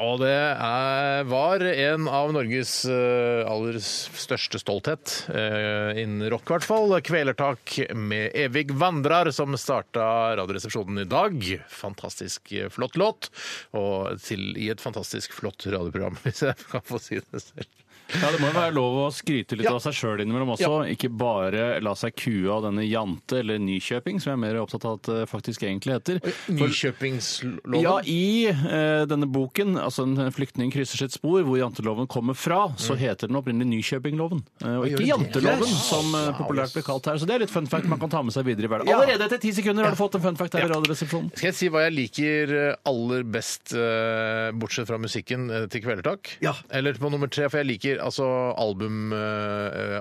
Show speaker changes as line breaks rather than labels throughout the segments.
Og det er, var en av Norges eh, aller største stolthet, eh, innen rock i hvert fall. Kvelertak med Evig vandrar, som starta Radioresepsjonen i dag. Fantastisk eh, flott låt, og til, i et fantastisk flott radioprogram, hvis jeg kan få si det selv.
Ja, Det må jo være lov å skryte litt
Ja.
av seg sjøl innimellom også. Ikke bare la seg kue av denne Jante eller Nykjøping, som jeg er mer opptatt av at det faktisk egentlig heter. For-
Nykjøpingsloven.
Ja, i eh, denne boken, altså En flyktning krysser sitt spor, hvor janteloven kommer fra, så heter den opprinnelig Nykjøpingloven. Eh, og ikke
gjør det?
janteloven,
Yes.
som eh, populært blir kalt her. Så det er litt fun fact man kan ta med seg videre i hverdagen. Allerede etter ti sekunder har du fått en fun fact her i Radioresepsjonen.
Skal jeg si hva jeg liker eh, aller best, eh, bortsett fra musikken, eh, til Kvelertak?
Ja.
Eller på nummer tre, for jeg liker altså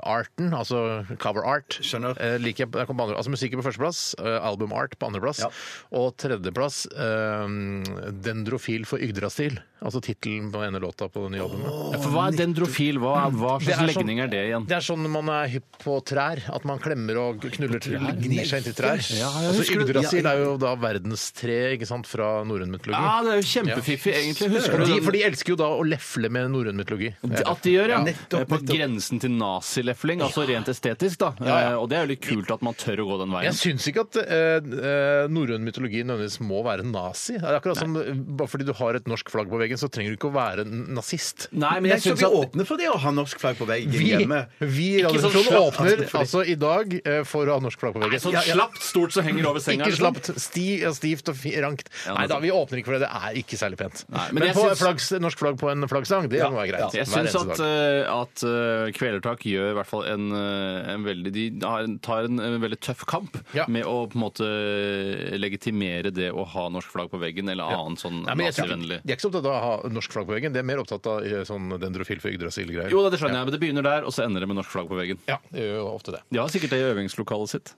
albumarten, altså cover art.
Skjønner.
Eh, liker jeg, jeg kom på andre, altså musikken på førsteplass, eh, album art på andreplass, og tredjeplass eh, Dendrofil for Yggdrasil, altså tittelen på ene låta på det nye albumet.
Ja, for hva er dendrofil? Hva, er- hva
Det
slags
er sånn-
legning er det igjen?
Det er sånn man er hypp på trær, at man klemmer og knuller til, gnir seg inntil trær.
Ja, Ah, jeg
altså,
husker det.
Yggdrasil er jo da verdenstre ikke sant, fra norrøn mytologi.
Ja, det er jo kjempefiffig, egentlig. Husker du
de,
den-
for de elsker jo da å lefle med norrøn mytologi.
At de gjør, ja. Eh,
Nettopp,
på
nettopp.
grensen til nazilefling, altså rent estetisk, da.
ja.
Eh, Og det er jo litt kult at man tør å gå den
Jeg
veien.
syns ikke at eh, eh, norrøn mytologi nødvendigvis må være nazi. Det er akkurat som eh, Bare fordi du har et norsk flagg på veggen, så trenger du ikke å være n- nazist.
Nei, men
Nei,
jeg
så
syns
vi
at
åpner for det å ha norsk flagg på veggen
Vi,
hjemme.
vi i
Ikke sånn
Radioresepsjonen
slapp.
åpner altså i dag eh, for å ha norsk flagg på
Nei,
veggen.
sånn slapt stort som henger over senga.
Ikke
liksom.
slapt. Sti, ja, stivt og fi- rankt.
Ja,
Nei da,
nettopp.
vi åpner ikke for det. Det er ikke særlig pent.
Nei, men
men
jeg
på
syns-
flaggs, norsk flagg på en flaggstang, det må være greit.
Jeg
Hver
syns
eneste
at,
dag.
eh, at eh, Kvelertak gjør i hvert fall en, eh, en veldig De har en- tar en, en veldig tøff kamp
Ja.
med å på en måte legitimere det å ha norsk flagg på veggen eller annen sånn
Nei, men jeg,
nazivennlig
de er ikke så opptatt av å ha norsk flagg på veggen. De er mer opptatt av eh, sånn dendrofil for yggdrasil-greier.
Jo da, det skjønner jeg, men det begynner der, og så ender det med norsk flagg på veggen.
Ja, det gjør jo ofte det.
De har sikkert det i øvingslokalet sitt.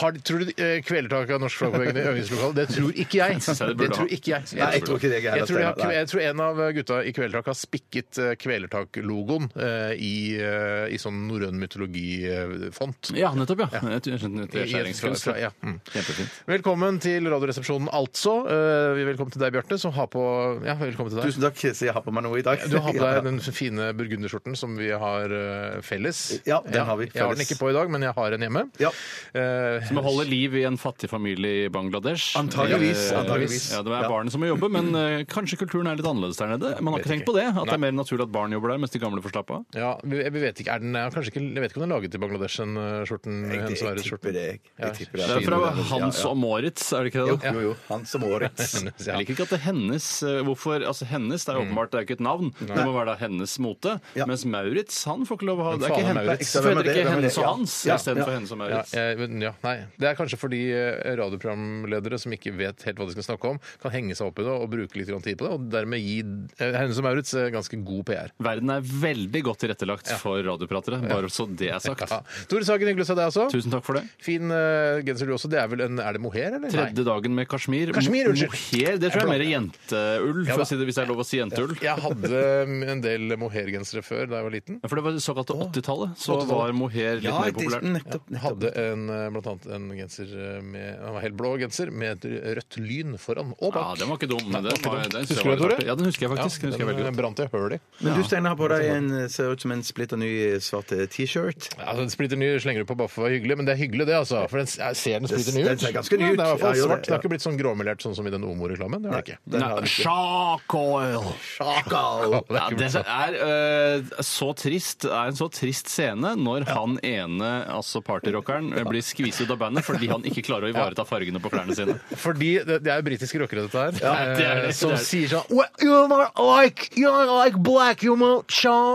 Har, tror du eh, kvelertak av norsk flagg på veggen i øvingslokalet? Det tror ikke jeg.
synes jeg det burde
tror
ha.
ikke jeg.
Nei, jeg tror ikke det jeg
Jeg
heller.
tror, de har,
Steinar. Nei.
jeg tror en av gutta i Kvelertak har spikket eh, Kvelertak-logoen eh, i, eh, i sånn norrøn mytologi-font.
Ja, nettopp, ja. Jeg tror- jeg skjønner at
I
det er
et
skjæringskunst.
kunstverk, ja. Mm.
Kjempefint.
Velkommen til Radioresepsjonen, altså. Eh, velkommen til deg, Bjarte, som har på Ja, velkommen til deg.
Tusen takk, så jeg har på meg noe i dag.
Du har på
Ja.
deg den fine burgunderskjorten som vi har eh, felles.
Ja, den har vi
Jeg har den
felles.
ikke på i dag, men jeg har en hjemme.
Ja.
Eh,
Som holder liv i en fattig familie i Bangladesh.
Antageligvis,
Eh,
antageligvis.
Ja, det er
Ja.
barnet som må jobbe, men eh, kanskje kulturen er litt annerledes der nede. Man har ikke
Vet
tenkt
ikke.
på det, at
Nei.
det er mer naturlig at barn jobber der, mens de gamle får slappe av.
Ja, vi, vi vet ikke, er den, jeg, kanskje ikke, jeg vet ikke om den er laget i Bangladesh, den eh, skjorten.
Jeg,
hennes
jeg
Sverres skjorten.
tipper det. Jeg, jeg tipper det.
Det er fra
Ja, ja.
Hans og Moritz, er det ikke det?
Jo,
da?
jo, jo. Hans og Moritz.
Ja.
Jeg liker ikke at det er hennes eh, Hvorfor? Altså hennes, det er åpenbart det er ikke et navn. Det må være da hennes mote.
Mm. Ja.
Mens Maurits, han får ikke lov å ha Det er
faen
ikke
er
hen-
Maurits?
Så
Hvem er
heter
det?
det ikke
Hvem er
hennes og
det? Ja.
hans
Ja.
istedenfor
Ja.
hennes og
Ja,
Maurits.
jeg, men ja, nei. Det er kanskje fordi eh, radioprogramledere som ikke vet helt hva de skal snakke om, kan henge seg opp i det og bruke litt grann tid på det, og dermed gi eh, Hennes og Maurits eh, ganske god PR.
Verden er veldig godt tilrettelagt for radiopratere, bare så det er sagt.
Ja. Tore Sagen, hyggelig å se deg også.
Tusen takk for det.
Fin eh, genser du også. Det er vel en Er det mohair, eller?
Tredje dagen med kasjmir.
Kasjmir, unnskyld.
Mohair, det tror jeg er mer jenteull,
Ja
for
da.
å si det, hvis det er lov å si jenteull.
Nei. Jeg hadde um, en del mohairgensere før da jeg var liten.
Ja, For det var såkalt 80-tallet, så
80-tallet.
var mohair litt
Ja,
mer
det-
populært.
nettopp.
Jeg hadde en, eh, blant annet en genser eh, med Han var helt blå genser med et rødt lyn foran og
Ja,
bak.
den var ikke dum. men Det, var, den synes jeg
Husker du det,
var litt artig.
Tore?
Ja, den husker jeg faktisk. Den husker jeg
den,
veldig
eh,
godt.
brant jeg høl i.
Men du, Steinar, har på deg en ser ut som en splitter ny svart eh, T-shirt.
Ja, den splitter ny slenger du på bare for å være hyggelig, men det er hyggelig, det, altså. For den s- jeg ser den splitter ny ut.
Den ser ganske ny
Ja,
ut.
Den er i hvert
Ja,
fall
gjør det,
svart. Den har
ja.
ikke blitt sånn gråmelert sånn som i den Omo-reklamen. Det har den ikke.
Den har
Nei,
jeg ikke.
Shark oil!
Kakao.
Det er
Ja,
ikke
det
blitt sånn.
er øh, så trist Det er en så trist scene når han ene, altså partyrockeren, øh, blir skviset ut av bandet fordi han ikke klarer å ivareta fargene på klærne sine.
Fordi det, det er jo britiske rockere, dette her,
det er det,
eh,
det er
som
det.
sier sånn well, you're not like, you're not like black, you're not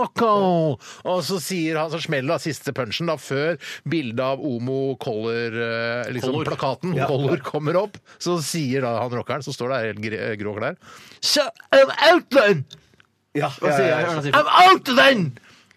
charcoal. Og så sier han, så smeller da siste punchen da, før bildet av Omo Color, eh, liksom
Color.
plakaten, Color kommer opp. Så sier da han rockeren, som står der i helt gre- grå klær, So I'm out then!
Ja,
Hva sier jeg?
ja, ja.
Hva sier jeg?
I'm out then!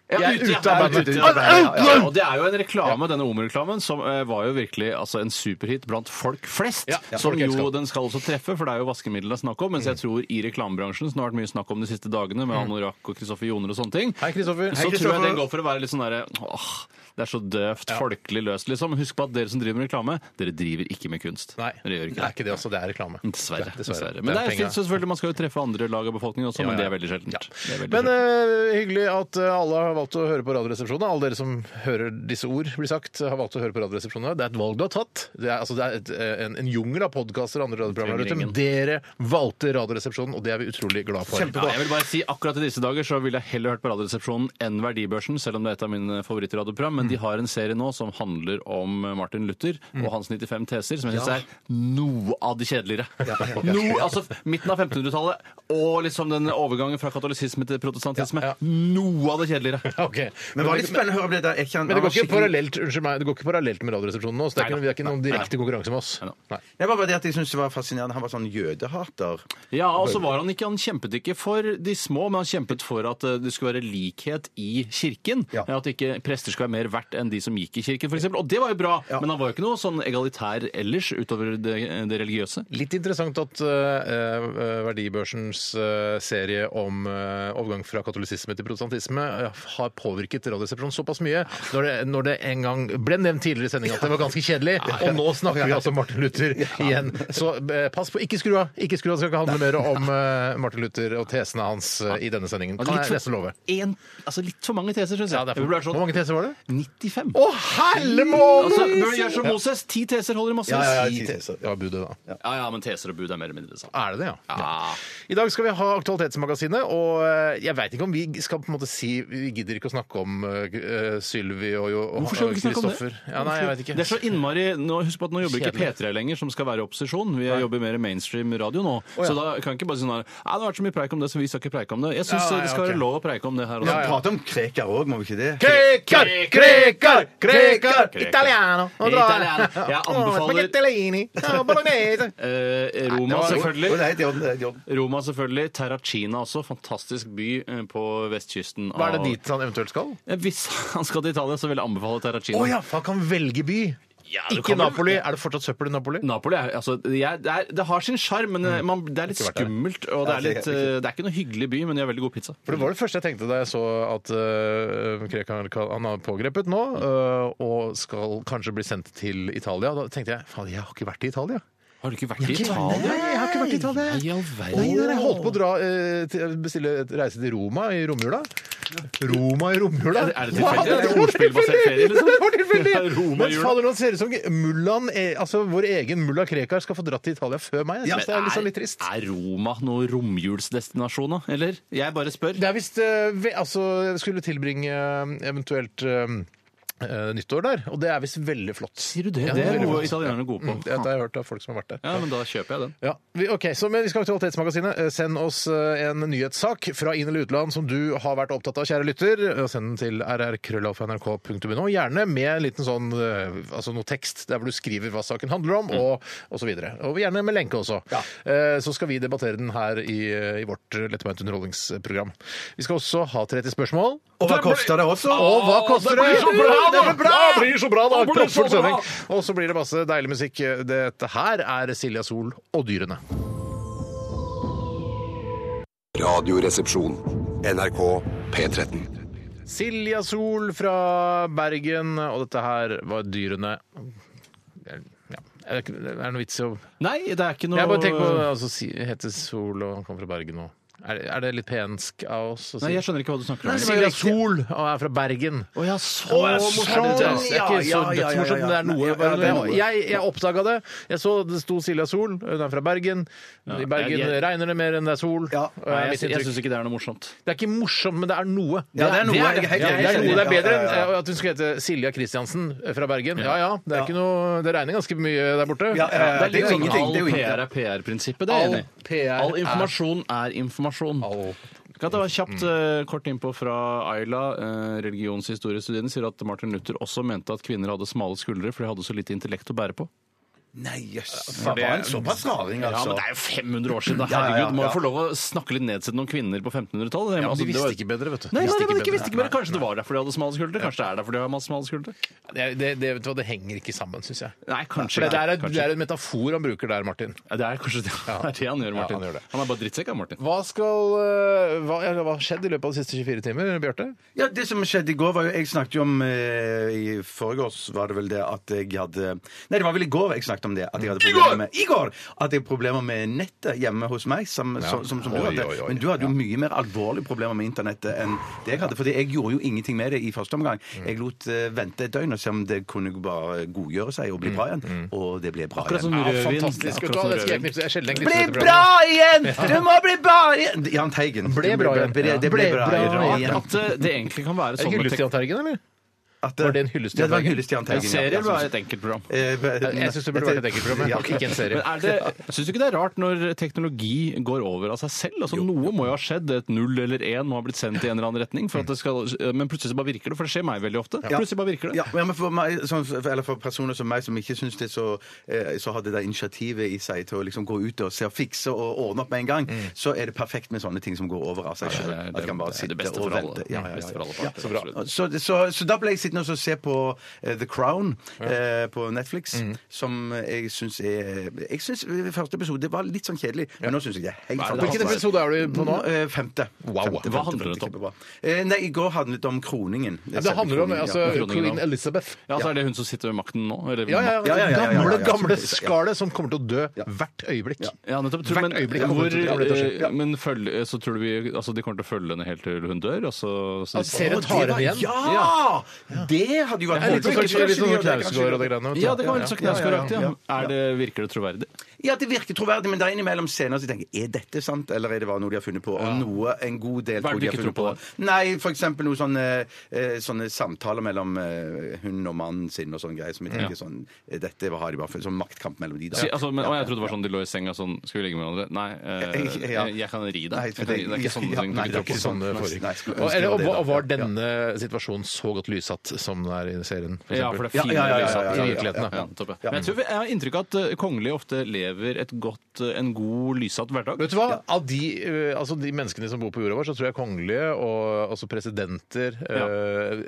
Ja,
Jeg er ute av bandet.
ute av bandet. Ja, ja, Og det er jo en reklame, denne Omo-reklamen, som eh, var jo virkelig altså, en superhit blant folk flest.
Ja, ja,
som
folk elsker
jo
den.
den skal også treffe, for det er jo vaskemiddel det er snakk om. Mens jeg tror i reklamebransjen, som det har vært mye snakk om de siste dagene, med Anorak og Kristoffer Joner og sånne ting,
Mm. Hei, Kristoffer.
så tror jeg den går for å være litt sånn derre åh, det er så døvt, folkelig løst, liksom. Husk på at dere som driver med reklame, dere driver ikke med kunst.
Nei,
Dere gjør ikke
det er ikke det også. Det er reklame.
Dessverre.
Det er
dessverre. Men det er,
penger.
fint, selvfølgelig, man skal jo treffe andre lag av befolkningen også, men det er veldig sjeldent.
Ja.
Det er veldig
Men
sjeldent.
eh, hyggelig at eh, alle har valgt å høre på Radioresepsjonen. Alle dere som hører disse ord bli sagt, har valgt å høre på Radioresepsjonen. Det er et valg du har tatt. Det er, altså, det er et, eh, en, en jungel av podkaster og andre radioprogrammer der ute, men dere valgte Radioresepsjonen, og det er vi utrolig glad for.
Ja, jeg vil bare si akkurat i disse dager så ville jeg heller hørt på Radioresepsjonen enn Verdibørsen, selv om det er et av mine favorittradioprogram. Men de har en serie nå som handler om Martin Luther og hans 95 teser, som jeg syns er noe av det kjedeligere. Noe, altså Midten av 1500-tallet og liksom den overgangen fra katolisisme til protestantisme.
Ja, ja.
Noe av det kjedeligere.
Ok.
Men det var litt spennende å høre om dette. Jeg kan,
Men det går, ikke parallelt, unnskyld meg, det går ikke parallelt med Radioresepsjonen nå, så det er ikke, det er ikke noen direkte konkurranse med oss.
Nei da.
Nei.
Det var bare det at jeg syntes det var fascinerende. Han var sånn jødehater.
Ja, og så var han ikke Han kjempet ikke for de små, men han kjempet for at eh, det skulle være likhet i kirken.
Ja.
Eh, At ikke prester skal være mer verdt enn de som gikk i kirken, f.eks. Og det var jo bra, men han var jo ikke noe sånn egalitær ellers utover det, det religiøse.
Litt interessant at eh, eh, Verdibørsens eh, serie om eh, overgang fra katolisisme til protestantisme eh, har påvirket Radioresepsjonen såpass mye, når det, når det en gang ble nevnt tidligere i sendinga at det var ganske kjedelig, og nå snakker vi altså om Martin Luther igjen. Så eh, pass på, ikke skru av! Ikke skru av, det skal ikke handle mer om eh, Martin Luther og tesene hans eh, i denne sendingen. Kan jeg nesten love.
en, altså litt for mange teser, syns jeg.
Ja, det er
Jeg
for,
burde vært
hvor mange teser var det?
sånn 95.
Å, helle måned!
Altså, bør du gjøre som Moses? Ti teser holder i massevis.
Ja, ja,
Ti
ja,
teser.
Det var budet, da.
ja, ja, men teser og bud er mer eller mindre det samme.
Er det det, ja?
Ja.
I dag skal vi ha Aktualitetsmagasinet, og eh, jeg veit ikke om vi skal på en måte si Vi gidder ikke å snakke om eh, Sylvi og, og, og
Hvorfor skal vi ikke snakke om det?
Kristoffer. Ja, nei, jeg vet ikke.
Det er så innmari, nå, Husk på at nå jobber ikke
Kjedelig.
P3 lenger, som skal være opposisjon. Vi jobber mer mainstream radio nå.
ja.
Så da kan ikke bare si sånn her, «Nei, det har vært så mye preik om det, så vi skal ikke preike om det. Jeg syns
Ja, nei,
det skal
ok.
være lov å preike om det her. og
Ja,
da.
Prate om kreker òg, må vi ikke det?
Krekar, krekar, krekar,
Krekar.
italiano. Nå drar
Italiano. Jeg
Å,
anbefaler-
spaghettellini, å, bolognese.
Eh,
Nei, det var-
Roma,
Jo,
selvfølgelig.
nei, det er i orden, det er i orden.
Roma selvfølgelig, Terracina også. Fantastisk by eh, på vestkysten.
Hva er det
av-
dit han eventuelt skal?
Eh, Hvis han skal til Italia, så vil jeg anbefale Terracina.
Å ja, for han kan velge by.
Ja, du
Ikke
kan vel-
Napoli. Er det fortsatt søppel i Napoli?
Napoli er, altså, jeg, det, er, det har sin sjarm, men eh, man, det er litt
Mm. vært der.
skummelt. Og det er, litt, eh, det er ikke noe hyggelig by, men de har veldig god pizza.
For Det var det første jeg tenkte da jeg så at øh, Krekar han er pågrepet nå øh, og skal kanskje bli sendt til Italia. Da tenkte jeg faen, jeg har ikke vært i Italia.
Har du ikke vært i
Jeg har ikke-
Italia?
Nei, jeg har ikke vært i Italia.
Nei, i all verden.
Nei, nei, jeg holdt på å dra, øh, til- bestille et reise til Roma i romjula. Roma i romjula?
Er det- er det
Hva?
tilfeldig? Er det
var
ordspillbasert ferie, liksom?
Det var tilfeldig!
Roma i
Men
jula.
fader, nå ser det ut som mullaen, eh, altså vår egen mulla Krekar skal få dratt til Italia før meg. Jeg synes det er liksom litt trist.
er Roma noen romjulsdestinasjon, da? Eller? Jeg bare spør.
Det er hvis altså, skulle tilbringe eh, eventuelt eh, eh, nyttår der, og det er visst veldig flott.
Sier du det?
Ja,
det er
veldig
noe
flott.
italienerne er gode på.
Mm, Det har jeg hørt av folk som har vært der.
Ja, men da kjøper jeg den.
Ja, vi, ok, så men vi skal ha Aktualitetsmagasinet. Eh, Send oss eh, en nyhetssak fra inn- eller utland som du har vært opptatt av, kjære lytter. Eh, Send den til rrkrøllalfa.nrk.no. Gjerne med en liten sånn, eh, altså noe tekst der hvor du skriver hva saken handler om, og, og så videre. Og gjerne med lenke også. Eh, Så skal vi debattere den her i, eh, i vårt lettbeint underholdningsprogram. Vi skal også ha 30 spørsmål.
Og hva koster det også?
Og hva koster det?
blir så bra, da!
Det blir bra!
Det blir så bra, da!
Det blir så
Proppfull sending.
bra! Og så blir det masse deilig musikk. Dette her er Silja Sol og Dyrene.
Radioresepsjon. NRK P13.
Silja Sol fra Bergen, og dette her var Dyrene. Ja. Er det ikke- er det noe vits i å
Nei, det er ikke noe
Jeg bare tenker på altså, si- heter Sol, og han kommer fra Bergen og Er, det- er det litt pensk av oss å si?
Nei, jeg skjønner ikke hva du snakker om.
Silja Sol og er fra Bergen.
Å ja, så
morsomt!
morsomt!
Det er ikke
Ja,
så
ja, ja, ja, ja.
dødsmorsomt, men det er noe.
Ja, ja, det er noe.
Eh, Jeg, jeg oppdaga det. Jeg så det sto Silja Sol, hun er fra Bergen. I Bergen
jeg-
regner det mer enn det er sol.
Ja.
Og jeg,
Nei, jeg,
mitt
sy- jeg syns
inntrykk.
ikke det er noe morsomt.
Det er ikke morsomt, men det er noe.
Ja, det er noe.
Det
Jeg er helt
ja, det er,
enig.
noe. Det er bedre
Ja, ja, ja.
enn eh, at hun skal hete Silja Kristiansen eh, fra Bergen. Ja ja, det er ikke noe Det regner ganske mye der borte.
Ja, ja, ja,
Det er
det
litt
er jo
sånn
ingenting.
Liksom All
det er jo ikke-
PR er PR-prinsippet, det er jeg
All
enig i.
PR
All informasjon er informasjon. Kan jeg ta kjapt eh, kort innpå fra Ayla, eh, religionshistoriestudien, sier at Martin Luther også mente at kvinner hadde smale skuldre, for de hadde så lite intellekt å bære på.
Nei, jøss.
for
det var en
det-
såpass raring,
Ja, men
altså.
det er jo 500 år siden, da.
Ja, ja, ja,
Herregud, må jo
ja.
få lov å snakke litt nedsettende om kvinner på 1500-tallet.
Ja, men
Altså,
de
det
visste
var-
ikke bedre, vet du.
Nei,
De visste ikke
nei, nei, men ikke
bedre.
visste ikke bedre. Kanskje det var derfor de hadde smale skuldre? Kanskje det er derfor de har masse smale skuldre?
Det, det, det, vet du hva, det henger ikke sammen, syns jeg.
Nei, kanskje
For det, det, er,
ikke.
et- det er en metafor han bruker der, Martin.
Ja, det er kanskje det, det, er det han gjør,
Ja,
Martin.
han gjør det.
er bare drittsekk, han, Martin.
Hva skal eh, Hva ja, hva har skjedd i løpet av de siste 24 timer, Bjarte?
Ja, Det som skjedde i går, var jo Jeg snakket jo om eh, I forgårs var det vel det at jeg hadde Nei, det var vel i går jeg snakket om det. At jeg hadde problemer med, I går! At jeg hadde problemer med nettet hjemme hos meg. Som, som, som, som du
Oi,
hadde.
oi, oi.
Men du hadde jo mye mer alvorlige problemer med internettet enn det jeg hadde. Fordi jeg gjorde jo ingenting med det i første omgang. Jeg lot eh, vente et døgn og se om det kunne bare godgjøre seg og bli bra igjen. Og det ble bra igjen.
som
Ja,
rødvin.
fantastisk. Vet du hva,
Akkurat
det skal jeg
som
knipse. Jeg er sjelden
Bli
knipser til
bra
programmet.
igjen! Du må bli bra igjen! Jan Teigen.
Ble bra igjen.
Det ble,
Ble
bra,
bra
igjen.
At eh, det egentlig kan være
Er det
sånn
Hyllest til Jahn Tergen, eller?
At,
Var det en hyllest til
Ja, det var
Jan Teigen?
en hyllest til Jan
En
Teigen. ja.
serie
Ja,
eller er det et enkeltprogram?
Eh,
Jeg syns det burde vært et eget program,
Ja,
jeg. ikke en
Men
serie.
er det, Syns du ikke det er rart når teknologi går over av seg selv? Altså, noe må jo ha skjedd. Et null eller én må ha blitt sendt i en eller annen retning. For at det skal, men plutselig så bare virker det, for det skjer meg veldig ofte. Plutselig bare virker det.
Ja, men for, meg, sånn, eller for personer som meg som ikke syns det, så, eh, så hadde det initiativet i seg til å liksom gå ut og se og fikse og ordne opp med en
Mm.
gang, så er det perfekt med sånne ting som går over av seg
Det
sjøl.
er-
At
det
man kan bare
er det
sitte
beste for
og
alle.
vente. Ja, ja,
Beste for
ja,
alle
ja.
parter, absolutt.
Så, så, så da ble jeg sittende og se på eh, The Crown eh, på Netflix,
Mm.
som jeg syns er Jeg syns første episode var litt sånn kjedelig, men nå syns jeg det er
Hva er det
helt fantastisk.
Hvilken episode er du på nå?
Eh, Femte.
Wow.
Femte,
Hva
femte,
handler det
femte,
om?
kjempebra. Eh, Nei, I går handlet det om kroningen.
Det handler om altså,
ja.
queen Elizabeth.
Ja, så er det hun som sitter ved makten nå? Eller,
Ja, ja, ja.
ja, ja, ja, ja.
Gamle, gamle skallet som kommer til å dø hvert øyeblikk.
Ja, nettopp. Tror,
Hvert
men,
øyeblikk
hvor,
kommer til å bli
eh, men følge, så tror du vi, altså, de kommer til å følge henne helt til hun dør? Og så, så,
Altså, serien
Å, det
tar
var-
henne igjen.
Ja! Det hadde jo vært
Det er litt sånn
håpløst.
kanskje litt
Kanskje
sånn
de gjør det, kanskje de
Knausgård og
gjør
det greiene. vet du.
ja, det kan være litt så
Ja, ja, ja.
knausgårdaktig. Ja, Er det, virker det troverdig?
Ja, det virker troverdig, men det er innimellom scener som tenker jeg, er dette sant, eller er det bare noe de har funnet på? Og noe, en god del
Hva er det
tror de
du
har
ikke
funnet
tror
på.
på
Nei, for eksempel noen sånne, eh, sånne samtaler mellom eh, hun og mannen sin og sånne greier som jeg tenker sånn eh, Dette har de bare funnet. Sånn maktkamp mellom de, da.
Si, altså, men, å, jeg trodde det var sånn de lå i senga sånn Skal vi ligge med hverandre? Nei, eh,
Jeg- ja.
jeg, jeg kan ri
Nei,
deg. Jeg kan, det er ikke sånne
ja,
ting du
nei,
ikke
det er
tror på.
ikke
Sånn det
Nei,
foregikk.
nei, skulle
Og,
ønske
eller,
det var
og,
det, da.
og var
Ja.
denne situasjonen så godt lyssatt som den er i serien? for
Ja,
eksempel?
for det
Ja,
er finere
ja, ja,
lyset
ja, ja,
i
ja,
virkeligheten.
ja,
da. Ja, topp, ja. Men jeg tror vi- jeg har inntrykk av at eh, kongelige ofte lever et godt, eh, en god, lyssatt hverdag.
Vet du hva? Av de, eh, altså de menneskene som bor på jorda vår, så tror jeg kongelige og også presidenter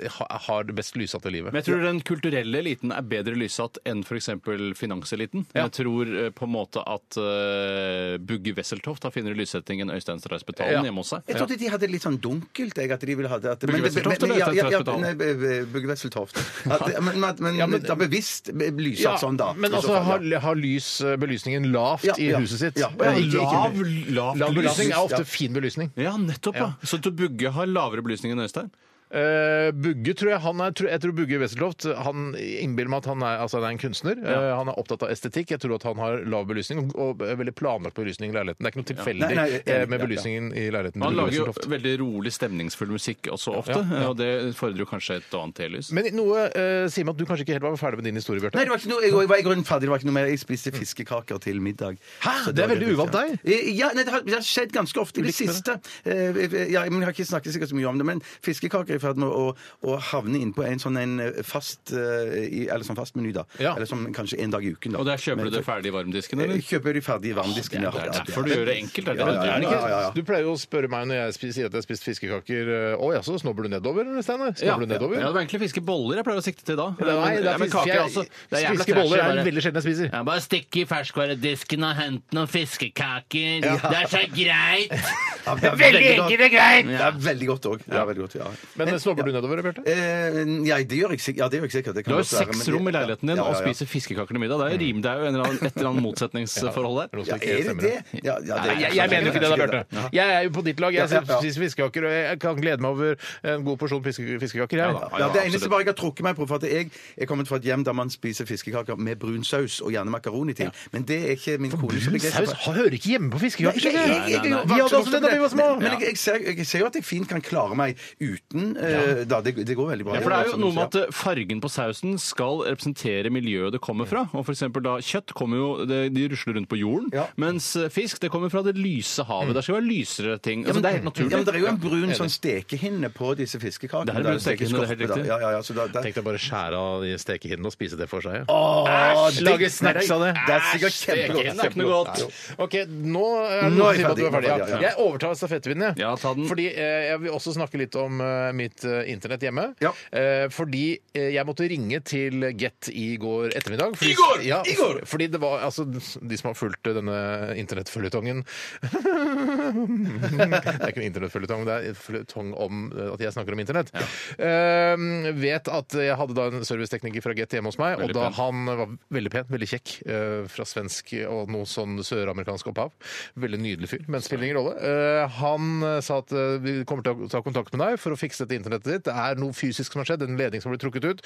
eh, ha- har det best lyssatte livet.
Men jeg tror den kulturelle eliten er bedre lyssatt enn f.eks. finanseliten.
Ja.
Jeg tror eh, på en måte at eh, Bugge Wesseltoft har finere lyssetting enn Øystein Streisbetalen
Ja.
hjemme hos seg.
Jeg trodde de hadde litt sånn dunkelt. Jeg, at de ville ha det, at,
Bugge
men-
Wesseltoft
men-
eller
ja, ja, ja,
Tvedt
nei, Bugge Wesseltoft. At- Men, men, men,
men-
da bevisst lyset
Ja,
sånn, da.
Men
I så
altså,
fall, ja.
har, har lys, eh, belysningen lavt
Ja,
i
ja.
huset sitt?
Ja,
Eh, ikke- ikke-
lav, lav
Lav belysning
belysning.
er ofte
ja.
fin belysning.
Ja, nettopp, ja. Så du Bugge har lavere belysning enn Øystein?
Eh, Bugge tror jeg han er tror- Jeg tror Bugge Westerloft Han innbiller meg at han er, altså, han er en kunstner. Eh, han er opptatt av estetikk. Jeg tror at han har lav belysning og, og veldig planlagt belysning i leiligheten. Det er ikke noe tilfeldig
Nei, nei,
eh, med
ja, ja.
belysningen i leiligheten.
Han
til Bugge
lager jo
Wesseltoft.
veldig rolig, stemningsfull musikk også ofte, og det fordrer jo kanskje et annet telys.
Men noe eh, sier meg at du kanskje ikke helt var ferdig med din historie, Bjarte.
Nei, det var ikke noe, jeg, jeg var i grunnen ferdig. Det var ikke noe mer. Jeg spiste fiskekaker til middag.
Hæ?
Så
Det er
var
veldig uvant
ja.
deg.
Eh, Ja, nei, det, har, det har skjedd ganske ofte i det siste. Eh, eh, Ja, men jeg har ikke snakket sikkert så mye om det, men fiskekaker er i ferd med å, å havne innpå en sånn en eh, fast eh, i- Eller sånn fast meny, da.
Ja.
Eller sånn kanskje en dag i uken, da.
Og der kjøper
Men-
du det ferdig i varmdisken,
Eh,
eller?
Kjøper de ferdige varmdiskene.
Det er derfor du gjør det enkelt. Er det
Ja, ja,
det
Er
du
det
gjør?
ikke?
Ja, ja, ja.
Du pleier jo å spørre meg når jeg spi- sier at jeg har spist fiskekaker eh, Å ja, så snobler du nedover, eller, Steinar? Snobler du nedover?
Ja, det var egentlig fiskeboller jeg pleier å sikte til da.
Nei,
Men-
det er
men
fisk-
kaker,
jeg-
altså. Det er jævla
Fiske boller
trashy,
er
bare.
veldig sjelden jeg spiser.
Ja, bare stikk i ferskvaredisken og hent noen fiskekaker. Det er så greit!
det er
Veldig enkelt og greit!
Det er veldig godt òg. Ja, veldig godt, ja.
Men eh, snobler du nedover, Bjarte?
Eh, nei, det gjør jeg sikkert. Ja, det gjør jeg sikkert. Det
Du
kan
har jo
godt være,
seks
men det-
rom i leiligheten din
Ja, ja,
og
ja.
spiser fiskekaker til middag. Det er jo rim, det er jo en eller annen, et eller annet motsetningsforhold der.
noe
Ja,
som ikke
er det
stemmer,
det? Ja, ja, det
Nei, jeg, jeg mener jo ikke det, da,
Ja.
Bjarte. Jeg er jo på ditt lag. Jeg
Ja, ja, ja.
spiser fiskekaker, og jeg kan glede meg over en god porsjon fiske, fiskekaker. Jeg.
da.
Ja, det eneste bare jeg har trukket meg på, for at jeg er kommet fra et hjem der man spiser fiskekaker med brun saus og gjerne makaroni til. Men det er ikke min kone som
Brun
begeistrer
saus
for.
ha- hører ikke hjemme på
Nei,
fiskekaker,
jeg- jeg-
skjønner du.
jeg- jeg-
Vi hadde også det da vi var små.
Men, men jeg, jeg, ser, jeg ser jo at jeg fint kan klare meg uten eh, da, det, det går veldig bra. Sånn
Ja, for det er jo noe med at eh, Fargen på sausen skal representere miljøet det kommer fra. Og for eksempel da, Kjøtt kommer jo, det, de rusler rundt på jorden,
Ja. Mm.
mens eh, fisk det kommer fra det lyse havet. Der skal det være lysere ting. Altså, det er helt
Ja, men Det
naturlig.
er jo en brun sånn stekehinne på disse fiskekakene.
Det her er
Da
brun stekehinne, det er helt
stekeskorpe, da.
riktig.
Ja, ja, ja, så da, da,
Tenk deg bare skjære av de stekehinnene og spise det for seg.
Åh,
Æsj, lage snacks av det.
Det er sikkert
stekehinne
kjempegodt.
er ikke noe godt.
OK, nå eh, er det noe
Nå er jeg
som sier at du er
ferdig,
ferdig.
nå er jeg
Ja.
ferdig, ja.
Jeg overtar stafettpinnen, jeg.
Ja, ta den.
Fordi eh, jeg vil også snakke litt om eh, mitt eh, internett hjemme.
Ja.
Eh, fordi eh, jeg måtte ringe til Get i går ettermiddag. Fordi,
I går!
Ja,
I går!
Fordi det var altså De som har fulgt eh, denne internettføljetongen Det er ikke en internettføljetong, det er en føljetong om eh, at jeg snakker om internett. Eh, vet at jeg hadde da en servicetekniker fra Get hjemme hos meg, og
Veldig
da
pen.
han var veldig pen, veldig kjekk, eh, fra svensk og noe sånn søramerikansk opphav. Veldig nydelig fyr, men spiller ingen rolle. Eh, Han eh, sa at eh, vi kommer til å ta kontakt med deg for å fikse dette internettet ditt. Det er noe fysisk som har skjedd, en ledning som ble trukket ut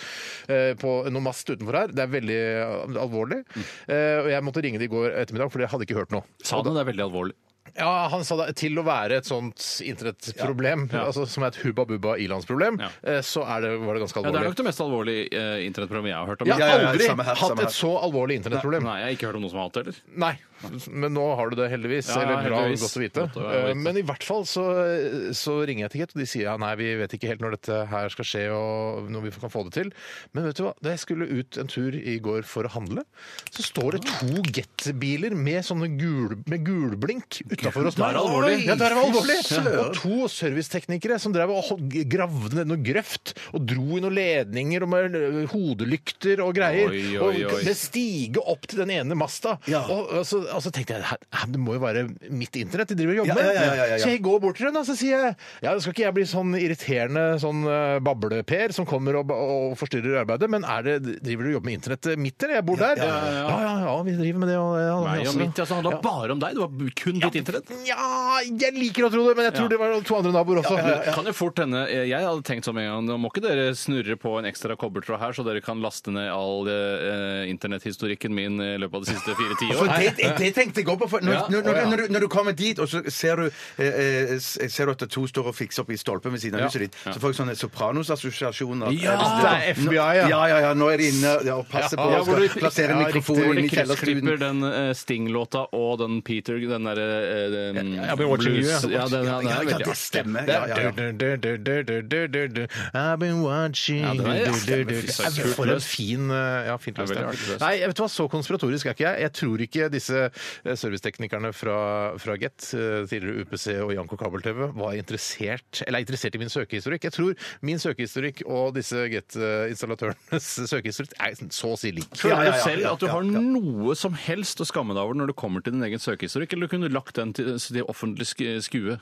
eh, på noe mast utenfor her. Det er veldig eh, alvorlig. Eh, Og jeg måtte ringe det i går ettermiddag, for jeg hadde ikke hørt noe.
Sa han det, det er veldig alvorlig.
Ja, han sa da til å være et sånt internettproblem,
Ja. Ja.
altså som er et hubba-bubba ilandsproblem,
Ja.
eh, så er det, var det ganske
Ja, det er
alvorlig.
nok det mest alvorlige eh, internettproblemet jeg har hørt om.
Jeg
Ja, ja,
har
ja,
aldri
samme her, samme
hatt
her.
et så alvorlig internettproblem.
Nei, jeg har ikke hørt om noen som har hatt det, eller?
Nei, men nå har du det heldigvis.
Ja, ja,
eller bra,
heldigvis.
godt å vite.
Godt å være
Eh,
vite.
Men i hvert fall så, så ringer jeg til Get, og de sier ja, nei, vi vet ikke helt når dette her skal skje og når vi kan få det til. Men vet du hva, da jeg skulle ut en tur i går for å handle, så står
Ah.
det to Get-biler med sånne gul, med gulblink utafor oss.
Det er alvorlig.
Ja, det er alvorlig.
Fy søren.
Og to serviceteknikere som drev og hog- gravde ned noe grøft og dro i noen ledninger og med hodelykter og greier.
Oi, oi,
Og
oi.
med stige opp til den ene masta.
Ja.
Og, og, så, og så tenkte jeg her- her- det må jo være mitt internett de driver og jobber med.
Ja, ja, ja, ja, ja, ja.
Så jeg går bort til henne og så sier jeg, ja, skal ikke jeg bli sånn irriterende sånn eh, bableper som kommer og, ba- og forstyrrer arbeidet, men er det, driver du og jobber med internettet mitt, eller? Jeg bor der. Ja, ja, ja, vi driver med det. Og, ja,
Nei,
vi
og
også.
mitt, altså, handla bare om deg. Det var kun ditt internett.
Ja, jeg liker å tro det, men jeg tror
Ja.
det var to andre naboer også.
Det kan jo fort hende, eh, Jeg hadde tenkt som en gang Nå må ikke dere snurre på en ekstra kobbertråd her, så dere kan laste ned all eh, internetthistorikken min eh, i løpet av de siste fire
For
tiår.
Altså, det, det, det tenkte jeg òg på. For når,
Ja,
når,
å,
når,
ja.
når, du, når du kommer dit, og så ser du, eh, eh, s- ser du at to står og fikser opp i stolpen ved siden av
Ja.
huset ditt, så får jeg sånne Sopranos-assosiasjoner.
Ja,
det er FBI, ja.
ja. Ja, ja, Nå er de inne ja, og passer på
Ja,
og
hvor
skal
du-
plassere
ja, riktig,
mikrofonen
Hvor
inn
de
i kjellerstuen.
kryssklipper den eh, Sting-låta og den Peter Den derre eh, den
Ja, I've been watching you, ja.
Ja, den, ja, den
Ja,
er
ja,
veldig
det
artig.
stemmer. Ja, ja, ja.
Du-du-du-du-du-du-du-du. I've been watching
Ja, det er-
du-du-du-du.
Fy søren,
Det er For en fin eh, Ja, fint
Det
løst.
er veldig
ja.
artig løst.
Nei, jeg vet du hva, så konspiratorisk er ikke jeg. Jeg tror ikke disse eh, serviceteknikerne fra, fra Get, eh, tidligere UPC og Janko Kabel-TV, var interessert Eller er interessert i min søkehistorikk. Jeg tror min søkehistorikk og disse Get-installatørenes søkehistorikk er liksom så å si lik.
Føler
Ja, ja,
du
ja,
selv
ja,
at du
ja,
har
ja.
noe som helst å skamme deg over når det kommer til din egen søkehistorikk, eller kunne du lagt den til, til offentlig sk- skue?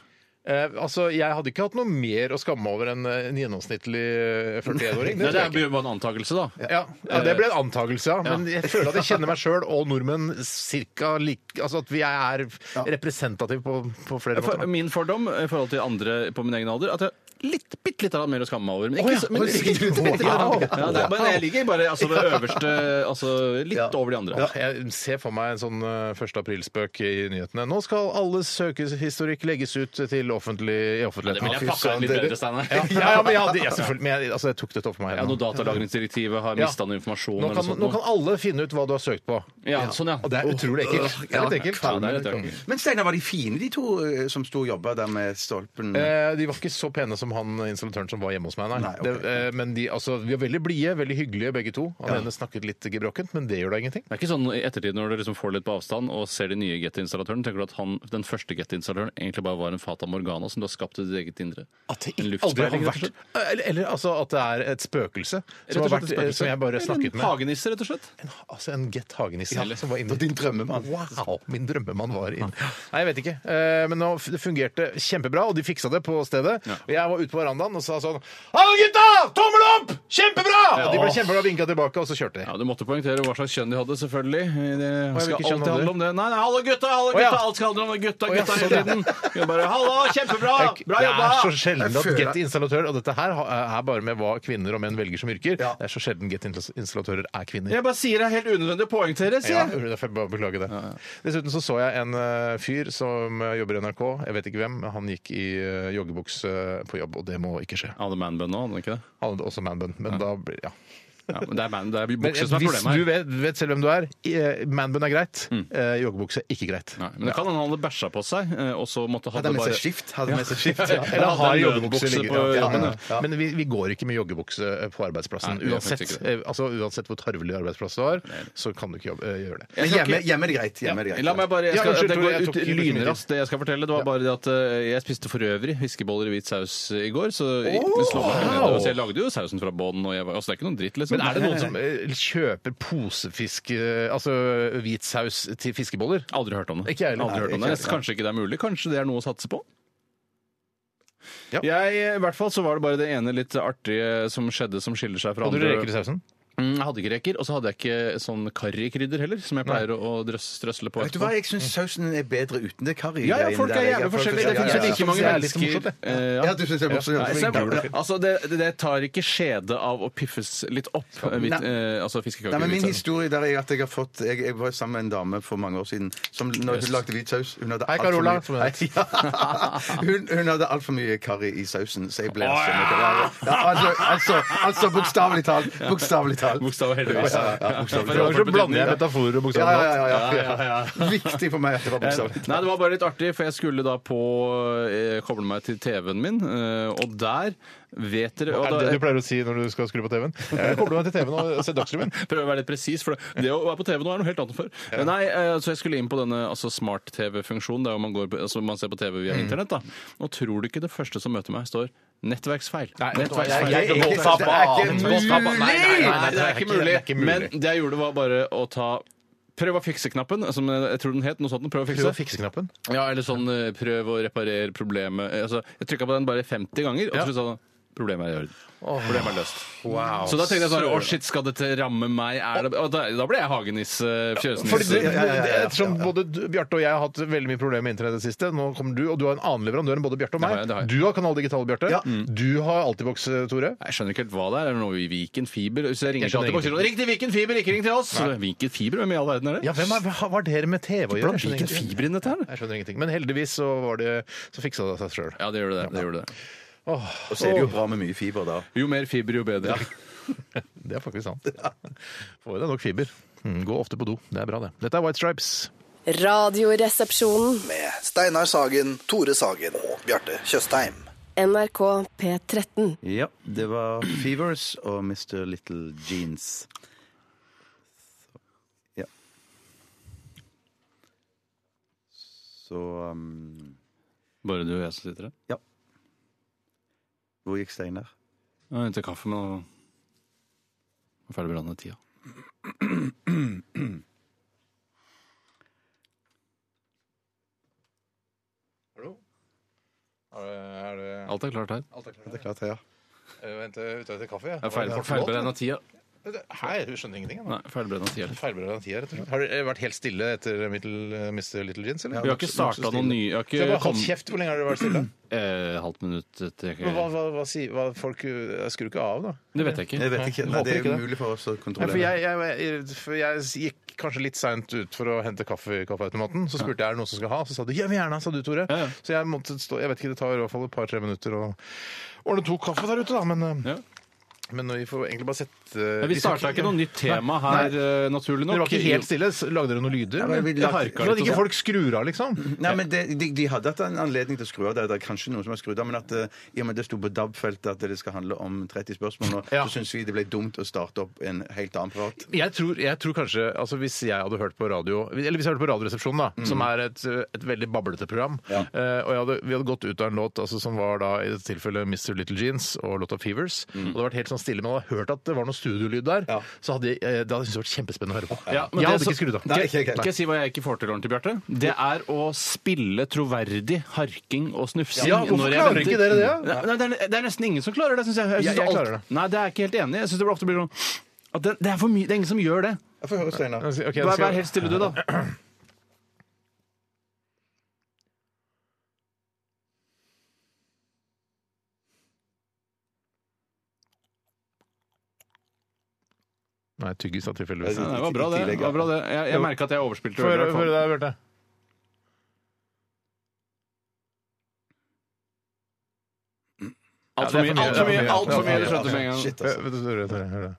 Eh, altså, Jeg hadde ikke hatt noe mer å skamme meg over enn eh, en gjennomsnittlig eh, 41-åring.
Det,
Det tror jeg ikke.
er bare en antakelse, da.
Ja, ja, det ble en antakelse, ja. Men jeg føler at jeg kjenner meg sjøl og nordmenn cirka lik Altså at vi er representative på, på flere
For,
måter.
min fordom i forhold til andre på min egen alder at jeg litt, bitte litt mer å skamme meg over. Men
Å
ikke,
ja,
så- men,
å,
ikke,
sier du det?
bitte lite grann.
Wow.
ja, det er bare, jeg ligger bare altså, det øverste altså, Litt over de andre.
Jeg ser for meg en sånn eh, 1. aprilspøk i nyhetene. Nå skal alles søkehistorikk legges ut til offentlig, i
Det ville
offentligheten.
jeg pakka ut litt bedre, Steinar.
Ja, ja, ja, men jeg, hadde, jeg, selvfølgelig, men jeg, altså, jeg tok dette opp for meg.
Ja, når datalagringsdirektivet har mista noe informasjon
nå,
eller
kan,
noe sånt.
nå kan alle finne ut hva du har søkt på.
Ja, sånn, ja.
Og det er utrolig ekkelt. Det er litt ekkelt.
Ja, det er litt ekkelt.
Men Steinar, var de fine, de to eh, som sto og jobba der med stolpen?
Eh, de var ikke så pene som han installatøren som var hjemme hos meg. Nei.
Nei, ok.
det, eh, men de, altså, vi var veldig blide, veldig hyggelige begge to. Han ene snakket litt gebrokkent, men det gjør da ingenting.
Det er ikke sånn i ettertid når du liksom får litt på avstand og ser de nye Get-installatørene, tenker du at han, den første Get-installatøren egentlig bare var en Fata Morgana som du har skapt i ditt eget indre? En luftspeiling, rett og slett?
Eller, eller altså at det er et spøkelse som,
Rett og
har
slett
vært,
et
eh,
spøkelse.
som jeg bare
Eller en
snakket med.
Hagenisse, rett og slett.
En, altså en Get Hagenisse
Ja.
som var inne.
Og din drømmemann.
Wow! Min drømmemann var inne. Nei, jeg vet ikke. Eh, men nå, f- det fungerte kjempebra, og de fiksa det på stedet. Og jeg var ute på verandaen og sa sånn Hallo, gutta! Tommel opp! Kjempebra! Og de ble kjempeglade og vinka tilbake, og så kjørte de.
Ja, Du måtte poengtere hva slags kjønn de hadde, selvfølgelig. Det
hvilket
skal
kjønn
alltid
hadde de?
handle om det. Nei, nei, alle gutta, alle
Å, ja.
gutta, alt skal handle om gutta,
ja,
gutta
sånn,
hele
ja.
tiden. Vi Bare, Halla,
Kjempebra! Bra
det
jobba!
er så sjelden at
Jeg føler-
Get installatør Og dette her ha- er bare med hva kvinner og menn velger som yrker.
Ja.
Det er så sjelden Get Instal- installatører er kvinner.
Jeg bare sier det er helt unødvendig å poengtere,
Ja,
sier jeg.
derfor jeg bare beklager det. Dessuten så så jeg en eh, fyr som eh, jobber i NRK, jeg vet ikke hvem, men han gikk i eh, joggebukse på jobb, og det må ikke skje.
Han hadde manbun nå, hadde han ikke det?
Han hadde også manbun, men da blir ja.
Ja, men det er, man, det er
Men
bukse som er
hvis
problemet her.
du vet, vet selv hvem du er, eh, manbun er greit, eh, joggebukse ikke greit.
Nei, men det kan hende han hadde bæsja på seg, eh, og så måtte han
Hadde med
bare
seg skift. Hadde med seg skift, ja.
Eller han har
Ja, det er
joggebukse
nødbukse
liggende.
på
Ja, ja,
jobben,
ja.
ja.
Men vi, vi går ikke med joggebukse på arbeidsplassen.
Nei, vi gjør
uansett,
faktisk ikke
eh, altså, uansett hvor tarvelig arbeidsplass du har, så kan du ikke jobbe, eh, gjøre det.
Men hjemme, hjemme er det greit. Hjemme er det greit.
La meg bare, jeg
Ja,
skal,
unnskyld,
Det
Tore, jeg
går
tok
ut
ikke mye tid.
lynraskt, det jeg skal fortelle. Det var bare det at eh, jeg spiste for øvrig fiskeboller i hvit saus eh, i går. Så det slo meg ikke
wow.
ned. Så jeg lagde jo sausen fra bånn. og jeg var- Altså, det er ikke noe dritt, liksom.
Men er det noen som eh, kjøper posefisk, eh, altså hvit saus til fiskeboller?
Aldri hørt om det.
Ikke jeg heller.
Aldri hørt om
Ikke
det.
jeg.
Kanskje ikke det er mulig? Kanskje det er noe å satse på?
Ja.
Jeg, I hvert fall så var det bare det ene litt artige som skjedde, som skiller seg fra
Hadde du
andre.
reker i sausen?
Mm, Jeg hadde ikke reker, og så hadde jeg ikke sånn karrikrydder heller, som jeg pleier å å drøs, strøsle på.
Vet du hva, jeg syns sausen er bedre uten det
Ja,
karrigreiene.
ja, folk er
der.
jævlig forskjellige.
Ja,
Det finnes jo like
sånn- ja, ja.
mange
Det er litt morsomt, det.
mennesker. Eh,
Ja, du synes det er morsomt.
Nei, så jeg
Ja.
burde- altså, det, det tar ikke skjede av å piffes litt opp. Hvit,
Nei.
eh, altså fiskekaker.
Nei, men Min
hvit saus.
historie der er at jeg har fått Jeg, jeg var sammen med en dame for mange år siden som når hun lagde hvit saus Hun hadde
Hei,
alt for
Carola,
mye-
som hun het.
Hei, ja. hun, hun hadde altfor mye karri i sausen, så jeg ble så mye- ja, altså, altså, altså bokstavelig talt. Bokstavelig talt.
Bokstav, heldigvis.
Ja, ja, ja, bokstavelig
Noen ganger så
talt.
blander jeg
metaforer og
Ja, ja, ja, ja, ja. Viktig for meg at det var bokstavelig.
Eh, Nei, det var bare litt artig, for jeg skulle da på eh, koble meg til TV-en min, eh, og der vet dere og
Er det
da-
det du pleier å si når du skal skru på TV-en? Jeg Kobler meg til TV-en og ser Dagsrevyen.
Prøv å være litt presis, for det, det å være på TV nå er noe helt annet enn før. Nei, eh, så jeg skulle inn på denne altså, smart-TV-funksjonen, der man, går, på- altså, man ser på TV
Mm.
via internett. da. Og tror du ikke det første som møter meg, står nettverksfeil? nettverksfeil.
jeg- jeg-
Voldta
det er
barn,
ikke
voldta barn.
mulig!
Nei, nei, nei, det er ikke mulig.
det er ikke mulig.
Men det jeg gjorde, var bare å ta Prøv å fikse-knappen, som jeg tror den het. noe sånt, prøv å fikse.
Prøv å fikse knappen.
Ja, eller sånn eh, prøv å reparere problemet. Eh, Altså, jeg trykka på den bare 50 ganger, og så sånn Problemet er i orden. Problemet er løst. Så da tenkte jeg sånn Å, shit, skal dette ramme meg? Er det... og da, da ble jeg hagenisse,
Fordi du,
fjøsnisse.
ja, ja, ja.
ettersom både du- Bjarte og jeg har hatt veldig mye problemer med internett i det siste, nå kommer du, og du har en annen leverandør enn både Bjarte og
Det har jeg, Mm. det har
meg.
jeg.
Du har Kanal Digital, Bjarte.
Ja.
Du har Altibox, eh, Tore.
Jeg skjønner ikke helt hva det er. Er det noe i Viken Fiber? Hvis jeg ringer
Jeg
til
skjønner
Altibox, sier de, Ring til Viken Fiber, ikke ring til oss! Så, Viken Fiber, hvem i all verden er det?
Ja, hvem er, hva har dere med TV å gjøre?
Hvordan
Jeg skjønner
Viken
ingenting.
Fiber inn dette her?
Jeg skjønner ingenting. Men heldigvis så, var det, så fiksa det seg sjøl.
Ja, det gjør det. det, gjør det.
Og så er det jo bra med mye fiber, da.
Jo mer fiber, jo bedre.
Det er faktisk sant. Får i deg nok fiber. Mm, Gå ofte på do. Det er bra, det. Dette er White Stripes.
Radioresepsjonen.
med Steinar Sagen, Tore Sagen og Bjarte Tjøstheim.
NRK P13.
Ja, det var Fevers og Mr. Little Jeans. Ja. Så um,
Bare du og jeg som sitter her.
Ja. Hvor gikk Steinar?
Jeg henter kaffe, men nå nå er ferdig med tida. Alt er klart her.
Det er klart, ja.
Eh, Vent, ute etter kaffe?
Jeg er ferdig- Feilberegna tida.
Hei, Eh, du skjønner ingenting.
Nei, feilberegna tida.
Feilberegna tida, rett og slett. Har du vært helt stille etter Mr. Little Jeans, eller?
Vi har ikke starta noen nye Vi
Så
har
jeg
ikke
bare holdt
kommet
kjeft. Hvor lenge har dere vært stille?
eh, halvt minutt etter
Men hva, hva, hva, sier- hva folk eh, skrur ikke av, da?
Det vet jeg ikke.
Jeg vet ikke. Nei,
håper
det er
ikke det.
umulig for oss å
Nei, for,
kontrollere.
jeg, jeg, jeg, for jeg gikk kanskje litt seint ut for å hente kaffe i kaffeautomaten. Så spurte jeg er det noen som skal ha, så sa du ja, men gjerne, sa du, Tore.
Ja, ja.
Så jeg måtte stå Jeg vet ikke, det tar i hvert fall et par-tre minutter å ordne to kaffe der ute, da. Men, eh,
Ja.
men vi får egentlig bare sette eh,
Ja, Vi starta ikke noe nytt tema her, eh, naturlig nok.
Dere var ikke helt stille? s- Lagde dere noen lyder?
men vi
eller?
lagde-
Harka litt og sånn. Så at ikke folk skrur av, liksom?
Nei, men det, de, de hadde hatt en anledning til å skru av det. Det er kanskje noen som har skrudd av, men at eh, i og med det sto på DAB-feltet at det skal handle om 30 spørsmål nå,
Ja.
så syns vi det ble dumt å starte opp en helt annen prat.
Jeg tror, jeg tror kanskje, altså Hvis jeg hadde hørt på radio Eller hvis jeg hørte på Radioresepsjonen, da, som er et, et veldig bablete program
Ja.
eh, Og jeg hadde, Vi hadde gått ut av en låt altså, som var da i dette tilfellet Mr. Little Jeans og låta Fevers. Og det hadde vært helt sånn stille, men jeg hadde hørt at det var noe studiolyd der.
Ja.
Så hadde jeg, eh, det hadde jeg syntes det vært kjempespennende å høre på.
Ja, men
jeg
det
hadde
som-
ikke skrudd av.
Nei, ikke, ikke,
Skal jeg si hva jeg ikke får til ordentlig, Bjarte? Det er å spille troverdig harking og snufsing.
Ja, hvorfor
når jeg
klarer
venter.
ikke dere det, da?
Nei, det, er, det er nesten ingen som klarer det, syns jeg.
Jeg-
synes
jeg
alt-
klarer det.
Nei, det er jeg ikke helt enig. i. Jeg syns det blir ofte blir sånn at det, det, er for mye, det er ingen som gjør det.
Jeg får høre Steinar.
Ok, nå skal
Vær, vær
jeg-
helt stille, du, da.
Nei, tyggis da, tilfeldigvis.
Ja, det var bra, det. det, var bra det. Jeg, jeg merka at jeg overspilte.
Få
veldig, i
høre
hvert
få
fall.
høre deg, Bjarte.
Altfor mye. Alt for mye, alt for mye,
det er for
du skjønte med en gang.
Shit,
Hør,
altså.
hør, hør, hør, hør, hør.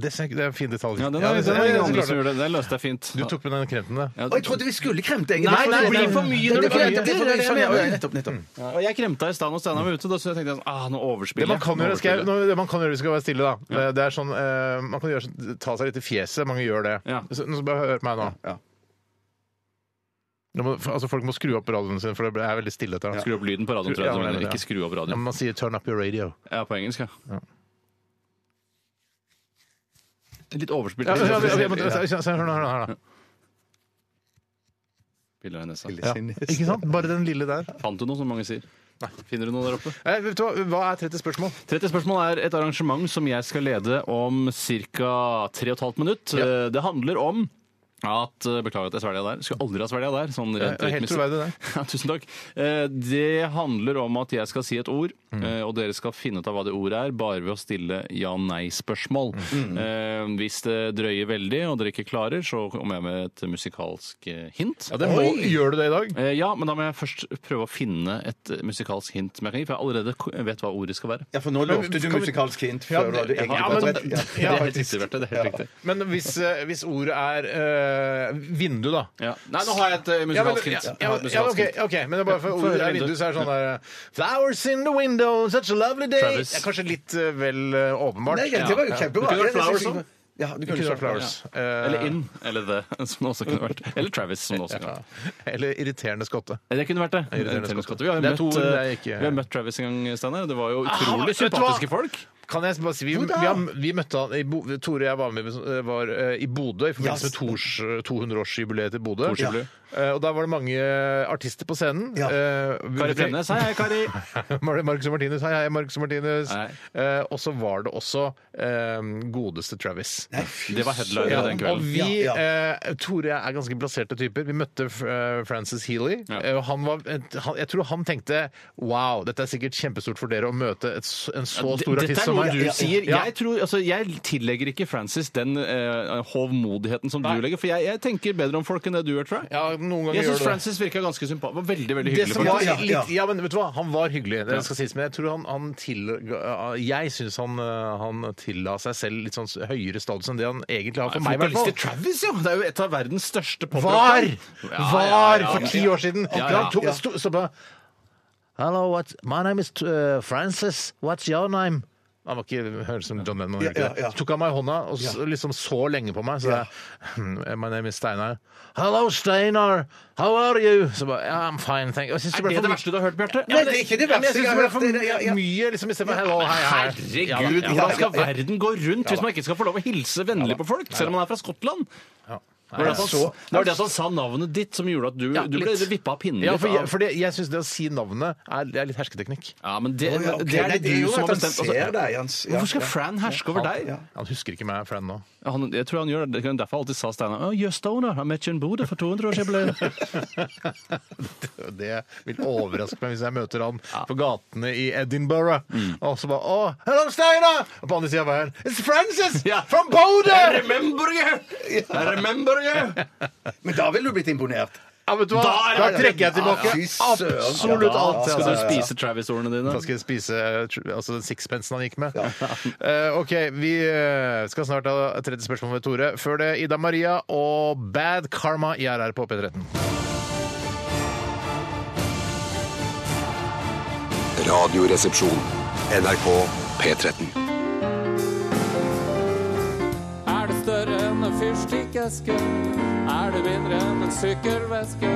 Det er, det er en fin detalj.
Ja, den
Ja,
er,
det-
den er
det-
ingen
det-
andre
det-
som gjorde det. Den løste jeg fint.
Du tok med den kremten, da.
Ja,
Og jeg trodde vi skulle kremte, egentlig.
Nei, nei,
det
det
blir for mye når du kremter.
det er
Det
det
blir
jeg
for mye.
mener.
Ja, Nettopp, nettopp.
Ja, og jeg kremta i stad når Steinar var ute, da, så jeg tenkte jeg sånn, ah, nå overspiller
Det man
jeg.
kan
Nå
gjøre, skal jeg,
overspiller jeg.
nå- det man kan gjøre, vi skal være stille, da. Eh, Det er sånn, eh, Man kan gjøre, sånn- ta seg litt i fjeset. Mange gjør det.
Ja.
Så, nå, så bare hør meg nå.
Ja.
Nå må, altså, folk må skru opp radioen sin, for det er veldig stille etter. da.
Skru opp lyden på radioen, tror
Ja,
jeg. du
men
mener.
det, ja.
Ikke skru opp
Ja,
radioen.
men man sier 'turn up your radio'.
Ja, på engelsk, ja. Litt overspilt.
Ja, ja, ja, ja, men- se- se- se- Hør nå, hør nå. hør nå.
Piller i nesa.
Ja. Ikke sant? Bare den lille der.
Fant du noe, som mange sier? Finner du noe der oppe?
Eh, vet du hva, hva er 30 spørsmål?
30 spørsmål er et arrangement som jeg skal lede om ca. 3,5 minutt. Eh, Det handler om at, eh, Beklager at jeg svelga der. Skulle aldri ha svelga der. Sånn rent
det er helt
rytmisk.
troverdig, det.
Ja, tusen takk. Eh, Det handler om at jeg skal si et ord,
Mm.
eh, og dere skal finne ut av hva det ordet er, bare ved å stille ja-nei-spørsmål.
Mm.
Eh, Hvis det drøyer veldig og dere ikke klarer, så kommer jeg med et musikalsk eh, hint.
Oi, Gjør du det i dag?
Eh, Ja, men da må jeg først prøve å finne et eh, musikalsk hint som jeg kan gi, for jeg allerede ko- vet hva ordet skal være.
Ja, for nå lovte du
kan vi-
musikalsk hint
Ja,
før du hadde
Sånn, det-
egentlig
ja,
fått
men-
rett.
det,
Ja.
er helt riktig, Bjarte. Det er helt riktig.
Men hvis, eh, hvis ordet er eh, vindu, da
Ja. Nei, nå har jeg et eh,
Ja, men, ja,
musikalsk hint. Jeg
ja,
har
ja,
et musikalsk
ok,
hint.
ok, men det er bare for
Ja, få
ordet er
høre vinduet.
vindu, så er det sånn der Flowers in the window, such a lovely day
Travis.
Det er kanskje litt eh, vel eh, åpenbart.
Nei, ja, det var jo kjempebra.
Du kunne vært
Det er
Flowers
nesten-
også.
Ja, du
Ikke
kunne
så
vært flowers.
flowers. Eh,
Eller In, eller The, som det også kunne vært. Eller Travis, som det også kunne vært.
Eller irriterende skotte.
Det kunne vært det.
Irriterende
Irriterende
skott.
skott. Vi har jo
Det er to
møtt,
ord
eh,
jeg ikke-
vi har møtt Travis en gang, Steinar. Det var jo
Ah,
utrolig
vet du hva?
sympatiske folk.
Kan jeg bare si, Vi, vi, har, vi møtte han i Bo, Tore og jeg var med eh, var, eh, i Bodø i forbindelse med Tors eh, 200-årsjubileet til Bodø.
Torsjubileet.
Eh, og Der var det mange eh, artister på scenen.
Ja.
Eh,
Kari Bremnes, hei, hei, Kari.
Mar- Marcus og Martinus. Hei, hei, Marcus og Martinus.
Hei.
Eh, og så var det også eh, godeste Travis.
Det var headliner
Ja,
den
og
kvelden.
vi,
Ja,
Eh, Tore og jeg er ganske plasserte typer. Vi møtte eh, Francis Healy.
Ja.
eh, Og han var, han, jeg tror han tenkte Wow, dette er sikkert kjempestort for dere å møte et, s- en så
D-
stor
Dette
artist
er
som
noe
meg.
du sier.
Ja.
Jeg, tror, altså, jeg tillegger ikke Francis den eh, hovmodigheten som du legger, for jeg, jeg tenker bedre om folk enn det du gjør, tror jeg.
Ja, noen ganger
Jeg
gjør
syns
du det.
Francis virka ganske sympatisk. Veldig, veldig
Det
hyggelig.
som var
faktisk.
Ja,
litt,
ja.
ja, men vet du hva? Han var hyggelig, det skal sies, men jeg tror han, han til, Jeg syns han, eh, han tilla seg selv litt sånn s- høyere status enn det han egentlig har for meg, i hvert fall.
Vokalist i Travis, jo! Det er jo et av verdens største
Var!
poprockband.
Var! for ti år siden.
Ja,
Da
ja.
han tok, sto, så bare Hello, what, my name is uh, Francis. What's your name? Han var ikke høres som John Lennon. gjorde ikke
ja,
det.
ja.
Så tok han meg i hånda og s- liksom så lenge på meg. Så jeg, «Hmm, My name is Steinar. Hello, Steinar. How are you? Så bare, yeah, I'm fine, thank you. Jeg synes
Er
ble
det
for
det
mye-
verste du har hørt, Bjarte?
Nei, det er ikke det
Ja, men
verste
jeg syns det
jeg har
ble
hørt.
for
Det- ja, ja.
mye, liksom, istedenfor hello, hei, hei. Ja, da.
Herregud, hvordan skal verden gå rundt hvis man ikke skal få lov å hilse vennlig på folk, selv om man er fra Skottland? Var det, at han,
så-
det var det at han sa navnet ditt som gjorde at du,
Ja,
du ble
litt.
vippa av pinnen
Ja,
litt
for jeg,
av.
for det, jeg syns det å si navnet er, det er litt hersketeknikk.
Ja, men det,
Å, ja, ok.
det er
Nei,
det
jo
du som
at
har bestemt.
Han ser
Altså,
deg, hans. Ja,
hvorfor skal
ja.
Fran herske over deg?
Han husker ikke meg, Fran, nå.
Han, jeg tror han gjør det. Det er derfor jeg alltid sa Steinar oh, You're stoner. I met you in Bodø for 200 år siden.
Det vil overraske meg hvis jeg møter han på gatene i Edinburgh. Og så bare Å, hello, Steinar! Og på andre sida av veien It's Francis
Ja.
from Bodø!
Remember you! Remember you!
Men da ville du blitt imponert.
Ja, vet du hva? Da trekker jeg tilbake
Fy søren.
absolutt
Ja,
alt.
ja,
altså. Skal
ja,
du
ja.
spise Travis-ordene dine?
Da skal jeg spise eh, tr- altså den sixpensen han gikk med. Eh, OK, vi eh, skal snart ha 30 spørsmål med Tore. Før det Ida Maria og Bad Karma i RR på P13.
Radioresepsjon. NRK P13.
Er det større enn en fyrstikkeske? Er det mindre enn en sykkelveske?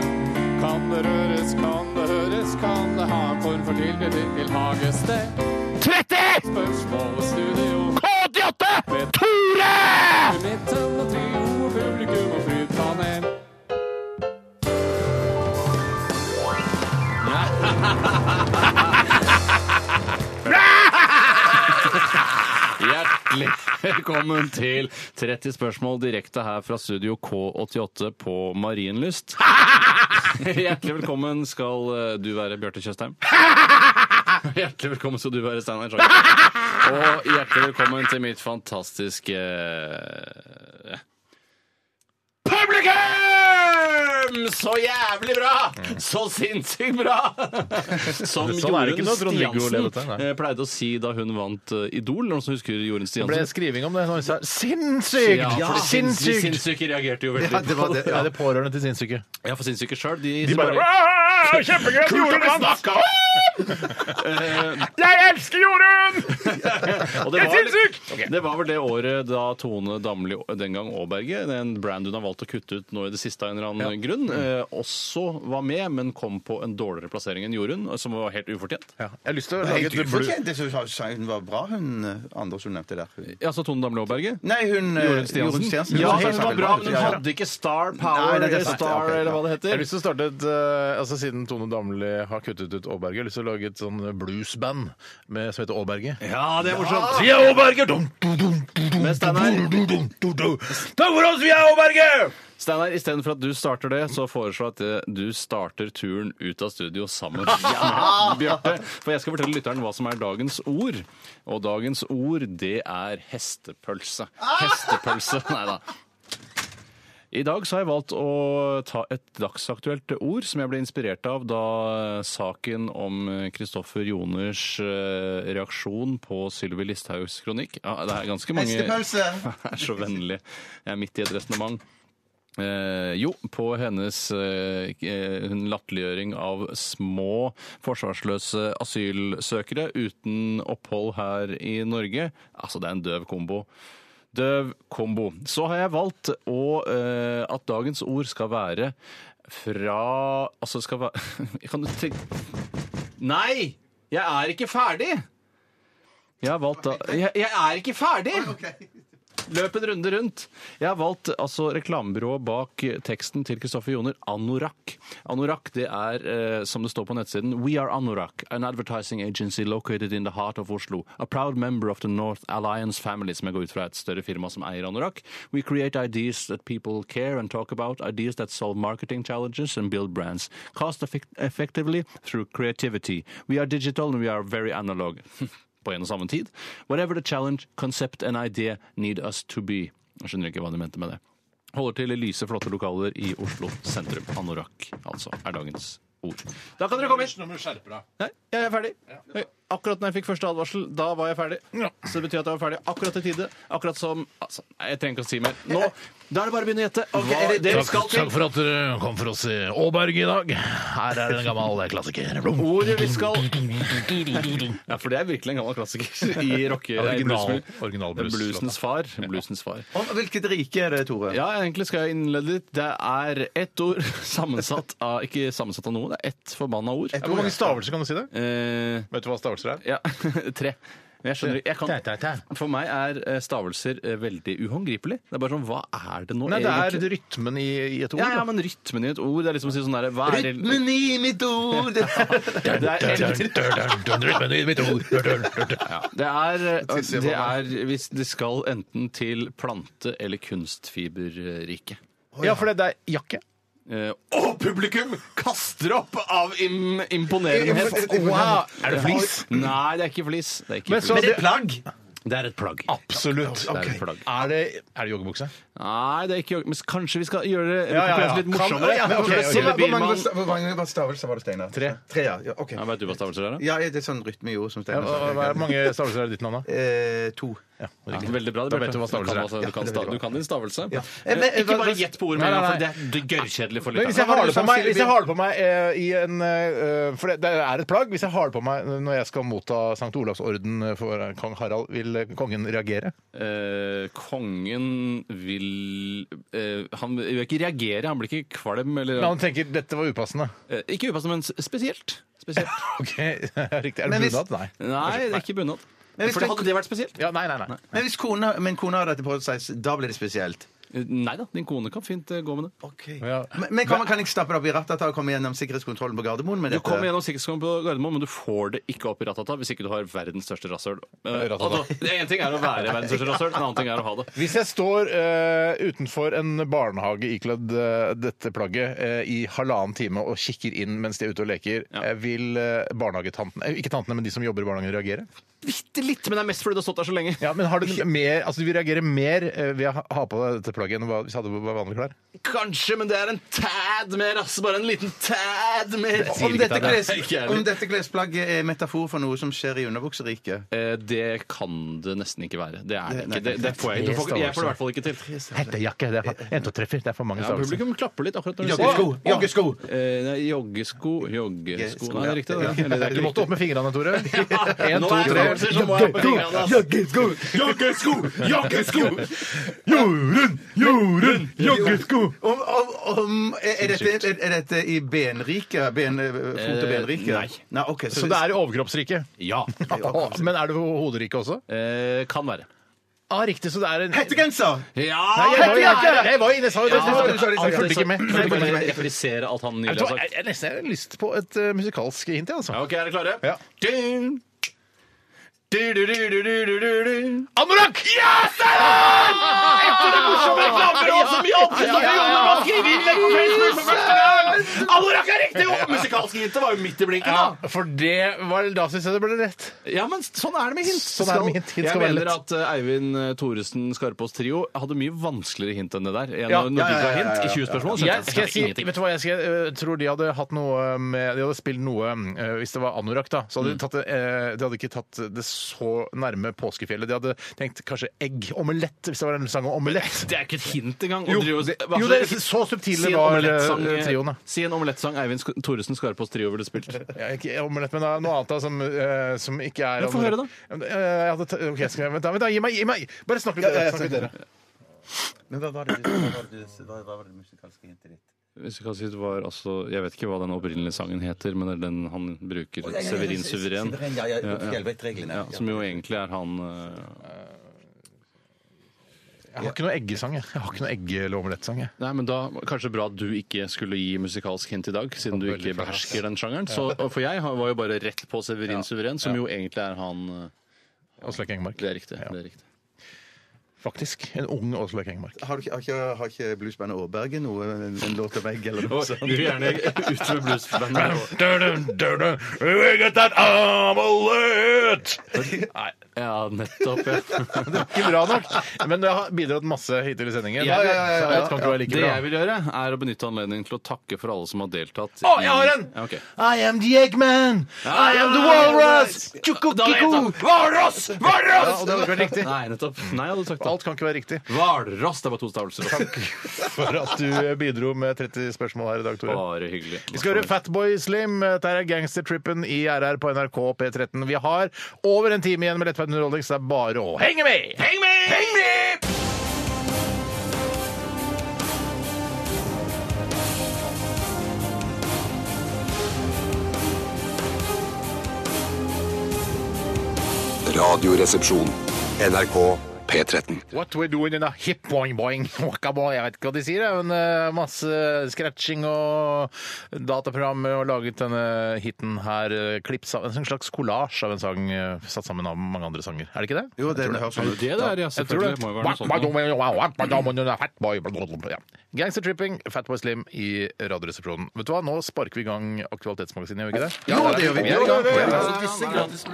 Kan det røres, kan det høres, kan det ha en form for tilknytning til hagested? 30! Spørsmål og studio. K88! Tore! I midten og trio, publikum og flytpanel.
Hjertelig Velkommen til 30 spørsmål direkte her fra studio K88 på Marienlyst. Hjertelig velkommen skal eh, du være, Bjarte Tjøstheim. Hjertelig velkommen skal du være, Steinar Sagen. Og hjertelig velkommen til mitt fantastiske eh, Publikum! Så jævlig bra! Så sinnssykt bra! Som
Sånn er det ikke
Jorunn
når Trond-Viggo lever
Stiansen
dette, nei.
eh, pleide å si da hun vant eh, Idol. Noen som husker Jorunn
Det ble
Stiansen?
skriving om det. Noen sa 'sinnssykt'!
Ja, for de sinns- de
sinnssykt!
sinnssyke reagerte jo veldig
Ja, det var det,
Ja,
ja.
det er pårørende til sinnssyke.
Ja, for sinnssyke sjøl. De,
De
som
bare «Wow, Kjempegøy! at Jorunn vant! Jeg elsker Jorunn! Jeg
Og det,
er
var,
sinnssyk!
det var vel det året da Tone Damli, den gang Aaberge, en brand hun har valgt å kutte ut nå i det siste av en eller annen grunn, eh, også var med, men kom på en dårligere plassering enn Jorunn, som var helt ufortjent.
Ja, jeg har lyst til å lage
Helt
et blu...
ufortjent. Jeg syns hun var bra, hun eh, Anders hun nevnte der.
Ja, så Tone Damli Aaberge?
Nei, hun eh,
Jorunn Stiansen. Ja, hun var bra, men hun hadde ikke star power,
Nei, nei, det er
eller
sant,
star,
ja, ok,
eller hva det
Jeg har
heter.
lyst til å starte et eh, altså Siden Tone Damli har kuttet ut Aaberge, jeg har lyst til å lage et sånn bluesband med, som heter Aaberge.
Ja, det er morsomt.
Vi er Aaberge! Dum, dum, dum, dum, dum,
Men Steinar-
dum, dum, dum, dum, dum. Ta for oss, vi er Aaberge!
Steinar, istedenfor at du starter det, så foreslår jeg at eh, du starter turen ut av studio sammen med Bjarte. For jeg skal fortelle lytteren hva som er dagens ord. Og dagens ord, det er hestepølse. Hestepølse. Nei da. I dag så har jeg valgt å ta et dagsaktuelt ord som jeg ble inspirert av da saken om Kristoffer Joners eh, reaksjon på Sylvi Listhaugs kronikk. Ja, det er ganske mange er så vennlig. Jeg er midt i et resonnement. Eh, jo, på hennes eh, eh, hun latterliggjøring av små forsvarsløse asylsøkere uten opphold her i Norge. Altså, det er en døv kombo. Døv kombo. Så har jeg valgt å, eh, at dagens ord skal være fra Altså skal være Kan du tenke Nei! Jeg er ikke ferdig! Jeg har valgt da Jeg, jeg er ikke ferdig! Løp en runde rundt. Jeg har valgt altså, reklamebyrået bak teksten til Kristoffer Joner, Anorak. Anorak det er, eh, som det står på nettsiden, We are Anorak, an advertising agency located in the heart of Oslo. A proud member of the North Alliance family, som jeg går ut fra er et større firma som eier Anorak. We create ideas that people care and talk about, ideas that solve marketing challenges and build brands. Cost effect effectively through creativity. We are digital and we are very analog. på en og samme tid. Whatever the challenge, concept and idea need us to be. Jeg skjønner ikke hva de mente med det. Holder til i lyse, flotte lokaler i Oslo sentrum. Anorakk, altså, er dagens ord. Da kan dere komme inn! Nei, jeg er ferdig. Oi, Akkurat når jeg fikk første advarsel, da var jeg ferdig. Så det betyr at jeg var ferdig akkurat i tide. Akkurat som altså, nei, Jeg trenger ikke å si mer. Nå, Da er det bare å begynne å gjette. Ok, er det det vi skal
Takk, takk
til?
for at dere kom for oss i Aaberge i dag. Her er en gammel klassiker. Blom.
Ordet vi skal Ja, for det er virkelig en gammel klassiker i rocke...
Ja, original-
nei, blues-
original blues-
Bluesens far. Bluesens far.
Og Hvilket rike er det, Tore?
Ja, egentlig skal jeg innlede litt. Det er ett ord sammensatt av Ikke sammensatt av noe, det er ett forbanna ord.
Hvor mange stavelser kan du si det?
Eh,
Vet du hva stavelser er?
ja, tre. Men jeg skjønner jeg kan, For meg er eh, stavelser eh, veldig uhåndgripelig. Det er bare sånn, hva er det nå
Nei, det er
egentlig?
rytmen i, i et ord.
Ja, ja,
da.
men rytmen i et ord, det er liksom å si sånn derre hva er det-
Rytmen i mitt ord!
Det er
Rytmen i mitt ord.
Det er, eh, det er hvis det skal enten til plante- eller kunstfiberrike.
Ja, for det det er jakke.
Eh, og publikum kaster opp av im imponerenhet!
Wow. Er det flis?
Nei, det er ikke flis. Det er, ikke
Men så-
flis.
Men det er plagg!
det er et plagg.
Absolutt.
Det er et plagg.
Er det, er det joggebukse?
Nei, det er ikke Men kanskje vi skal gjøre det
Ja, ja, ja.
konkurransen litt
Kan-
morsommere?
ja, men ok, ok.
Silje
Hvor mange,
Biermann-
besta- hvor mange stavelser var det, Steinar?
Tre.
ja. ja. Ok.
ja, Vet du hva stavelser er? da?
Ja, det er sånn rytme i ord som
Ja,
Steinar
hva-
snakker
hva er
om.
mange stavelser er det i ditt navn, da?
Eh, to.
Ja, veldig bra. det,
Da
Bjarte.
vet du hva stavelser
kan
er.
altså- Du kan, sta du kan din stavelse.
Eh, men-
Eh, ikke bare gjett på ord med
Nei,
en gang,
nei,
for det er det er gørrkjedelig for
Men hvis
lytterne.
jeg har det på meg, hvis jeg har det på meg eh, i en eh, For det, det er et plagg. Hvis jeg har det på meg eh, når jeg skal motta St. Olavs orden for eh, kong Harald, vil kongen reagere?
Eh, kongen vil eh, Han vil ikke reagere, han blir ikke kvalm
Men
eller
han tenker dette var upassende.
eh, Ikke upassende, men s- spesielt. spesielt.
Ok, Riktig. Er det
Men hvis-
bunad? Nei.
Nei, det er ikke bunad.
Men hvis
For det
du-
hadde det vært spesielt?
Ja, nei, nei, nei.
Men hvis kona, men kona har dette på seg, da blir det spesielt.
Nei da, din kone kan fint eh, gå med det.
Ok.
Ja.
Men, men kan, kan jeg stappe det opp i rattet og komme gjennom sikkerhetskontrollen på Gardermoen med
Du
dette?
kommer gjennom sikkerhetskontrollen på Gardermoen, men du får det ikke opp i Ratata hvis ikke du har verdens største rasshøl. Eh,
Ratata.
altså, Én ting er å være verdens største rasshøl, en annen ting er å ha det.
Hvis jeg står eh, utenfor en barnehage ikledd eh, dette plagget eh, i halvannen time og kikker inn mens de er ute og leker,
Ja.
eh, vil eh, barnehagetantene eh, Ikke tantene, men de som jobber i barnehagen, reagere?
Bitte litt, men det er mest fordi du har stått der så lenge.
Ja, men har du mer, altså Du vil reagere mer eh, ved å ha- ha på deg dette plagget enn hva- hvis jeg hadde på meg vanlige klær?
Kanskje, men det er en tad mer, ass. Bare en liten tad mer.
Jeg sier
Om
ikke
dette,
det.
kles,
Nei, ikke jeg heller.
om dette klesplagget er metafor for noe som skjer i underbukseriket?
Eh, Det kan det nesten ikke være. Det er det
Det-
ikke. Det, det får jeg, ikke. du får, jeg får det i hvert fall ikke til.
Hettejakke. Det er en, to, tre, fire. Det er for mange
Ja,
stavelser.
publikum klapper litt akkurat når du sier
Joggesko! joggesko.
Eh, nei, Joggesko Joggesko Nei, det er riktig. Det.
Ja.
Eller, det er
Du
ikke
måtte
riktig.
opp med fingrene, Tore. En,
Nå
to,
er det
tre.
øvelser, så må jeg opp med fingrene, ass.
Joggesko! Joggesko! Joggesko! Jorunn! Jorunn! Joggesko! Om, om, om, er, er, dette, er, er dette i benriket? Ben, fot- og
Eh,
benriket?
nei.
nei ok, så,
Så det er i overkroppsriket.
Ja.
Men er det hoderiket også?
Eh, kan være.
Ja, riktig. Så det er en
Hettegenser!
Nei, jeg var jo ikke Jeg var jo inne, jeg sa jo det.
Ja,
du sa det, du sa
Han
det.
fulgte ikke med.
Jeg vil bare reprisere alt han
Jeg
nylig har
tror jeg,
sagt.
jeg nesten har lyst på et eh, musikalsk hint, jeg, altså.
Ja, ok, Er dere klare?
Ja.
Dun. Du, du, du, du, du, du, du, du.
Anorakk! Ja,
Ah! Anorakk er riktig! Jo, musikalsk hint var jo midt i blinken, da.
For det var da syns jeg det ble rett.
Ja, men sånn er det med hint.
Sånn er det med hint. Hint
jeg
skal være
mener
lett.
at eh, Eivind eh, Thoresen Skarpaas Trio hadde mye vanskeligere hint enn det der. En
Ja,
av
ja, ja, ja,
hint
ja,
i
ja.
20 spørsmål. skjønte
Jeg, skal jeg
skjønte
si,
ingenting.
vet du hva, jeg, skal, jeg tror de hadde hatt noe med, De hadde spilt noe eh, Hvis det var anorakk, da, så hadde de, tatt det, eh, de hadde ikke tatt det så nærme påskefjellet. De hadde tenkt kanskje egg. Omelett, hvis det var en sang om omelett.
Det er ikke et hint engang. å
Jo,
drive og
det-
Hva-
jo, det er så subtile
en
var,
omelettsang,
eh, trioen, da.
Si en omelettsang Eivind Sk- Thoresen Skarpaas Trio ville spilt.
Ja, ikke omelett, men da, noe annet da som, eh, som ikke er
Ja, få høre, da.
Ja, men, eh, jeg hadde ta- ok, skal jeg, vent, da, vent da, gi meg, gi meg! Bare snakk litt,
ja,
snakk litt dere.
Men hva var det, hva var det, hva var det musikalske hintet ditt?
Hvis jeg kan si det var altså Jeg vet ikke hva den opprinnelige sangen heter, men det er den han bruker. Severin Suveren.
Ja, ja, ja.
Ja, som jo egentlig er han eh,
Jeg har ikke noe eggesang, jeg. Jeg har ikke noe egg- eller omelettsang, jeg.
Nei, men da Kanskje bra at du ikke skulle gi musikalsk hint i dag, siden du ikke behersker den sjangeren. Så, og for jeg har- var jo bare rett på Severin Suveren, som jo egentlig er han eh,
Åslaug Engmark.
Det er riktig.
Ja.
det er riktig.
Faktisk. En ung Åslaug Engmark.
Har, du ikke- har, ikke- har ikke bluesbandet Aaberge noe, en, en låt av begge eller noe
Og
sånt?
du gjerne ut med bluesbandet.
Nei,
Ja, nettopp. Ja.
det er ikke bra nok. Men det har bidratt masse hittil i sendingen.
Ja, ja, ja, ja,
Så jeg vet ikke om det var like
Det jeg
bra.
vil gjøre, er å benytte anledningen til å takke for alle som har deltatt.
Å, jeg har en!
Ja, ok. Ah,
I am the eggman! I am the walrus! Tjukkukkikku! Walrus!
Ja,
Walrus!
og det hadde ikke vært riktig. Nei, nettopp. Nei, jeg hadde sagt det.
Alt kan ikke være riktig.
Hvalross. Det var to stavelser.
Takk for at du eh, bidro med 30 spørsmål her i dag, Tore.
Bare hyggelig.
Vi skal høre Fatboy Slim. Dette er Gangstertrippen i RR på NRK P13. Vi har over en time igjen med lettbeint underholdning, så det er bare å henge med! Heng med! Heng med!
Radioresepsjon. NRK P13.
What we're doing in a hip boing boing waka boy. Jeg vet ikke hva de sier, jeg, men eh, masse scratching og dataprogram og laget denne hiten her. eh, Klips av en slags kollasj av en sang eh, satt sammen av mange andre sanger. Er det ikke det?
Jo, det høres sånn ut.
Det der, ja. Selvfølgelig. Må jo være noe sånt. nå.
Ja. Gangstertripping, Fatboy Slim i Radioresepsjonen. Vet du hva, nå sparker vi i gang Aktualitetsmagasinet, gjør vi ikke det?
Jo, det gjør vi. Det gjør vi.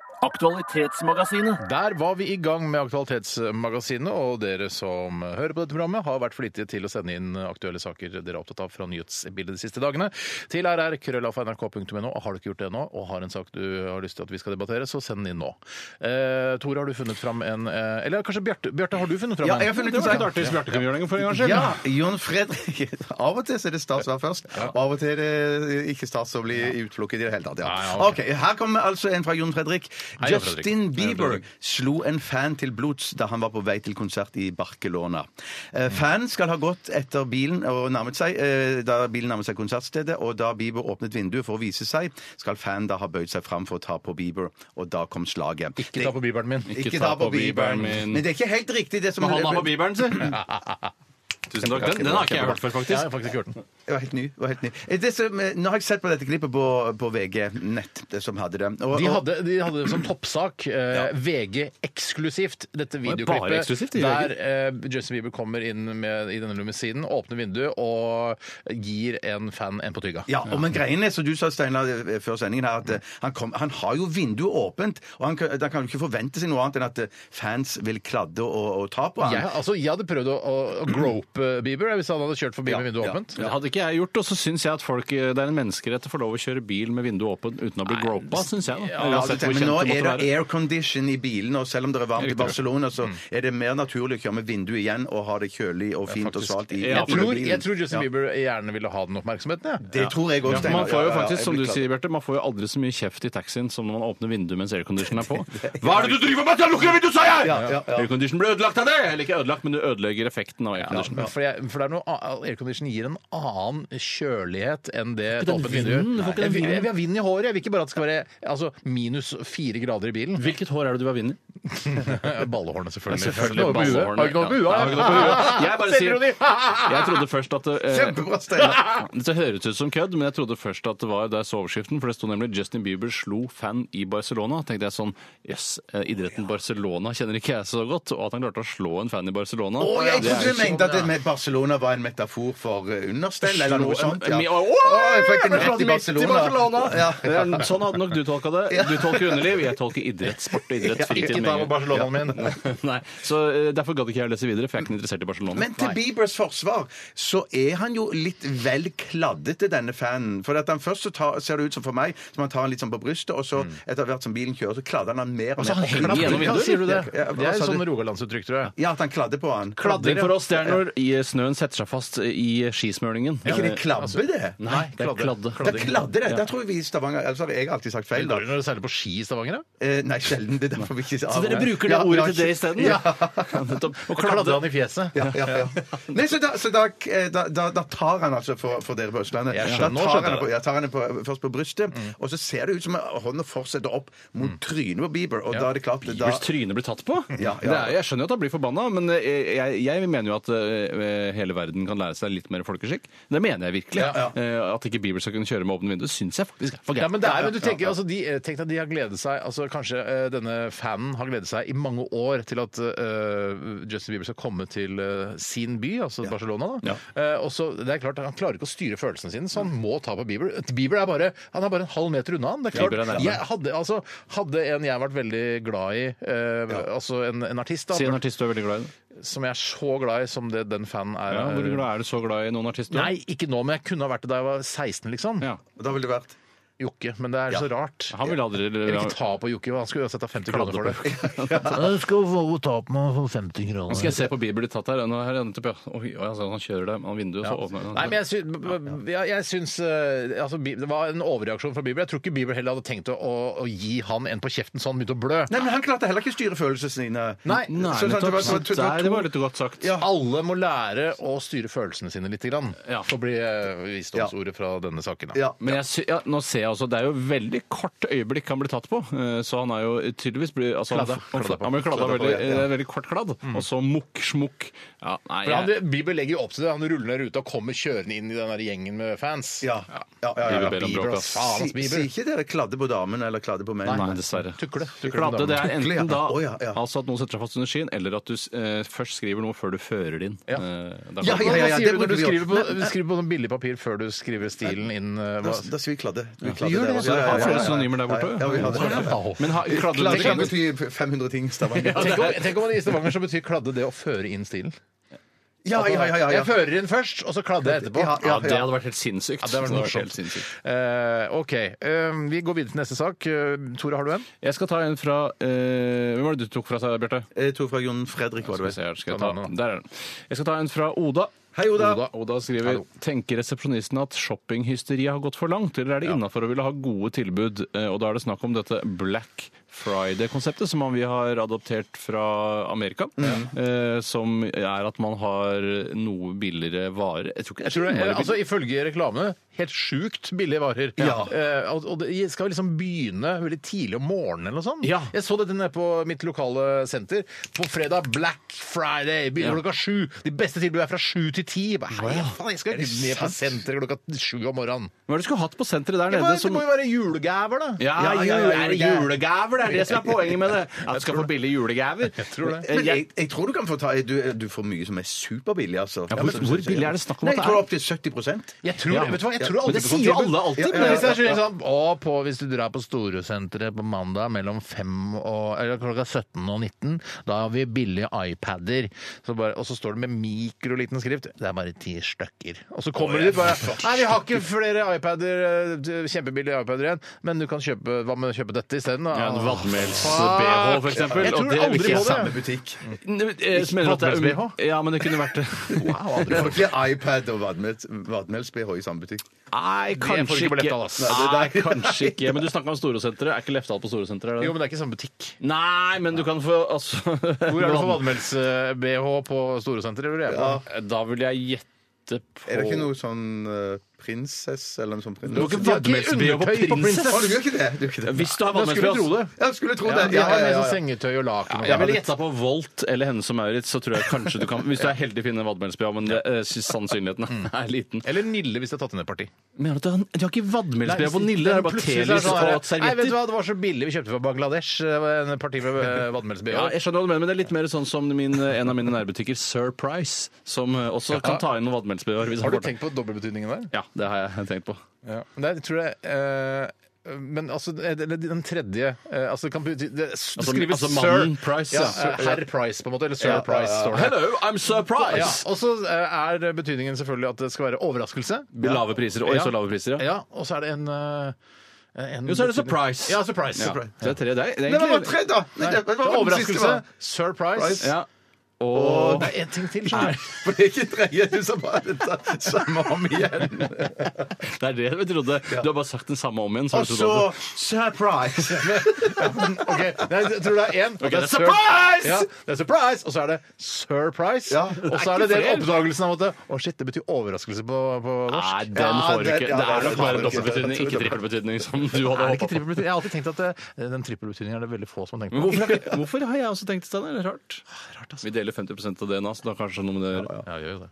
Der var vi i gang med Aktualitetsmagasinet, og dere som hører på dette programmet, har vært flittige til å sende inn aktuelle saker dere er opptatt av fra nyhetsbildet de siste dagene, til rrkrøllalfa.nrk.no. Og Har du ikke gjort det ennå, og har en sak du har lyst til at vi skal debattere, så send den inn nå. Eh, Tore, har du funnet fram en eh, Eller kanskje Bjarte, Bjarte, har du funnet fram
Ja,
en?
jeg har funnet
Det var
en
litt
sak.
artig hvis Bjarte kunne gjøre det for en gangs skyld.
Ja, Jon Fredrik. Av og til så er det stas å være først, og av og til er det ikke stas å bli utelukket i det hele tatt.
Ja,
Ja.
ja, ok.
Ok, Her kommer altså en fra Jon Fredrik.
Hei, Jan Fredrik.
Justin Bieber slo en fan til blods da han var på vei til konsert i Barcelona. Eh, Fanen skal ha gått etter bilen og nærmet seg, eh, da bilen nærmet seg konsertstedet, og da Bieber åpnet vinduet for å vise seg, skal fanen da ha bøyd seg fram for å ta på Bieber, og da kom slaget.
Ikke ta på bibelen min.
Ikke, ta på Bieberen
min.
Men det er ikke helt riktig det som
Men han har på bibelen sin! Tusen takk. Den, den har ikke jeg hørt før,
Jeg
faktisk.
har faktisk ikke hørt den.
Det var helt ny. det Var helt ny. Eh, Det som, eh, nå har jeg sett på dette klippet på, på VG Nett, det som hadde det. Og-
De
og-
hadde, de hadde det som toppsak eh, VG eksklusivt, dette
Var det
videoklippet.
bare eksklusivt i VG?
der eh, Justin Bieber kommer inn med, i denne lumesinen, åpner vinduet og gir en fan en på tygga.
Ja, og men greien er, som du sa, Steinar, eh, før sendingen her, at eh, han, kom, han har jo vinduet åpent, og han, kan- da kan jo ikke forvente seg noe annet enn at eh, fans vil kladde og, og ta på han.
Jeg, altså, jeg hadde prøvd å, å, å grope eh, Bieber jeg, hvis han hadde kjørt forbi med vinduet
ja.
åpent.
Det hadde ikke jeg gjort, og så syns jeg at folk, det er en menneskerett å få lov å kjøre bil med vinduet åpent uten å bli gropa, syns jeg. da.
Ja,
Uansett
du
hvor
tenker, men nå
kjent det måtte
er det
være. Mm.
aircondition i bilen, og selv om det er varmt i Barcelona, så er det mer naturlig å kjøre med vinduet igjen og ha det kjølig og fint og svalt i
Ja,
Jeg
i
tror,
bilen.
jeg tror Justin
Ja.
Bieber gjerne ville ha den oppmerksomheten. jeg.
Det tror jeg òg,
Ja, for
Steinar.
man får
Ja,
jo
ja, ja,
faktisk,
jeg
som du
blir
sier, Bjarte, man får jo aldri så mye kjeft i taxien som når man åpner vinduet mens airconditionen er på. Hva er det du driver med?! Jeg lukker vinduet, sa jeg! Aircondition ble ødelagt av det! Eller ikke ødelagt, men du ødelegger effekten av aircondition.
Men For, jeg, for det er noe, a- aircondition gir en annen kjølighet enn det et
den
åpent vindu gjør.
vinden, du får ikke
Jeg
den
vil- jeg
vinden.
vil ha vind i håret. Jeg vil ikke bare at det skal være altså, minus fire grader i bilen.
Hvilket hår er det du har vinner?
Ballehårene, selvfølgelig.
Selvfølgelig
Har du ikke noe på huet?
ballehårene.
Har du ikke noe på
Ja,
huet?
har ikke noe på huet. Jeg bare sier-
Selvironi.
Jeg trodde først at eh,
Kjempebra, Steinar.
Dette høres ut som kødd, men jeg trodde først at det var der soveskiften, for det sto nemlig Justin Bieber slo fan i Barcelona. tenkte jeg sånn, jøss, eh, idretten Barcelona kjenner ikke jeg så godt, og at han klarte å slå en fan i Barcelona.
Å, jeg
det er sånn,
trodde du
ikke-
mente at det med Barcelona var en metafor for eh, understell eller noe
Slå-
sånt. Ja.
Mi-
Å,
Å,
jeg fikk
jeg
en
ble
rett
slått
i
midt i
Barcelona.
Barcelona.
Ja.
Men Sånn hadde nok du tolka det. Du tolker underliv, jeg tolker idrett, sport, idrett, fritid.
Ikke ta på
med en gang.
Barcelonaen min.
Nei, så eh, Derfor gadd ikke jeg å lese videre, for jeg er ikke noe interessert i Barcelona.
Men til
Nei.
Biebers forsvar så er han jo litt vel kladdete, denne fanen. For at han først så tar, ser det ut som for meg, som han tar han litt sånn på brystet, og så etter hvert som bilen kjører, så kladder han han mer og mer.
Altså, Mm. han
Og
henger
klapper-
gjennom
Ja,
vinduet,
Sier du det?
Ja,
Det
hva
er
sa
sånn
du?
rogalandsuttrykk, tror jeg.
Ja, at han kladder på han.
Kladding for oss det er når i eh, snøen setter seg fast i skismøringen. Eh,
Er ikke det klabbe, det?
Altså, Nei, det er
kladde.
kladde.
Det er kladde, det. Der tror jeg vi i Stavanger Ellers har jeg alltid sagt feil, da.
Når du seiler på ski i Stavanger, da?
Eh, Nei, sjelden. Det er derfor vi ikke
Så dere bruker det
Ja,
ordet
ja,
til det isteden?
Ja.
Nettopp. Og
Kladder
kladde.
han i fjeset?
Ja, ja, ja. Nei, så da, så da, eh, da, da, da tar han altså for, for dere på Østlandet
Jeg
Da
skjønner, nå
tar
skjønner
han,
jeg
på, ja, tar han det på, først på brystet, og så ser det ut som hånda fortsetter opp mot trynet på Bieber, og da er det klart at da,
Hvis trynet blir tatt på?
Ja, ja.
Det er, jeg skjønner jo at han blir forbanna, men eh, jeg, jeg mener jo at eh, hele verden kan lære seg litt mer folkeskikk. Det mener jeg virkelig.
Ja, ja.
Eh, At ikke Bieber skal kunne kjøre med åpne vinduer, syns jeg faktisk er for
Ja,
greit.
men det er, men du tenker, altså, de, eh, tenk deg de har gledet seg altså, Kanskje eh, denne fanen har gledet seg i mange år til at eh, Justin Bieber skal komme til eh, sin by, altså Barcelona. Da. Eh, og så, det er klart, Han klarer ikke å styre følelsene sine, så han må ta på Bieber. Bieber er bare, han er bare en halv meter unna han. Det er
Bieber er
klart,
nærmere.
jeg hadde, altså, hadde en jeg vært veldig glad i, eh, altså en, en artist da,
Si en artist du er veldig glad i.
som jeg er så glad i som det den fanen er.
Ja, hvor
eh,
glad er du så glad i noen artist? du er?
Nei, ikke nå, men jeg kunne ha vært det da jeg var 16, liksom.
Ja.
og da ville det vært
Jokke. Men det er så rart.
Han ville aldri
Jeg vil ikke ta på Jokke. Han skulle uansett ha 50 kroner for det.
Jeg skal få ta på meg for 50
Nå
kroner.
skal jeg se på Bieber blitt tatt her. Nå her er han, nettopp, ja. Oi, oi, altså, han kjører det av vinduet, og så åpner han.
Nei, men jeg syns, jeg, jeg syns eh, altså, Bi- Det var en overreaksjon fra Bieber. Jeg tror ikke Bieber heller hadde tenkt å, å, å gi han en på kjeften så han begynte å blø.
Nei, men han klarte heller ikke å styre følelsene sine.
Nei,
Nei,
Så- så- det var-
nettopp.
det var- det var
Nei,
to-
det var litt godt sagt.
Alle må lære å styre følelsene sine litt. Grann,
Ja.
For å bli eh, visdomsordet fra denne saken. da.
Ja.
Men jeg sy ja, nå ser jeg altså, det er jo veldig kort øyeblikk han blir tatt på. eh, Så han er jo tydeligvis blir, altså,
Kladda.
Han,
Kladda på.
han blir kladda
Kladda på,
veldig,
ja, ja.
det er veldig kort kladd. Og så mukk, smukk. Ja, nei,
Men
jeg,
han, Bieber legger jo opp til det. Han ruller ned ruta og kommer kjørende inn i den der gjengen med fans.
Ja. Ja, ja, ja,
Bieber ber om bråk,
Bieber, ass.
ass.
Faen,
Si,
ass, Bieber.
sier ikke dere 'kladde på damen' eller 'kladde på menn'?
nei, dessverre.
Tukle. Tukle med
Kladde, det er
Tukle, ja.
enten da
Å, ja, ja.
altså at noen setter seg fast under skien, eller at du eh, først skriver noe før du fører det inn.
Ja.
Eh, det er
Ja,
godt.
Hva
ja,
sier du
det
når du
burde vi
skriver
gjort.
på, du skriver på sånn billig papir før du skriver stilen inn? eh,
Da,
Hva?
da sier vi 'kladde'. Vi kladde
gjør
der
det,
også. Ja,
Det
ja,
er
ja,
flere
ja,
synonymer der borte.
Ja, ja, vi har det.
Men ha, kladde
Kladde kan
det
bety 500 ting i Stavanger.
Tenk om, tenk om det i Stavanger så betyr kladde det å føre inn stilen.
Ja, ja, ja, ja, ja.
Jeg fører inn først, og så kladder jeg etterpå.
Ja,
ja, det hadde vært helt sinnssykt.
Det var morsomt. Eh, OK. Eh, vi går videre til neste sak. Eh, Tore, har du en?
Jeg skal ta en fra eh, Hvem var det du tok fra, Bjarte?
Jeg tror Eh, fra Jon Fredrik var det vel.
Skal vi se her, skal jeg,
Ta den
ta.
med,
Der er den. jeg skal ta en fra Oda.
Hei, Oda.
Oda, Oda skriver Tenker resepsjonisten at shoppinghysteriet har gått for langt, eller er det innenfor å ville ha gode tilbud? Eh, Og da er det snakk om dette Black Friday-konseptet, som vi har adoptert fra Amerika. Eh, som er at man har noe billigere varer. Jeg tror ikke
Jeg tror det,
innmari
altså
billig.
Ifølge reklamene helt sjukt billige varer.
Ja.
Eh, og, og det skal liksom begynne veldig tidlig om morgenen eller noe sånt.
Ja.
Jeg så dette nede på mitt lokale senter. På fredag Black Friday begynner klokka sju. De beste tilbudene er fra sju til ti. Jeg bare, Hei, faen, jeg skal
Er det
ned på
sant?
senteret klokka sju om morgenen.
Hva er det du skulle hatt på senteret der
Det,
nede?
det
som...
må jo være julegaver, da.
Ja,
Ja, ja,
jul,
ja,
er det
julegaver.
julegaver? Det er det som er poenget med det. At du skal få billige julegaver. Jeg
tror det.
Men Eh, jeg, jeg tror du kan få ta du, du får mye som er superbillig, altså.
Ja, hvor- hvor billig er det snakk om
Nei,
at det
Jeg tror
er?
opptil 70
Jeg tror,
Ja.
vet du hva, jeg
Ja.
tror aldri
Men det
på sånt
sier jo
tilbud.
alle
Ja,
alltid, men-
ja, Hvis, det er sånn, sånn, å, på, hvis du drar på Storosenteret på mandag mellom fem og, eller klokka 17 og 19, da har vi billige iPader. Så bare, og så står det med mikroliten skrift. Det er bare ti stykker. Og så kommer de dit bare Nei, vi har ikke flere iPader, eh, kjempebillige iPader igjen, men du kan kjøpe, hva med å kjøpe dette isteden? da?
Ja,
Åh,
en vadmels-BH, for eksempel.
Jeg
og
tror
det vil
aldri
ikke-
på det.
Samme butikk.
Mm. Jeg eh, mener at det er
Vadmels-BH?
Ja, men det kunne vært eh, det.
Det er ikke iPad og vadmels-BH i samme butikk.
Nei,
får du
kanskje
ikke
ikke.
billett av, ass.
Nei, Ah, kanskje ikke. Men du snakka om Storosenteret. Er ikke Lefdal på Storosenteret? er det?
Jo, men det er ikke samme butikk.
Nei, men du kan få altså,
Hvor er det for vadmels-BH på Storosenteret? vil jeg på?
Da vil jeg gjette på
Er det ikke noe sånn eh, prinsess eller noe sånt?
Du har ikke
De har ikke
vadmels-BH på
undertøy på
Prinsess.
Å, du gjør ikke det? Du gjør ikke det.
Hvis du har
Da skulle du tro
vadmels-BH
det.
Ja, skulle tro
Ja,
det.
de har med sånn sengetøy og laken. og
Jeg
sånn.
ville gjetta på Volt eller Hennes og Maurits, så tror jeg kanskje du kan Hvis du er heldig, finne en vadmels-BH, men det, eh, sannsynligheten
Mm.
er liten.
Eller Nille, hvis de har tatt henne et parti.
Mener du at han- de har ikke vadmels-BH på Nille? Det er bare
Plutselig så er det
telys
sånn her, Nei,
og
vet du
servietter.
hva, det var så billig vi kjøpte fra Bangladesh. eh, En parti med vadmelsbh.
Ja, jeg skjønner hva du mener, men det er litt mer sånn som min, en av mine nærbutikker, Surprise, som eh, også kan ta inn noen vadmelsbh. hvis han
har du
får det.
tenkt på dobbeltbetydningen der?
Ja, det har jeg tenkt på.
Ja. Nei, jeg tror jeg... eh, men altså, eller den tredje eh, altså, det kan bety, det, det skrives
altså mannen
sir.
Price,
ja,
ja.
eh, Herr Price, på en måte. Eller sir Price, står det.
Hello, I'm
Ja,
surprised!
og så eh, er betydningen selvfølgelig at det skal være overraskelse.
Lave priser. Oi,
Ja.
så lave priser, ja.
Ja, og så er det en, eh, en
Jo, så er det
betydning-
surprise.
Ja, surprise.
Ja.
surprise.
Så det er tre. Det er, det er
Nei, det var
egentlig
tre, da! Nei, det
Så
var den siste,
overraskelse,
da.
surprise.
ja. Og
Det er en ting til. skjønner du.
For det er ikke tredje, du sa bare det sa- samme om igjen.
det er det vi trodde. Du har bare sagt den samme om igjen. så
Og
vi
så
trodde at-
surprise!
Ok, nei, jeg tror det er én.
det er surprise!
Ja, det er surprise, Og så er det surprise.
Ja.
Og så er det den oppdagelsen av at det- Å shit, det betyr overraskelse på, på norsk.
Nei, den
Ja,
får du
den-
ikke.
ja,
Det er
den
nok
får
bare
du ikke.
dobbeltbetydning, ikke trippelbetydning, som du
Er
hadde
det ikke
håpa på.
trippelbetydning? Jeg har alltid tenkt at det, den trippelbetydningen er det veldig få som har tenkt
Men
på.
hvorfor, har ikke- hvorfor har jeg også tenkt det? Det er rart. Vi deler 50 av DNA, så da kanskje noe med det å gjøre.
Ja, gjør jo det.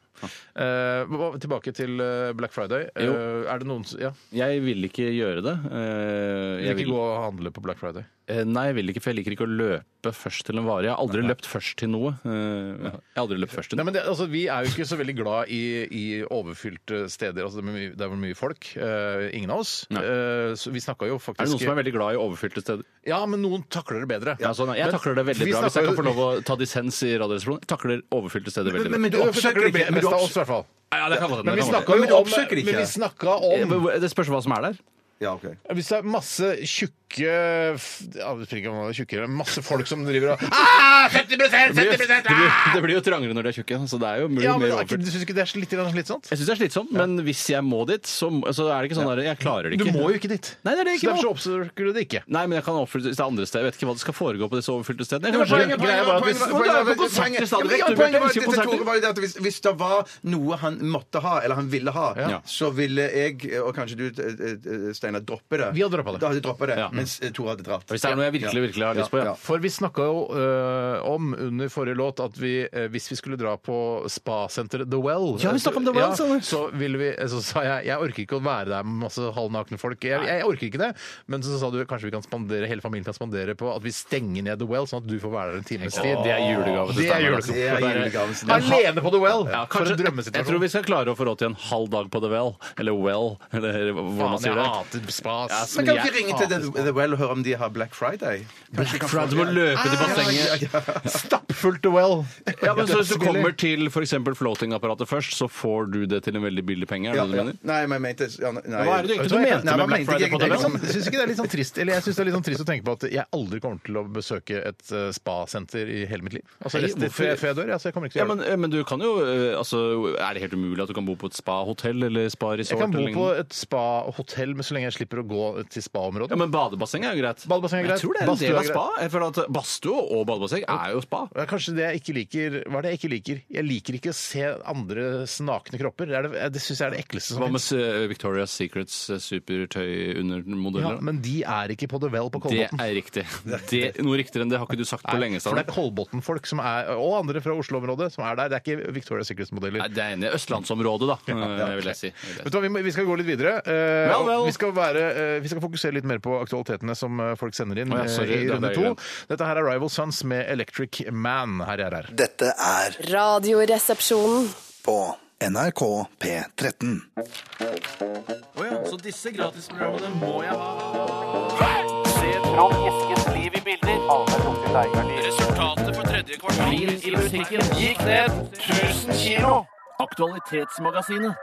Eh, hva- tilbake til eh, Black Friday. Eh,
Jo.
er det noen som Ja,
Jeg vil ikke gjøre det. Eh,
vil
Jeg
ikke gå
vil,
og handle på Black Friday.
Eh, nei, jeg vil ikke, for jeg liker ikke å løpe først til en vare. Jeg har aldri løpt først til noe. Eh, Jeg har aldri løpt først til
Nei,
noe.
men det, altså, vi er jo ikke så veldig glad i, i overfylte steder. Altså, det er mye, det er vel mye folk. Eh, ingen av oss. Eh, så vi snakka jo faktisk
Er det noen som er veldig glad i overfylte steder?
Ja, men noen takler det bedre.
Ja, sånn, jeg
Men
takler det veldig
vi
bra. Hvis jeg
snakker
kan få
jo-
lov å ta dissens i Radioresepsjonen, jeg takler overfylte steder veldig bra.
Men du
Du
oppsøker
takler det
ikke
bedre,
men
mest
du
av oss,
oppsøker-
i hvert fall.
Ja, det kan godt hende,
Men
det
vi
kan godt
snakka
Men du
jo om,
oppsøker det ikke.
men vi snakka
hende.
om
Men Eh, hvor- Det spørs hva som er der.
Ja, ok.
Hvis det er masse tjukke ja, jeg vet ikke om det er tjukkere, men Masse folk som driver og ah, 50
Det blir,
50
det, blir, det blir jo trangere når de er tjukke, så Ah! det er jo mulig
Ja, men
mer
er ikke-
overfylt.
Du syns ikke det er litt sånn? grann slitsomt?
Jeg syns det er slitsomt, men hvis jeg må dit, så, så er det ikke sånn der Jeg klarer det
Du
ikke.
må jo ikke dit.
Nei, det er det
Så
jeg ikke
derfor
må.
så oppsøker du det ikke.
Nei, men jeg kan oppfylle hvis det er andre steder. Jeg vet ikke hva det skal foregå på disse overfylte stedene. Jeg
Men
kan bare-
poenget-
greia
poenget-
var at
poenget-
hvis-
Du
poenget-
er på
poenget-
konsert i Stadion,
Ja,
Bjarte.
men poenget
Du
var-
elsker
dette
konserter.
Tore, var jo det at hvis, hvis det var noe han måtte ha, eller han ville ha,
Ja.
så ville jeg, og kanskje du, eh, eh, Steinar, droppe det.
Vi hadde droppet det.
Da hadde jeg droppet det,
Ja.
mens eh, Tore hadde dratt.
Hvis det er noe jeg virkelig, virkelig har lyst på, ja.
Ja.
For vi snakka jo ø, om under forrige låt at vi, ø, hvis vi skulle dra på spasenteret The Well
Ja, vi snakket om The Well, sa du.
Så, ville vi, eh, så sa jeg jeg orker ikke å være der med masse halvnakne folk. Jeg, jeg orker ikke det. Men så sa du kanskje vi kan spandere, hele familien kan spandere på at vi stenger ned The Well, sånn at du får være der en times tid.
Det er julegave til
Det er
Steinar.
julegave.
altså.
Det er julegaven sin.
Alene på The Well!
Ja,
for
kanskje,
en
jeg tror
drømmesituasjon.
vi skal klare å få råd til en halv dag på The Well. Eller Well, eller hvordan
Faen,
man sier
jeg
det.
hater spas.
Ja, så-
Men kan du ikke ringe til The, The Well og høre om de har Black Friday?
Black Friday, du må
altså.
løpe
Ah,
til bassenget.
Stappfullt The Well!
Ja, men så Hvis du
Dødsbillig.
kommer til f.eks. floatingapparatet først, så får du det til en veldig billig penge? Er det
Ja,
det du
ja.
mener?
Nei, men jeg mente ja, nei,
Hva er det du
Vet
egentlig
du hva, jeg-
mente
Nei,
med
hva
Black
mente
Friday
jeg
på
Det er
The Well?
egentlig?
litt sånn, synes ikke det er litt sånn trist Eller jeg synes det er litt sånn trist å tenke på at jeg aldri kommer til å besøke et eh, spasenter i hele mitt liv. Altså
Nei,
resten
hvorfor?
før jeg, før jeg dør. Altså, jeg kommer ikke til
Ja,
å gjøre det.
men, men du kan jo eh, altså, Er det helt umulig at du kan bo på et spahotell eller spa-resort?
Jeg kan bo
eller
på
lignende?
et spahotell, men så lenge jeg slipper å gå til spaområdet.
ja, men Badebasseng er jo greit.
Badebasseng er
Men
greit.
Jeg tror det er en
Badstue
del
er
av spa. Jeg føler at Badstue og badebasseng er jo spa.
Det er kanskje det jeg ikke liker. Hva er det jeg ikke liker? Jeg liker ikke å se andres nakne kropper. Det, er det, det syns jeg er det ekleste som
Hva med
finnes.
eh, Victoria's Secrets eh,
Ja,
supertøyundermodeller?
men de er ikke på The Well på
det
Kolbotn.
er riktig. Det, noe riktigere enn det har ikke du sagt på lenge.
For det er
Steinar.
Kolbotn-folk som er, og andre fra Oslo-området som er der. Det er ikke Victoria
Nei,
Secrets-modeller.
det er enig. Østlandsområdet, da, eh, vil jeg si. Vil
Vet
jeg si.
du hva, vi, må, vi skal gå litt videre. Eh,
Vel,
og
vel.
Vi, skal være, eh, vi skal fokusere litt mer på aktualitetene som eh, folk sender inn
Å ja,
eh,
sorry,
i
det er
runde
deg,
to. Dette her er Rival Sons med Electric Man. Her er her.
Dette er
Radioresepsjonen.
på NRK P13.
Altså,
Bilen i musikken gikk ned 1000 kilo. Aktualitetsmagasinet.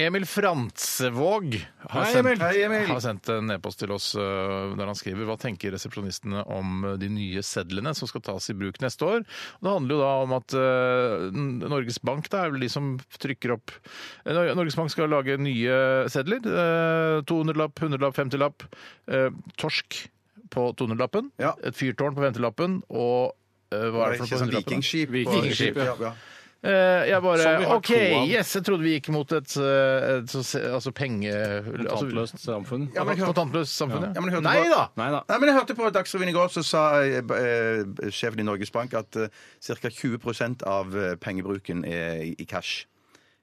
Emil Frantsevåg har,
Hei,
sendt,
Emil.
Hei, Emil.
har sendt en e-post til oss øh, der han skriver hva tenker resepsjonistene om øh, de nye sedlene som skal tas i bruk neste år. Og det handler jo da om at øh, N- Norges Bank da, er vel de som trykker opp Eh, Nor- Norges Bank skal lage nye sedler. eh, 200-lapp, 100-lapp, 50-lapp. eh, Torsk på 200-lappen.
Ja.
Et fyrtårn på 50-lappen. Og eh, hva er det for noe
Ikke
på
sånn
100-lappen? da?
vikingskip.
Vikingskip,
ja. ja.
Eh, jeg bare
Som vi har
OK,
to av.
yes, jeg trodde vi gikk mot et, eh, et, sånn se- altså penge... Altså,
Kontantløst samfunn.
Ja, men jeg hørte-
kontantløst samfunn,
Ja, men jeg hørte
Nei
på-
da!
Nei da.
Nei, men Jeg hørte på Dagsrevyen i går, så sa eh, b- eh, sjefen i Norges Bank at eh, ca. 20 av eh, pengebruken er i i cash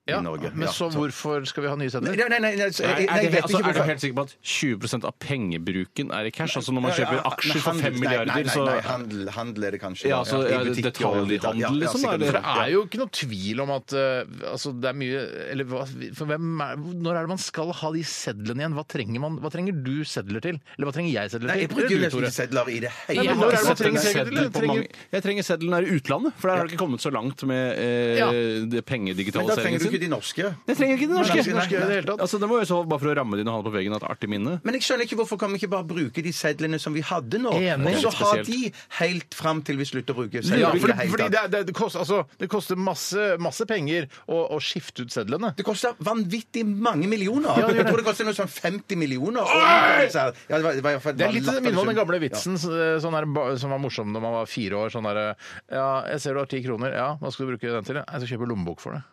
Ja,
i Norge.
men
Ja,
så hvorfor skal vi ha nye
Nei,
sedler?
nei, nei, nei, nei, så-
Er,
jeg,
er,
nei, jeg
det,
vet
altså,
ikke
er du
hvorfor.
helt sikker på at 20 av pengebruken er i cash? Altså når man
Ja, ja,
kjøper
ja,
aksjer
nei,
for
handel-
5 milliarder,
Nei,
så
nei, nei, handel, handel er det kanskje.
Ja, altså,
i
ja,
butikker
detaljhandel,
og alt. Ja, ja,
liksom,
sikkert.
da,
For
eller?
det er jo ikke noe tvil om at eh, altså, det er mye Eller hva, for hvem er, når er det man skal ha de sedlene igjen? Hva trenger, man, hva trenger du sedler til? Eller hva trenger jeg sedler
Nei,
til?
jeg bruker jo
Eller du,
nesten
Tore?
ikke sedler i det
Nei, men
hele
Jeg
hvor er det
har
man
sett en
trenger sedler?
seddel på
Trenger-
mange- Jeg trenger seddelen her i utlandet, for der har det ikke kommet så langt med eh,
Ja.
det
Men da trenger
pengedigitaliseringen sin.
du ikke de norske.
Jeg trenger ikke det norske.
Nei, nei, nei.
i det hele tatt. Altså, det må jo så bare for å ramme dine hånd på veggen at artig minne.
Men jeg skjønner ikke hvorfor kan vi ikke bare bruke de sedlene som vi hadde nå,
Enig.
og så ha
Spesielt.
de helt fram til vi slutter å
Ja,
bruke sedler. i
fordi,
det hele
fordi
tatt.
det, er- det, det, koster, altså, det koster masse, masse penger å, å skifte ut sedlene.
Det koster vanvittig mange millioner.
det gjør
jeg tror det koster noe sånn 50 millioner. Ja, det, var, det, var, i hvert fall-
Det er litt
var
minner om den gamle
latterlig
vitsen
sum.
så- sånn her, ba- som var morsom når man var fire år. Sånn der, ja, 'Jeg ser du har ti kroner. Ja, hva skal du bruke den til?' 'Jeg skal kjøpe lommebok for det'.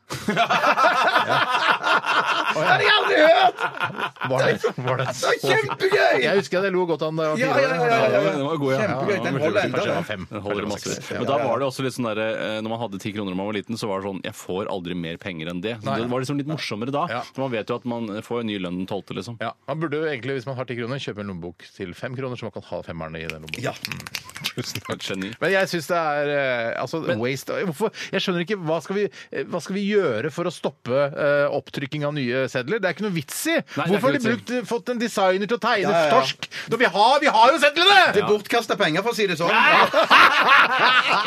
Ja. Det har jeg aldri hørt!
Var det, var det
Det er
så
kjempegøy!
Jeg husker at jeg lo godt av den da jeg var
Ja,
fire
ja,
år.
ja, ja, ja.
Den var god, ja.
Kjempegøy.
Ja,
Den
veldig
holder
god.
enda.
Kanskje jeg var
den.
fem.
Den holder i massevis.
Ja.
Men da var det også litt sånn der, eh, når man hadde ti kroner da man var liten, så var det sånn Jeg får aldri mer penger enn det. Så
Nei.
det var liksom litt morsommere da.
Ja.
For man vet jo at man får en ny lønn den tolvte, liksom.
Ja, Man burde jo egentlig, hvis man har ti kroner, kjøpe en lommebok til fem kroner, så man kan ha femmerne i den lommeboka.
Ja.
Tusen
Et geni.
Men jeg syns det er eh, altså, waste Hvorfor? Jeg skjønner ikke hva skal, vi, eh, hva skal vi gjøre for å stoppe eh, opptrykking av nye sedler? Det er ikke noe vits i!
Nei, det er ikke
Hvorfor har de
vits
brukt, fått en designer til å tegne
Ja, ja, ja.
torsk? Når vi har, vi har jo sedlene!
Det er bortkasta penger, for å si det sånn. Ja.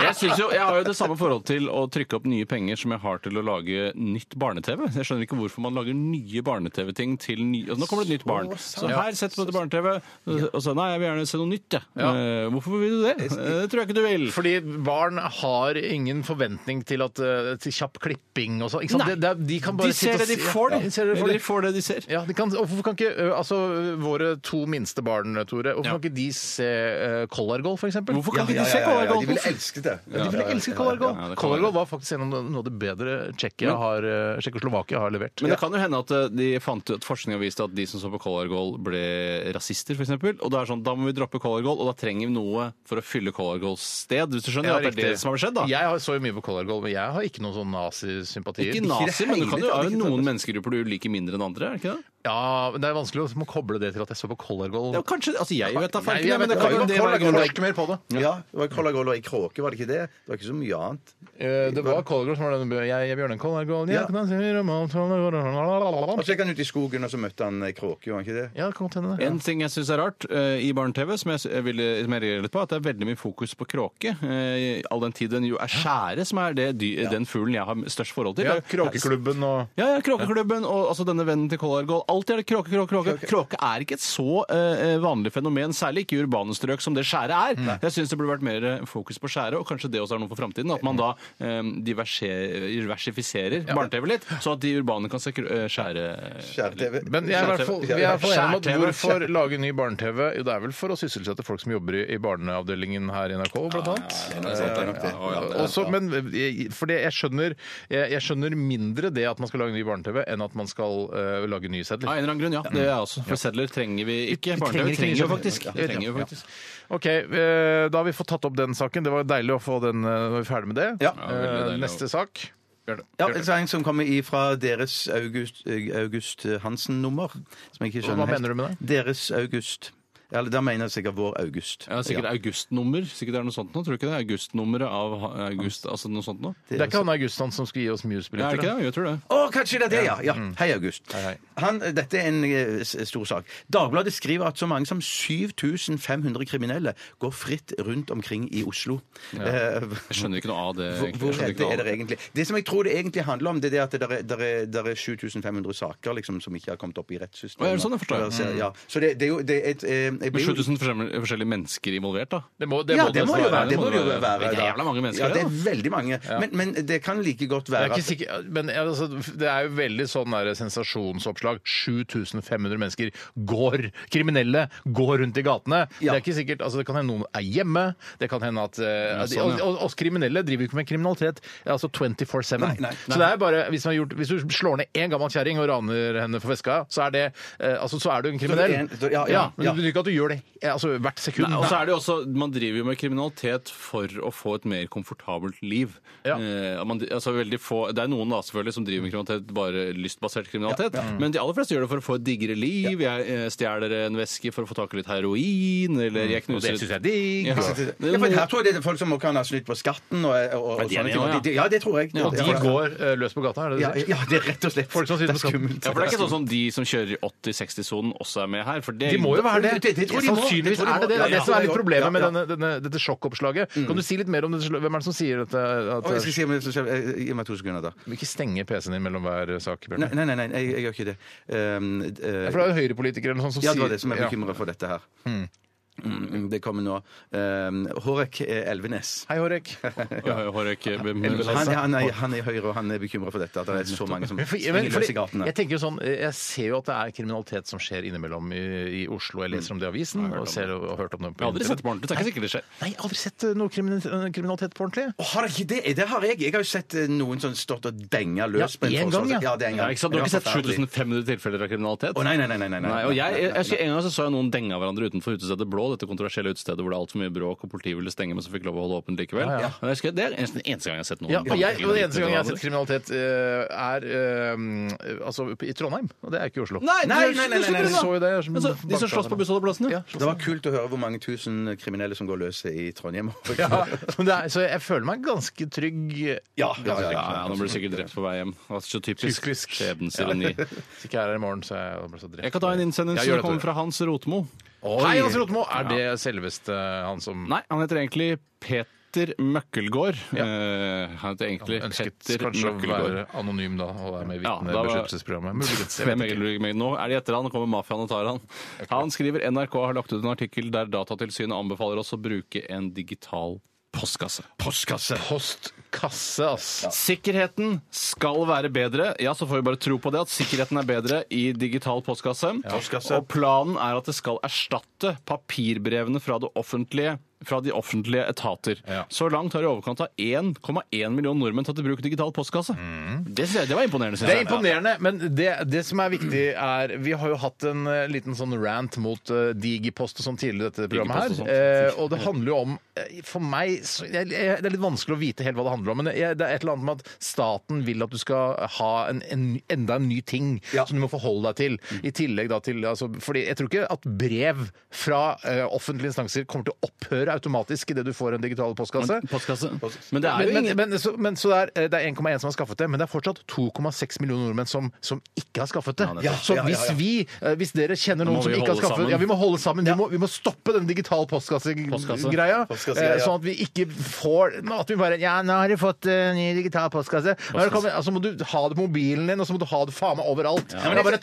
Jeg, synes jo, jeg har jo det samme forhold til å trykke opp nye penger som jeg har til å lage nytt barne-TV. Jeg skjønner ikke hvorfor man lager nye barne-TV-ting til ny... Altså, nå kommer det et nytt barn. Så her setter man til barne-TV, og så nei, jeg vil gjerne se noe nytt, jeg.
Ja.
Eh, Hvorfor vil du det? Eh, Det tror jeg ikke du vil.
Fordi barn har ingen forventning til, at, eh, til kjapp klipping og sånn. ikke sant?
Nei.
Det- det- De kan bare
De ser
sitte
det
og
de
se-
får,
Ja, de ser det de får, de.
får det de ser.
Ja, de kan, og hvorfor kan ikke ø, altså, våre to minste barn, Tore, hvorfor
Ja.
kan ikke de se uh, Collargold, f.eks.?
Hvorfor kan ikke
Ja, ja,
de se
ja, ja, ja,
Color
de ville elsket det.
Ja, de ville elske
Ja, ja, ja,
Collargold.
det kan
Collargold
være.
var faktisk en av noe av det bedre Tsjekkia har,
eh,
ø, Tsjekkoslovakia har levert.
Men det kan jo hende at eh, de fant ut, at forskning har vist at de som så på Color Goal, ble rasister, f.eks. Og da er det sånn, da må vi droppe Color Goal, og da trenger vi noe for å fylle Color Goals sted. Hvis du skjønner
Ja,
at det
riktig.
er det som har skjedd, da.
Jeg har- så jo mye på Collargold, men jeg har ikke noen sånn nazisympatier.
Ikke nazi, men du kan jo
hele
ha
tatt, ikke
noen
sant?
menneskegrupper du liker mindre enn andre, er det ikke det?
Ja, men det er vanskelig å må koble det til at jeg så på Collargold.
Ja, kanskje, altså jeg vet da
Nei,
farken,
jeg
men
vet
det kan jo
ikke.
det være
Collargold
grunnen
var ikke mer på det.
Ja, det var Kollagoller i kråke, var det ikke det? Det var ikke så mye annet.
Eh, Det var Collargold som var den Jeg, jeg Bjørnen Collargold jeg
Ja.
kan si om alt,
Og så gikk han ut i skogen, og så møtte han eh, kråke, gjorde han ikke det?
Ja, det kan godt hende. det.
En ting jeg syns er rart eh, i barne-TV, som jeg, s- jeg ville som jeg reagerer litt på, er at det er veldig mye fokus på kråke. eh, all den tid den jo er skjære, som er det, dy, den fuglen jeg har størst forhold til.
Ja,
Det er-
Kråkeklubben og
Ja, ja, Kråkeklubben og altså denne vennen til Kollargold. alltid er det kråke, kråke, kråke. Kråke er ikke et så eh, vanlig fenomen, særlig ikke i urbane strøk som det skjæret er. Jeg syns det burde vært mer eh, fokus på skjæret, og kanskje det også er noe for framtiden. At man da eh, diverse- diversifiserer barne-TV litt, sånn at de urbane kan se kr- eh, skjære
Skjær-TV.
Men jeg er i hvert fall, vi er i hvert fall enige om at
Skjær-TV.
hvorfor lage ny barne-TV? Jo, det er vel for å sysselsette folk som jobber i, i barneavdelingen her i NRK, blant annet. Eh, Også, men jeg, for det, jeg, skjønner, jeg, jeg skjønner mindre det at man skal lage ny barne-TV, enn at man skal eh, lage nye
Av en
sedler.
eller annen grunn, ja. Det er jeg også. For sedler trenger vi ikke.
Vi
Barne-TV
trenger ikke
trenger vi
nye
faktisk.
sedler.
Vi trenger jo faktisk.
OK, eh, da har vi fått tatt opp den saken. Det var deilig å få den eh, Nå er vi ferdig med det.
Ja.
Eh,
Ja, veldig deilig.
Neste sak.
Ja, en sang som kommer ifra deres August, August Hansen-nummer. Som jeg ikke skjønner
Hva mener du med det?
Deres August. Eller da mener jeg sikkert vår August.
Ja, sikkert augustnummer. Sikkert det er noe sånt nå, tror du ikke det? Augustnummeret av ha- august, altså noe sånt nå?
Det er ikke han Augustan som skal gi oss
Ja, er det
Muse-billetter.
ikke det? Jo, Jeg tror det.
Å, kanskje det er det, ja! ja. Hei, August.
Mm. hei.
Han, dette er en eh, s- stor sak. Dagbladet skriver at så mange som 7500 kriminelle går fritt rundt omkring i Oslo. Eh,
Jeg skjønner ikke noe av det. egentlig.
Hvor
Jeg skjønner
redde
ikke noe
er
av
dere egentlig? Det som jeg tror det egentlig handler om, det er det at det er, der er, der er 7500 saker liksom, som ikke har kommet opp i rettssystemet.
Å, er det sånn jeg forstår?
Og der ser- Ja. Så det, det er jo det er et, eh, jeg
Men
blir jo-
7000 forskjellige forskjellige mennesker involvert, da?
Det må,
ja, det
nesten
må jo være. Det må det jo
være.
være
Det er
da.
jævla mange mennesker,
Ja, det er
det,
veldig mange. Men, men det kan like godt være
Jeg er
at
ikke sikker, men altså, Det er jo veldig sånn der sensasjonsoppslag. 7500 mennesker går kriminelle, går rundt i gatene.
Ja.
Det er ikke sikkert, altså det kan hende noen er hjemme. det kan hende at eh,
Ja, sånn, ja.
og, og Oss kriminelle driver jo ikke med kriminalitet altså 24-7.
Nei, nei,
Så det er bare, hvis, man har gjort, hvis du slår ned én gammel kjerring og raner henne for veska, så er, det, eh, altså, så er du en kriminell.
en- så- ja, ja,
men
ja.
det betyr ikke at du gjør det eh, altså, hvert sekund.
Nei, og så er det jo også, Man driver jo med kriminalitet for å få et mer komfortabelt liv.
Ja.
Eh, man, altså veldig få, Det er noen da selvfølgelig som driver med kriminalitet bare lystbasert kriminalitet, men de aller fleste gjør det for å få et diggere liv. Jeg eh, stjeler en veske for å få tak i litt heroin, eller jeg knuser
det synes jeg er digg.
Ja.
ja, for her tror jeg det er folk som kan ha snytt på skatten og, og, og,
Ja, de er det
sånne ting.
nå, ja.
De- de- Ja, det tror jeg.
Ja,
Det-
De går eh, løs på gata, er det
ja,
det du sier?
ja, det er rett og slett
Folk som sitter
Det er
på skatten.
skummelt.
Ja, for Det er ikke sånn som de som kjører i 80-60-sonen også er med her. for det...
De må jo være det.
Det- det tror de må.
Sannsynligvis
Det tror de
er det det. Det
må.
er det som er litt
Ja, ja.
problemet med
Ja, ja.
denne, denne, dette sjokkoppslaget. Kan du si litt mer om det? sl- Hvem er det som sier dette? At, eh,
Å, jeg skal si meg, Gi meg to sekunder, da.
ikke stenge PC-en din mellom hver sak,
Nei,
Bjørn.
nei, nei, nei jeg, jeg gjør ikke det. Um, eh,
For det er jo høyrepolitikere eller noe sånt som
Ja, det var det som er
Ja.
bekymra for dette her. Mm, det kommer nå. Um, Hårek eh, Elvenes.
Hei, Hårek.
Ja, Hårek, eh, hvem-
Han, han, er, han er i Høyre, og han er bekymra for dette. At det er så mange som
Men for-
springer
men
løs i
fordi,
gatene.
jeg tenker jo sånn, jeg ser jo at det er kriminalitet som skjer innimellom i, i Oslo. Jeg
Mm.
leser om det i avisen og, ser, og, og hørt om det
Jeg har aldri sett det på ordentlig. Det er ikke sikkert det skjer.
Nei, jeg har aldri sett eh, noe kriminalitet, kriminalitet på ordentlig.
Å, har dere ikke det? Det har jeg. Jeg har jo sett eh, noen som stått og denga løs
Ja,
på en
en gang,
forsvarssak.
ja.
ja. det er en
Ja,
gang.
ikke sant? Du har ikke
Men det
sett
var forferdelig.
7500 tilfeller av kriminalitet?
Å, nei, nei, nei. nei, nei, nei.
Nei, og jeg, jeg, husker En gang så, så jeg noen denge av hverandre utenfor utestedet Blå, dette kontroversielle utestedet hvor det er altfor mye bråk og politiet ville stenge, men så fikk lov å holde åpent likevel.
Ja, ja.
Og Jeg husker, det er eneste, eneste gang jeg har sett noen.
Ja, og jeg, og det eneste gang jeg har sett kriminalitet, eh, er eh, altså, i Trondheim. Og det er ikke i Oslo.
Nei,
Nei, nei, nei, nei, nei.
Jeg så jo det, jeg som-
Altså, de som slåss på bussholdeplassene?
Ja,
Det var kult å høre hvor mange tusen kriminelle som går løse i Trondheim.
Ja, men det er, så jeg føler meg ganske trygg.
ja, ja,
Ja,
ja,
ja,
ja.
nå blir du sikkert drept på vei hjem. Det er så typisk.
Typisk.
Skjebnens ironi.
Hvis ikke jeg er her i morgen, så er jeg blir så drept.
Jeg kan ta en innsendelse
Ja, gjør
som
det,
kommer
Tore.
fra Hans Rotmo.
Hei, Hans Rotmo! Er det selveste han som
Nei, han heter egentlig Peter Møkkelgård.
Ja.
Eh, han heter egentlig
ønsket
Petter
kanskje å
Møkkelgård.
være anonym da, og være med i
Ja, da var-
vitnebeskyttelsesprogrammet? Muligens. Jeg
Hvem
vet ikke.
egentlig meg nå? Er de etter han? Kommer mafiaen og tar han? Han skriver NRK har lagt ut en artikkel der Datatilsynet anbefaler oss å bruke en digital postkasse.
Postkasse.
Postkasse, ass!
Sikkerheten skal være bedre. Ja, så får vi bare tro på det, at sikkerheten er bedre i digital postkasse.
Postkasse.
Og planen er at det skal erstatte papirbrevene fra det offentlige fra de offentlige etater.
Ja.
Så langt har i overkant av 1,1 million nordmenn tatt i bruk digital postkasse. Det, synes jeg, det var imponerende. synes
Mm. Det er
jeg.
imponerende, men det, det som er viktig, er Vi har jo hatt en eh, liten sånn rant mot eh, Digipost og sånn tidligere i dette programmet
Digipost og
her. Eh, og det handler jo om eh, For meg så, jeg, jeg, Det er litt vanskelig å vite helt hva det handler om, men jeg, det er et eller annet med at staten vil at du skal ha en, en, enda en ny ting som du må forholde deg til. I tillegg da til altså, Fordi jeg tror ikke at brev fra eh, offentlige instanser kommer til å opphøre automatisk idet du får en digital postkasse.
Men- Postkasse. Men det er jo
Men, men,
ingen
men, så, men så det er, eh, det er 1,1 som har skaffet det, men det er fortsatt 2,6 millioner nordmenn som, som ikke har skaffet det.
nettopp.
så hvis vi, eh, hvis dere kjenner noen
må
som
vi
ikke har
holde
skaffet
sammen.
det, ja, vi må holde sammen. Vi, må, vi må stoppe den digitale
Postkasse.
postkassegreia,
Postkasse,
eh,
ja, ja.
sånn at vi ikke får At vi bare Ja, nå har du fått eh, ny digital postkasse. Nå har det kommet, altså må du ha det på mobilen din, og så må du ha det faen meg overalt. Ja. Men bare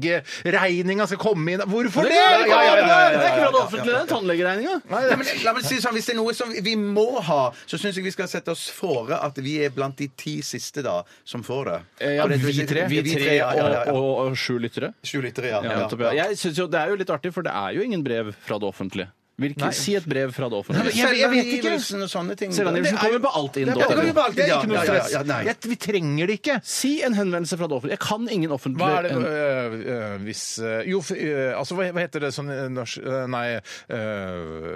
tannlegeregninga skal komme inn Hvorfor det?!
Ja, ja, ja, ja, ja, ja. Det er ikke
ja,
fra det
ja,
offentlige, den tannlegeregninga.
Nei, men, la meg si det sånn, Hvis det er noe som vi må ha, så syns jeg vi skal sette oss fore at vi er blant de ti siste da som får det.
Eh,
Ja,
Og det-
vi tre,
Vi tre, ja, ja, ja, ja.
og, og, og sju lyttere.
Sju lyttere, ja.
Ja, nettopp, ja. Jeg synes jo Det er jo litt artig, for det er jo ingen brev fra det offentlige. Hvilken, si et brev fra det offentlige.
jeg- jeg vet ikke.
Selvangivelsen og sånne ting.
Selvangivelsen
Det er jo-
kommer på alt inn.
Det er,
det kan vi bare alltid-
det er ikke
ja,
noe
ja, ja,
stress.
ja, nei.
Jeg- Vi trenger det ikke.
Si en henvendelse fra det offentlige. Jeg kan ingen offentlig
Hva er det
en-
øh, øh, hvis øh, Jo, f- øh, altså hva, hva heter det sånn øh, norsk øh, Nei øh,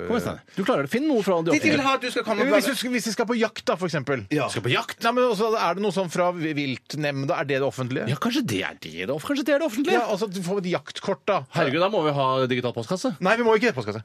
Kom igjen, Steiner. Du klarer det. Finn noe fra det
De vil
offentlige.
ha at du skal komme
Jo,
og
hvis,
bare-
du, skal- hvis vi skal på jakt, da, for eksempel.
Ja.
Skal på jakt? Nei, men også, er det noe sånn fra viltnemnda? Er det det offentlige?
Ja, kanskje det er det, da. Kanskje det er det offentlige.
Ja, altså Du får et jaktkort, da.
Herregud, da må vi ha digital postkasse.
Nei, vi må ikke det. Postkasse.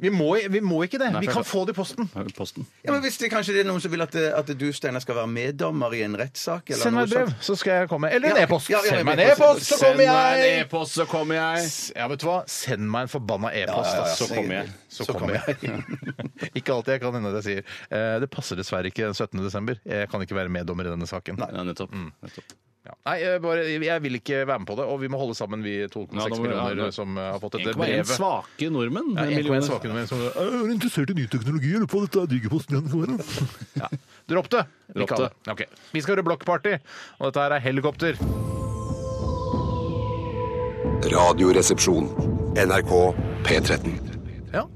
Vi må, vi må ikke det. vi
for-
kan få det i posten.
Posten.
Ja, men hvis det kanskje det er noen som vil at, eh, at du, Steinar, skal være meddommer i en rettssak eller
Send
noe
meg et brev,
sånt.
så skal jeg komme. Eller en
Ja,
e-post.
ja, ja,
Send meg en
e-post.
e-post, så
Send
kommer
meg en
jeg!
e-post, så kommer jeg.
Ja, vet du hva? Send meg en forbanna e-post,
Ja, ja, ja.
da, så kommer jeg. Så kommer jeg. ikke alltid jeg kan hende det jeg sier. Eh, Det passer dessverre ikke den 17. desember. Jeg kan ikke være meddommer i denne saken. Nei,
Ja, nettopp. nettopp.
Nei jeg, bare, jeg vil ikke være med på det, og vi må holde sammen, vi 2,6
Ja, da må vi- ja,
millioner
da-
som eh, har fått dette
1,1
brevet.
svake nordmenn.
Ja,
med
1,1
millioner.
svake nordmenn som er interessert i ny teknologi. Eller på dette er digerposten. ja. Dropp det. Vi,
Dropp det.
vi skal høre blokkparty, og dette her er helikopter.
Radioresepsjon. NRK P13.
Ja.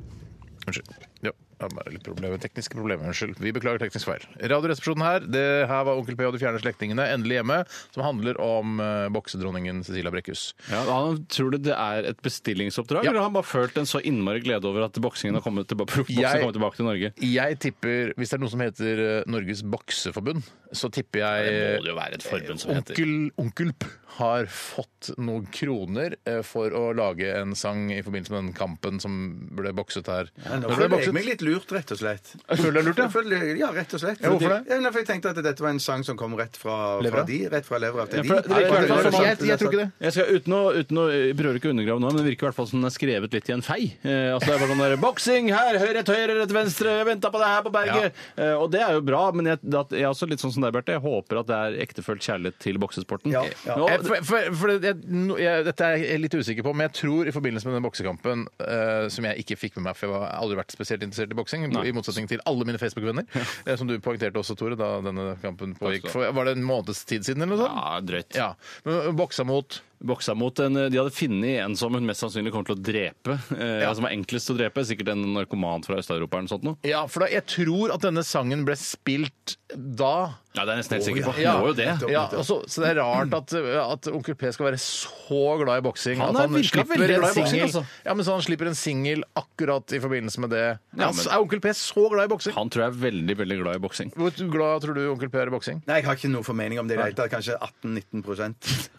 Unnskyld. Ja, det er bare litt problemer. Tekniske problemer. Unnskyld. Vi beklager teknisk feil. Radioresepsjonen her. Det her var Onkel P og de fjerne slektningene, endelig hjemme, som handler om eh, boksedronningen Cecilia Brekkhus.
Ja, han tror du det er et bestillingsoppdrag,
Ja.
eller har han bare følt en så innmari glede over at boksingen har kommet tilbake, proffboksen har
Jeg-
kommet tilbake til Norge?
Jeg tipper, hvis det er noe som heter eh, Norges bokseforbund, så tipper jeg
jo være et forbund
Eh, Onkel, onkel P har fått noen kroner eh, for å lage en sang i forbindelse med den kampen som ble bokset her.
Ja, Nå
Det ble
føler jeg
bokset.
meg litt lurt, rett og slett.
Føler du det er
Jeg
lurt, ja?
føler- Ja, rett og slett.
Ja, hvorfor
Fordi-
det?
Ja, nei, for jeg tenkte at dette var en sang som kom rett fra,
Levra?
fra de, rett fra levra til de.
for det- det virker i hvert fall som-
Jeg, jeg tror ikke det.
Jeg, skal, uten å, uten å, jeg prøver ikke å undergrave nå, men det virker i hvert fall som den er skrevet litt i en fei. Eh, altså det er bare sånn der, Boksing her, høyre, rett høyre, rett venstre, jeg venta på deg her på berget. Eh, og det er jo bra, men jeg, da, jeg er også litt sånn som deg, Berte. Jeg håper at det er ektefølt kjærlighet til boksesporten.
Ja, ja.
Nå,
Jeg- For, for, for det- jeg, no- jeg, dette er jeg litt usikker på, men jeg tror i forbindelse med den boksekampen eh, som jeg ikke fikk med meg, for jeg har aldri vært spesielt interessert i boksing, i motsetning til alle mine Facebook-venner, eh, som du poengterte også, Tore, da denne kampen pågikk. For, var det en måneds tid siden eller noe sånt?
ja, drøyt.
Ja. Men boksa mot
boksa mot en De hadde funnet en som hun mest sannsynlig kommer til å drepe. Eh, Som er enklest å drepe. Sikkert en narkoman fra Øst-Europa eller noe sånt. Noe.
Ja, for da, jeg tror at denne sangen ble spilt da.
Ja, det er jeg nesten helt sikker på.
Ja.
Må jo det.
Ja, og så- så det er rart at, eh, at onkel P skal være så glad i boksing.
Han
at
er virkelig veldig glad i boksing,
singel-
altså.
Ja, men så han slipper en singel akkurat i forbindelse med det.
Ja,
Altså,
men-
Er onkel P så glad i boksing?
Han tror jeg er veldig veldig glad i boksing.
Hvor glad tror du onkel P er i boksing?
Nei, jeg har ikke noe formening om det i det hele tatt. Kanskje 18-19 prosent.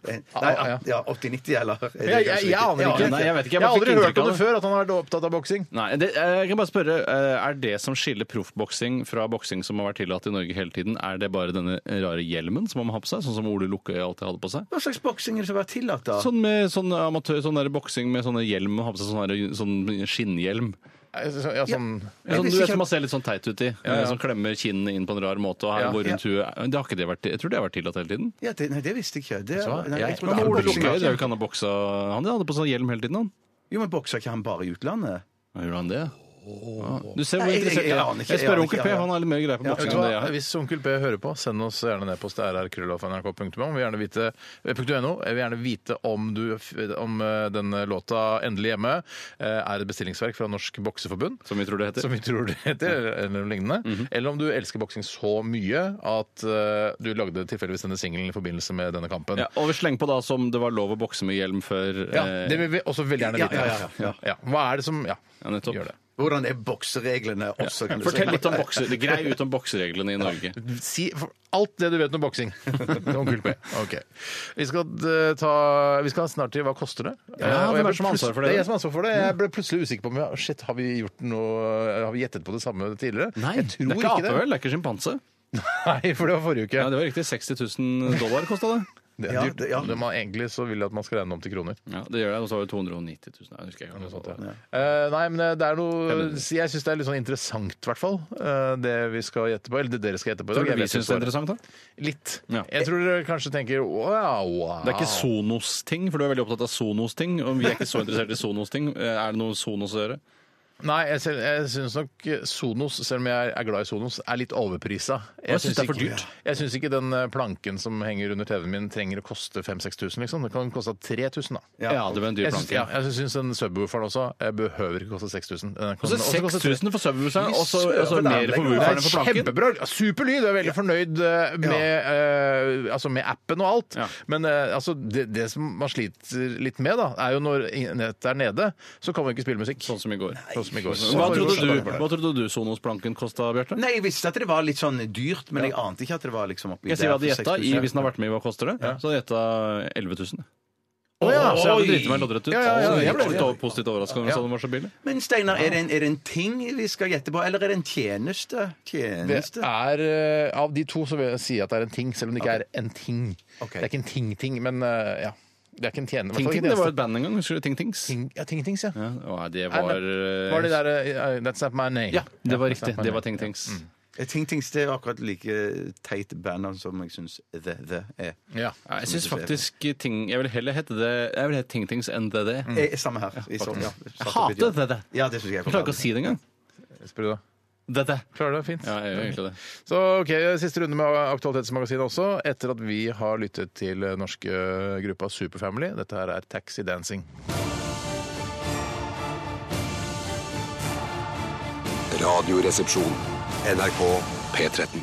Eh, Nei,
Ja, ja.
ja, 80-90, eller? er det
Jeg,
kanskje
jeg, jeg
riktig?
aner
Ja,
ikke.
nei, jeg vet ikke. Jeg
Jeg har
bare
aldri
fikk
hørt
inntrykk
om
av
det før, at han har vært opptatt av boksing.
Nei, det, jeg kan bare spørre, eh, Er det som skiller proffboksing fra boksing som har vært tillatt i Norge hele tiden, er det bare denne rare hjelmen som man må ha på seg? Sånn som Ole Lukkøy alltid hadde på seg?
Hva slags boksing er det som har vært tillatt, da?
Sånn med sånn amatør, sånn der boksing med sånne hjelm, man har på seg sånn, der- sånn skinnhjelm.
Så- Ja, sånn...
Ja, Sånn,
Jeg
du
visste
vet
ikke
som
at-
man ser litt sånn teit ut i. eh, Som klemmer kinnene inn på en rar måte. og her
Ja.
går rundt huet. Det har ikke det vært, Jeg tror det har vært tillatt hele tiden.
Ja, det, nei, det visste jeg ikke. Det, liksom
Så,
nei,
jeg,
jeg
jeg,
tror
jeg,
ikke
Ole
boksing-
Lukkøy det er jo ikke han har boksa Han hadde på seg hjelm hele tiden, han.
Jo, men bokser ikke han bare i utlandet?
Ja, Gjorde han det? Ja. Du ser hvor
Nei, jeg-
interessert
jeg- jeg aner ikke,
Jeg
jeg
spør
aner
onkel
ikke,
P,
ja, ja.
han har litt mer greie på
Vet
boksing
du
enn
hva?
det jeg har.
Hvis onkel P hører på, send oss gjerne en e-post til rrkrøllalfa.nrk.no. Vi vil gjerne vite, eh, .no. Jeg vil gjerne vite om, du, om eh, denne låta 'Endelig hjemme' eh, er et bestillingsverk fra Norsk Bokseforbund.
Som vi tror det heter.
Som vi tror det heter, eller- eller noe lignende.
Mhm.
Eller om du elsker boksing så mye at eh, du lagde tilfeldigvis denne singelen i forbindelse med denne kampen.
Ja, og vi slenger på da som det var lov å bokse med hjelm før.
Ja,
eh,
det vil vi også veldig gjerne
Ja,
vite.
ja, ja, ja.
Hva er det som Ja,
Ja, nettopp.
gjør det.
Hvordan er boksereglene også? kan du si.
Fortell litt om bokser, grei ut om boksereglene i Norge.
Si for- alt det du vet om boksing. Onkel P. Ok. Vi skal, eh, ta, vi skal snart til Hva koster det? Eh, og
hvem
jeg
er
ble
det som har ansvar for det?
plutselig- Det er jeg som har ansvar for det. Jeg ble plutselig usikker på om ja, shit, har vi gjort noe Har vi gjettet på det samme tidligere. jeg tror
det er ikke
ikke,
ape,
det.
vel? Det er ikke sjimpanse?
Nei, for det var forrige uke.
Ja, det var riktig. 60 000 dollar kosta det.
det er
Ja,
dyrt.
det- ja.
Det man egentlig så vil jeg at man skal regne om til kroner.
Ja, det gjør det. Og så var det 290 000. Nei, Jeg husker ikke. Noe sånt, Sånn, ja.
Eh, nei, men det er noe Jeg syns det er litt sånn interessant, i hvert fall. eh, det vi skal gjette på. Eller det dere skal gjette på i dag.
Tror du
Jeg
vi
vet jo
syns det er
svaret.
interessant, da?
Litt.
Ja.
Jeg tror dere kanskje tenker wow, wow.
Det er ikke Sonos-ting, for du er veldig opptatt av Sonos-ting. Og vi er ikke så interessert i Sonos-ting. Eh, Er det noe Sonos å gjøre?
Nei, jeg, selv- jeg syns nok Sonos, selv om jeg er glad i Sonos, er litt overprisa.
jeg synes det er for
ikke-
dyrt.
Jeg syns ikke den eh, planken som henger under TV-en min trenger å koste 5000-6000, liksom. Det kan koste 3000, da.
Ja, det var en dyr
Jeg syns,
planke.
ja, jeg syns den subwooferen også eh, behøver ikke koste 6000. Den kan
Og så
også koste
6000 for subwooferen, og så og så
Det er
mer for
Det
wooferen
er
enn for planken.
kjempebra. Super lyd. Jeg er veldig fornøyd eh, med, eh, altså med appen og alt.
Ja.
Men eh, altså, det, det som man sliter litt med, da, er jo når nettet er nede, så kan man ikke spille musikk.
Sånn som i går.
Sånn som i går.
Hva trodde du, hva trodde du Sonos-planken kosta, Bjarte?
Nei, jeg visste at det var litt sånn dyrt, men jeg ante ikke at det var liksom oppi
Jeg sier hva de
for
gjetta
6000.
i Hvis den har vært med i Hva koster det? Så hadde de gjetta 11 000.
Å ja,
Så jeg hadde driti meg loddrett ut.
Ja, ja, ja,
så
jeg
jeg
ble-
ble litt over- positivt overraska når jeg sa den var så billig.
Men Steinar, er det, en, er det en ting vi skal gjette på, eller er det en tjeneste?
Det
Tjeneste?
er, eh, Av de to så vil jeg si at det er en ting, selv om det ikke er en ting.
Ok.
Det er ikke en ting-ting, men eh, ja. Det er ikke en tjener.
Ting Ting, det var et band en gang. Husker du Ting Tings?
ting, ja, ting-tings, ja.
Ja, å, det
Nei,
var
men- Var det der eh, That's not my name.
Ja, det var
That's
riktig.
Not My
Det var
Name.
Ting Tings.
Ting Tings det er akkurat like teit band som jeg syns The The er.
Ja.
Ja, jeg syns faktisk ting Jeg vil heller hete det Jeg vil hete Ting Tings enn det det.
Eh, Samme her. I sånn, ja.
Jeg hater det det.
Ja, det syns jeg.
Jeg
er
klarer ikke å si det engang.
Spør du da.
Det det.
Klarer du det? Fint.
Ja, jeg gjør egentlig det.
Så ok, Siste runde med Aktualitetsmagasinet også, etter at vi har lyttet til norske gruppa Superfamily. Dette her er Taxi Dancing.
Radioresepsjon. NRK P13.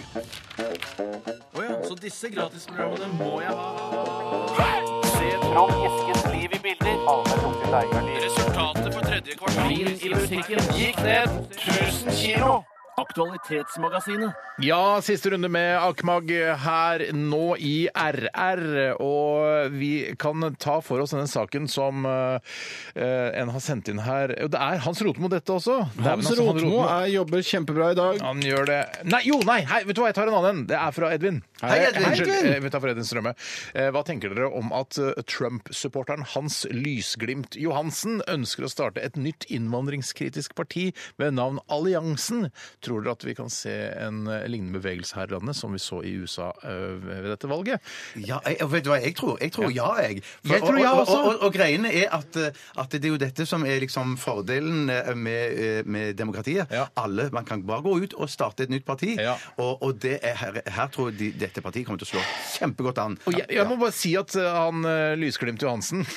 Ja, siste runde med Akmag her nå i RR. Og vi kan ta for oss denne saken som eh, en har sendt inn her. Jo, Det er Hans Rotmo, dette også. Det er vel
altså,
altså
Hans Rotmo er- jobber kjempebra i dag.
Han gjør det Nei, jo, nei! Hei, vet du hva, jeg tar en annen. en. Det er fra Edvin. Hei,
Edvin.
Unnskyld,
Hei, Edvin.
eh, vi tar fra Edvin Strømme. Eh, Hva tenker dere om at eh, Trump-supporteren Hans Lysglimt Johansen ønsker å starte et nytt innvandringskritisk parti ved navn Alliansen? Tror dere at vi kan se en eh, lignende bevegelse her i landet som vi så i USA eh, ved dette valget?
Ja, jeg, og vet du hva jeg tror? Jeg tror ja, jeg.
Jeg tror ja
og, og,
også.
og, og, og greiene er at, eh, at det er jo dette som er liksom fordelen eh, med, eh, med demokratiet.
Ja.
Alle, Man kan bare gå ut og starte et nytt parti.
Ja.
Og, og det er her, her tror jeg de, dette partiet kommer til å slå kjempegodt an.
Og jeg, jeg må bare si at eh, han eh, Lysglimt Johansen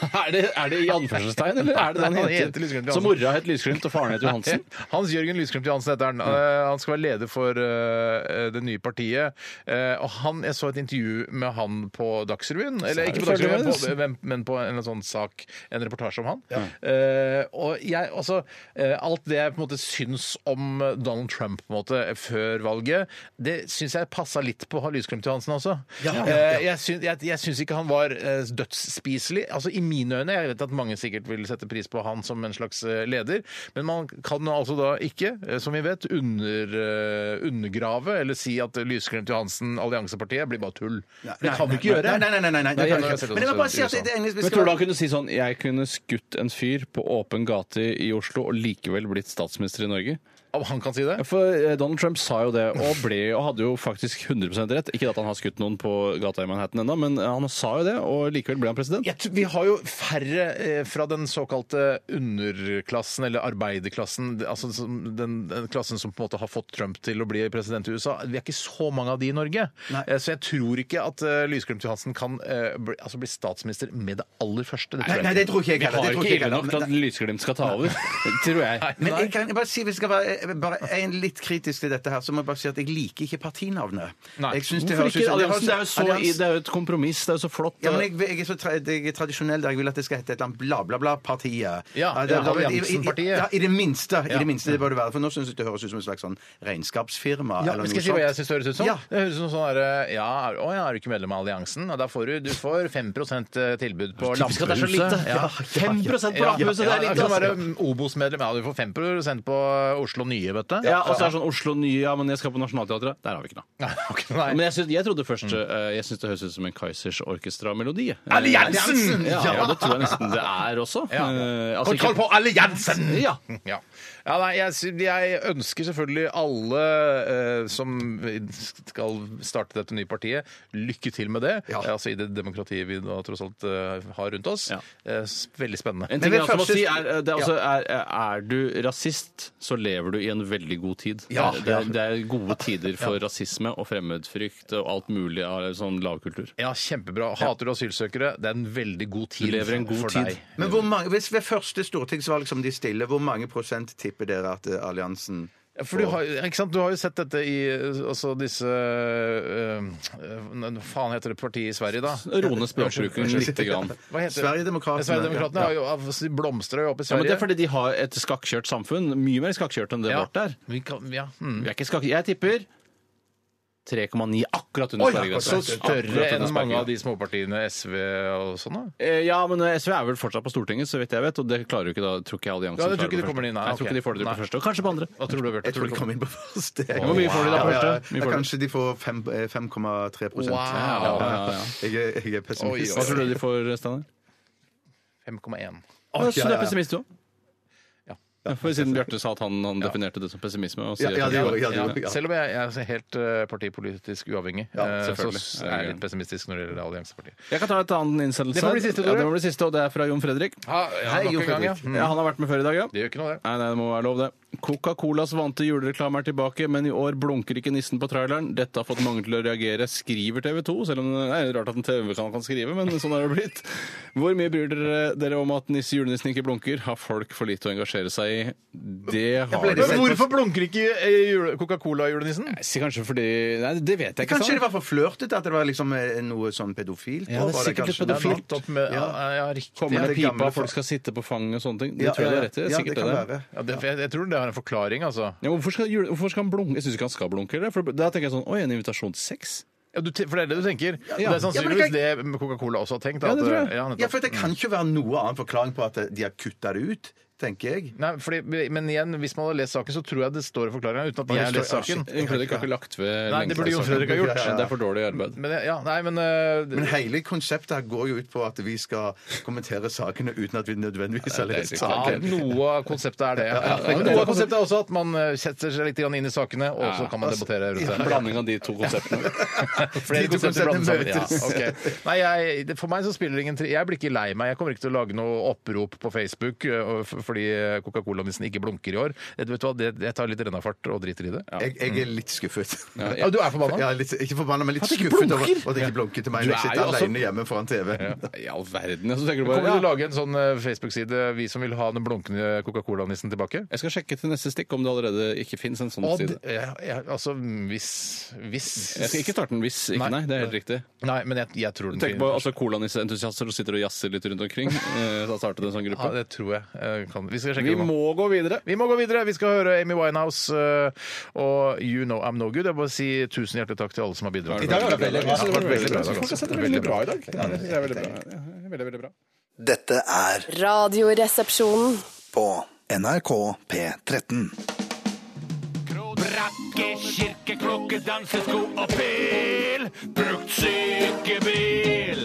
Er det, er det i anførselstegn, eller er det det han
Nei, han heter Lysglimt Johansen.
heter? Så mora het Lysglimt, og faren het Johansen?
Hans Jørgen Lysglimt Johansen heter han. Eh, Han skal være leder for eh, det nye partiet. Eh, Og han, jeg så et intervju med han på Dagsrevyen. Eller ikke på Dagsrevyen, men på, men- men på en eller annen sånn sak, en reportasje om han. Eh, Og jeg, altså, eh, alt det jeg på en måte syns om Donald Trump på en måte før valget, det syns jeg passa litt på Lysglimt Johansen også. Eh, Jeg syns, jeg, jeg syns ikke han var eh, dødsspiselig. Altså I mine øyne, jeg vet at mange sikkert vil sette pris på han som en slags eh, leder, men man kan altså da ikke, eh, som vi vet, under, eh, undergrave eller si at Lysglimt Johansen, alliansepartiet, blir bare tull. For det kan vi ikke gjøre.
Nei, nei, nei. nei, nei, nei, det
jeg
kan vi
kan
ikke.
sette
Men jeg må
oss
bare si
i
at det, det eneste vi
Men
skal
tror du han kunne si sånn Jeg kunne skutt en fyr på åpen gate i Oslo og likevel blitt statsminister i Norge?
Om han kan si det?
Ja, For eh, Donald Trump sa jo det, og, ble, og hadde jo faktisk 100 rett. Ikke at han har skutt noen på gata i Manhattan ennå, men eh, han sa jo det, og likevel ble han president.
Jeg tror- vi har jo færre eh, fra den såkalte underklassen, eller arbeiderklassen, d- altså som- den, den klassen som på en måte har fått Trump til å bli president i USA. Vi er ikke så mange av de i Norge. Eh, Så jeg tror ikke at uh, Lysglimt Johansen kan eh, bli, altså bli statsminister med det aller første. Det tror
Nei,
jeg
nei,
ikke.
det tror ikke jeg
Vi
heller.
har
det tror
ikke
ikke jeg
ille
heller.
nok til at
Men-
Lysglimt skal ta over, tror jeg.
Men jeg kan bare si, vi skal være eh, bare en litt kritisk til dette her, så må jeg bare si at jeg liker ikke partinavnet.
Nei.
Jeg synes det
Hvorfor
høres ut
ikke?
som-
Alliansen det er jo så,
Alliansen.
det er jo et kompromiss. Det er jo så flott.
Ja, men jeg, jeg er så tra jeg er tradisjonell der jeg vil at det skal hete et eller annet bla, bla, bla-partiet.
Ja,
det-
ja,
det- i- i-
Alliansenpartiet.
Ja, i det minste. I
Ja.
det minste det bør det være. For nå syns jeg det høres ut som et slags sånn regnskapsfirma.
Ja,
eller
men
noe
skal jeg si hva jeg
sånt.
syns det høres ut som?
Ja.
Det høres ut som sånn derre ja, er- Å ja, er du ikke medlem av alliansen? Ja, Da får du, du får 5 tilbud på
Typisk at det er så lite.
Lampehuset. Ja.
5 på Lampehuset, det er
ja,
lite.
det kan
altså.
være Obos-medlem. Ja, du får 5 på Oslo Nye, vet du.
Ja, og så er det sånn Oslo Nye, ja, men jeg skal på Nationaltheatret. Der har vi ikke noe.
Nei, ok, nei.
Men jeg, synes, jeg trodde først eh, Jeg syns det høres ut som en Kaizers orkestramelodi. Eh,
Alliansen!
Ja, ja, det tror jeg nesten det er også.
Ja.
Eh, altså ikke-
Kontroll på alliansen!
Ja.
Ja. ja nei, jeg, sy- jeg ønsker selvfølgelig alle eh, som skal starte dette nye partiet, lykke til med det.
Ja.
Eh, Altså I det demokratiet vi da tross alt eh, har rundt oss.
Ja.
Eh, s- veldig spennende.
En ting jeg
Men
også må
først-
si er, eh, det er, altså, er, er du rasist, så lever du i en veldig god tid.
Ja,
det, er, det er gode tider for rasisme og fremmedfrykt og alt mulig av sånn lavkultur.
Ja, kjempebra. Hater du asylsøkere? Det er en veldig god tid
Du lever en god
for
tid.
deg.
Men hvor mange, hvis ved første stortingsvalg som de stiller, hvor mange prosent tipper dere at eh, alliansen
Ja, For du har, ikke sant? du har jo sett dette i eh, altså disse eh, eh, Hva faen heter det partiet i Sverige, da?
Rone språkbruken lite grann.
Hva heter det?
Sverigedemokratene.
Sverigedemokratene har jo- altså, de blomstrer jo opp i
Ja,
Sverige.
men det er fordi de har et skakkjørt samfunn. Mye mer skakkjørt enn det
Ja.
vårt er.
Vi kan, ja. mm.
Vi er ikke skakk... Jeg tipper 3,9 akkurat under
Så
sperregrensen.
større
Akkurat
enn
under
mange av
sperregrensen.
de småpartiene SV og sånn, da?
Eh, Ja, men eh, SV er vel fortsatt på Stortinget, så vidt jeg vet. Og det klarer jo ikke da, tror ikke alliansen
Ja, det tror ikke
klarer
de
på første.
kommer inn, nei,
Jeg tror
ok.
ikke de får det til
Nei.
på første, og kanskje på andre.
Hva tror du, Bjarte?
Jeg tror de kommer inn på første.
Hvor mye får de da på
Ja, ja,
første? Mye
ja,
får de.
kanskje de får fem- eh, 5,3 prosent.
Wow.
Ja, ja,
Ja, ja.
ja. Jeg, er- jeg er pessimist.
Hva tror du de får, Steinar?
5,1.
Ja, så
ja,
du
ja.
er pessimist, du òg?
Ja.
For siden Bjarte sa at han, han definerte det som pessimisme. Og sier
Ja, ja,
at
det gjorde jeg, ja, det
Ja.
gjorde jeg. ja.
Selv om jeg, jeg er helt eh, partipolitisk uavhengig, eh, så
selvfølgelig.
s- er jeg litt pessimistisk når det gjelder Alliansepartiet.
Jeg kan ta et annet innsendelse.
Det får bli siste, Tore.
ja, det må bli siste, og det er fra Jon Fredrik.
Ja, ja,
Hei,
nok
Jo
en gang, ja.
Fredrik.
Mm.
Ja, han har vært med før i dag, ja.
Det gjør ikke noe, det.
Nei, nei, det må være lov, det. Coca-Colas vante julereklame er tilbake, men i år blunker ikke nissen på traileren. Dette har fått mange til å reagere, skriver TV 2. Selv om det er rart at en TV-kanal kan skrive, men sånn er det blitt. Hvor mye bryr dere dere om at nisse, julenissen ikke blunker? Har folk for lite å engasjere seg i? Det har
ble
de.
det sett-
Men hvorfor blunker ikke eh, jule- Coca-Cola-julenissen?
Nei, si Kanskje fordi Nei, det vet jeg ikke.
Kanskje det
Steinar.
var for flørtete? At det var liksom eh, noe sånn pedofilt?
Ja, det er
over
sikkert litt
kanskje?
pedofilt.
Ja, nettopp.
Opp med, ja, ja, riktig.
Kommer
Ja,
det
det gamle
pipa,
folk.
folk skal sitte på fanget og sånne ting? Det
Ja,
tror jeg
ja,
du har rett i.
ja,
Sikkert
det
det.
kan
der.
være.
Ja, det, jeg, jeg tror det har en forklaring, altså.
Ja, hvorfor, skal, jule- hvorfor skal han blunke? Jeg syns ikke han skal blunke. eller? For da tenker jeg sånn Oi, en invitasjon til sex?
Ja, du, te- for det er det du tenker?
Ja.
Det er sannsynligvis
Ja, men
det Coca-Cola også har tenkt.
Ja,
at,
det tror jeg.
eh, nettopp.
Ja, for det kan ikke være noe annen forklaring på at de har kutta det ut, tenker jeg.
Nei, fordi, men igjen, hvis man hadde lest saken, så tror jeg det står i forklaringa uten at jeg har lest saken.
Jon Fredrik har ikke lagt ved
Nei, det burde Jon Fredrik ha gjort.
Ja, Det er for dårlig arbeid.
Men, ja, nei, men, eh,
Men hele konseptet her går jo ut på at vi skal kommentere sakene uten at vi nødvendigvis har lest
helt klart.
saken.
ja, noe av konseptet er det. Ja, men noe av konseptet er også at man eh, setter seg litt grann inn i sakene, og så kan man debattere rundt det.
Blanding av de to konseptene.
Flere
De to
konsepter blandet sammen. Ja,
konseptene
ok. Nei, jeg, det- for meg så spiller det ingen tri- Jeg blir ikke lei meg. Jeg kommer ikke til å lage noe opprop på Facebook eh, og f- fordi Coca-Cola-nissen ikke blunker i år. Det- Vet du hva, det, Jeg tar litt rennafart og driter i det. Ja,
Jeg, jeg er litt skuffet. Ah,
du er forbanna?
Mm. Ja, litt, ikke forbanna, men litt
det ikke
skuffet over
blunker!
at det ikke blunker til meg.
Du
når Jeg
er
sitter
jo altså-
alene hjemme foran TV-en.
I all verden. altså, Så tenker du
Kommer
bare
du til å
ja.
lage en sånn eh, Facebook-side, vi som vil ha den blunkende Coca-Cola-nissen tilbake?
Jeg skal sjekke til neste stikk om det allerede ikke fins en sånn
Og
side.
d- ja, ja, altså, hvis, hvis
Jeg skal ikke starte den hvis ikke,
Nei.
nei. Det er helt riktig.
Nei, men jeg, jeg tror den
Tenk på altså, colanissentusiaster som sitter og jazzer litt rundt omkring. Eh, Da startet en sånn
Ja,
gruppe.
det tror jeg. eh, Kan. Vi skal sjekke
Vi
det nå.
må gå videre.
Vi må gå videre. Vi skal høre Amy Winehouse eh, og You Know I'm No Good. Jeg må bare si tusen hjertelig takk til alle som har bidratt.
det var veldig bra. altså.
Folk har sett
det veldig bra i dag. Ja, det er veldig bra. Veldig, veldig bra.
Dette er
Radioresepsjonen.
på NRK P13.
Brakke, kirkeklokke, dansesko og pil. Brukt sykebil.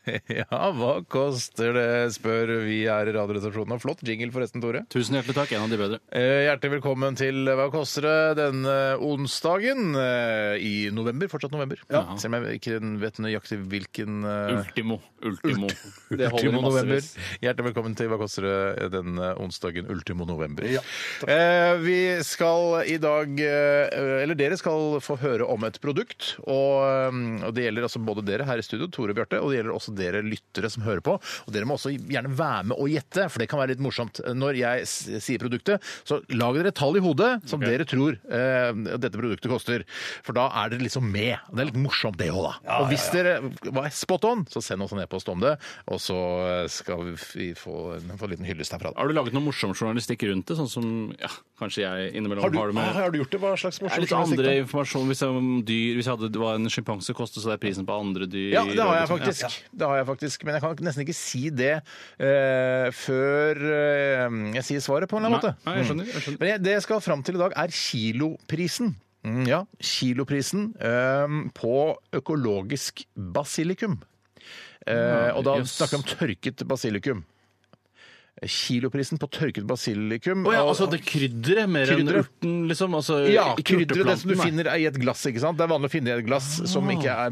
Ja, hva koster det, spør vi her i Radioresepsjonen. Og Flott jingle, forresten, Tore.
Tusen hjertelig takk. En av de bedre.
Eh, Hjertelig velkommen til eh, Hva koster det denne onsdagen eh, i november. Fortsatt november. Selv om jeg ikke vet nøyaktig hvilken eh,
Ultimo. Ultimo. Det holder
Ultimo
i
november.
massevis.
Hjertelig velkommen til Hva eh, koster det den onsdagen ultimo november. eh, vi Eh, skal i dag eh, eller dere skal få høre om et produkt. Og, eh, og det gjelder altså både dere her i studio, Tore og Bjarte, og det gjelder også dere lyttere som hører på. Og dere må også gjerne være med og gjette, for det kan være litt morsomt. Når jeg s- sier produktet, så lag dere et tall i hodet som dere tror eh, dette produktet koster. For da er dere liksom med. Det er litt morsomt, det òg, da. og hvis dere var spot on, så send oss en e-post om det, og så skal vi f- få en, få en liten hyllest herfra. da.
Har du laget noe morsom journalistikk rundt det? Sånn som ja, kanskje jeg innimellom
Har du,
har det med
Ah, har du gjort det? Hva slags
Det
morsom
er litt
journalistikk,
andre
da?
informasjon hvis, jeg, om dyr, hvis jeg hadde, det var en sjimpanse, kostet så det er prisen på andre dyr.
Ja, det har jeg
og liksom-
faktisk. Det har jeg faktisk. Men jeg kan nesten ikke si det eh, før eh, jeg sier svaret, på en eller annen måte. Mm.
Nei, jeg skjønner, jeg skjønner.
Men jeg, det jeg skal fram til i dag, er kiloprisen. Mm, ja, kiloprisen eh, på økologisk basilikum. Eh, og da
jøss.
snakker vi om tørket basilikum. Kiloprisen på tørket basilikum
Å ja,
og-
altså det krydderet mer enn
Krydderet.
urten, liksom? Altså,
Ja,
ikke
Eh, krydderet, det som du
urteplanten, nei. Ah.
finner i et glass. ikke sant? Det er vanlig å finne i et glass som ikke er,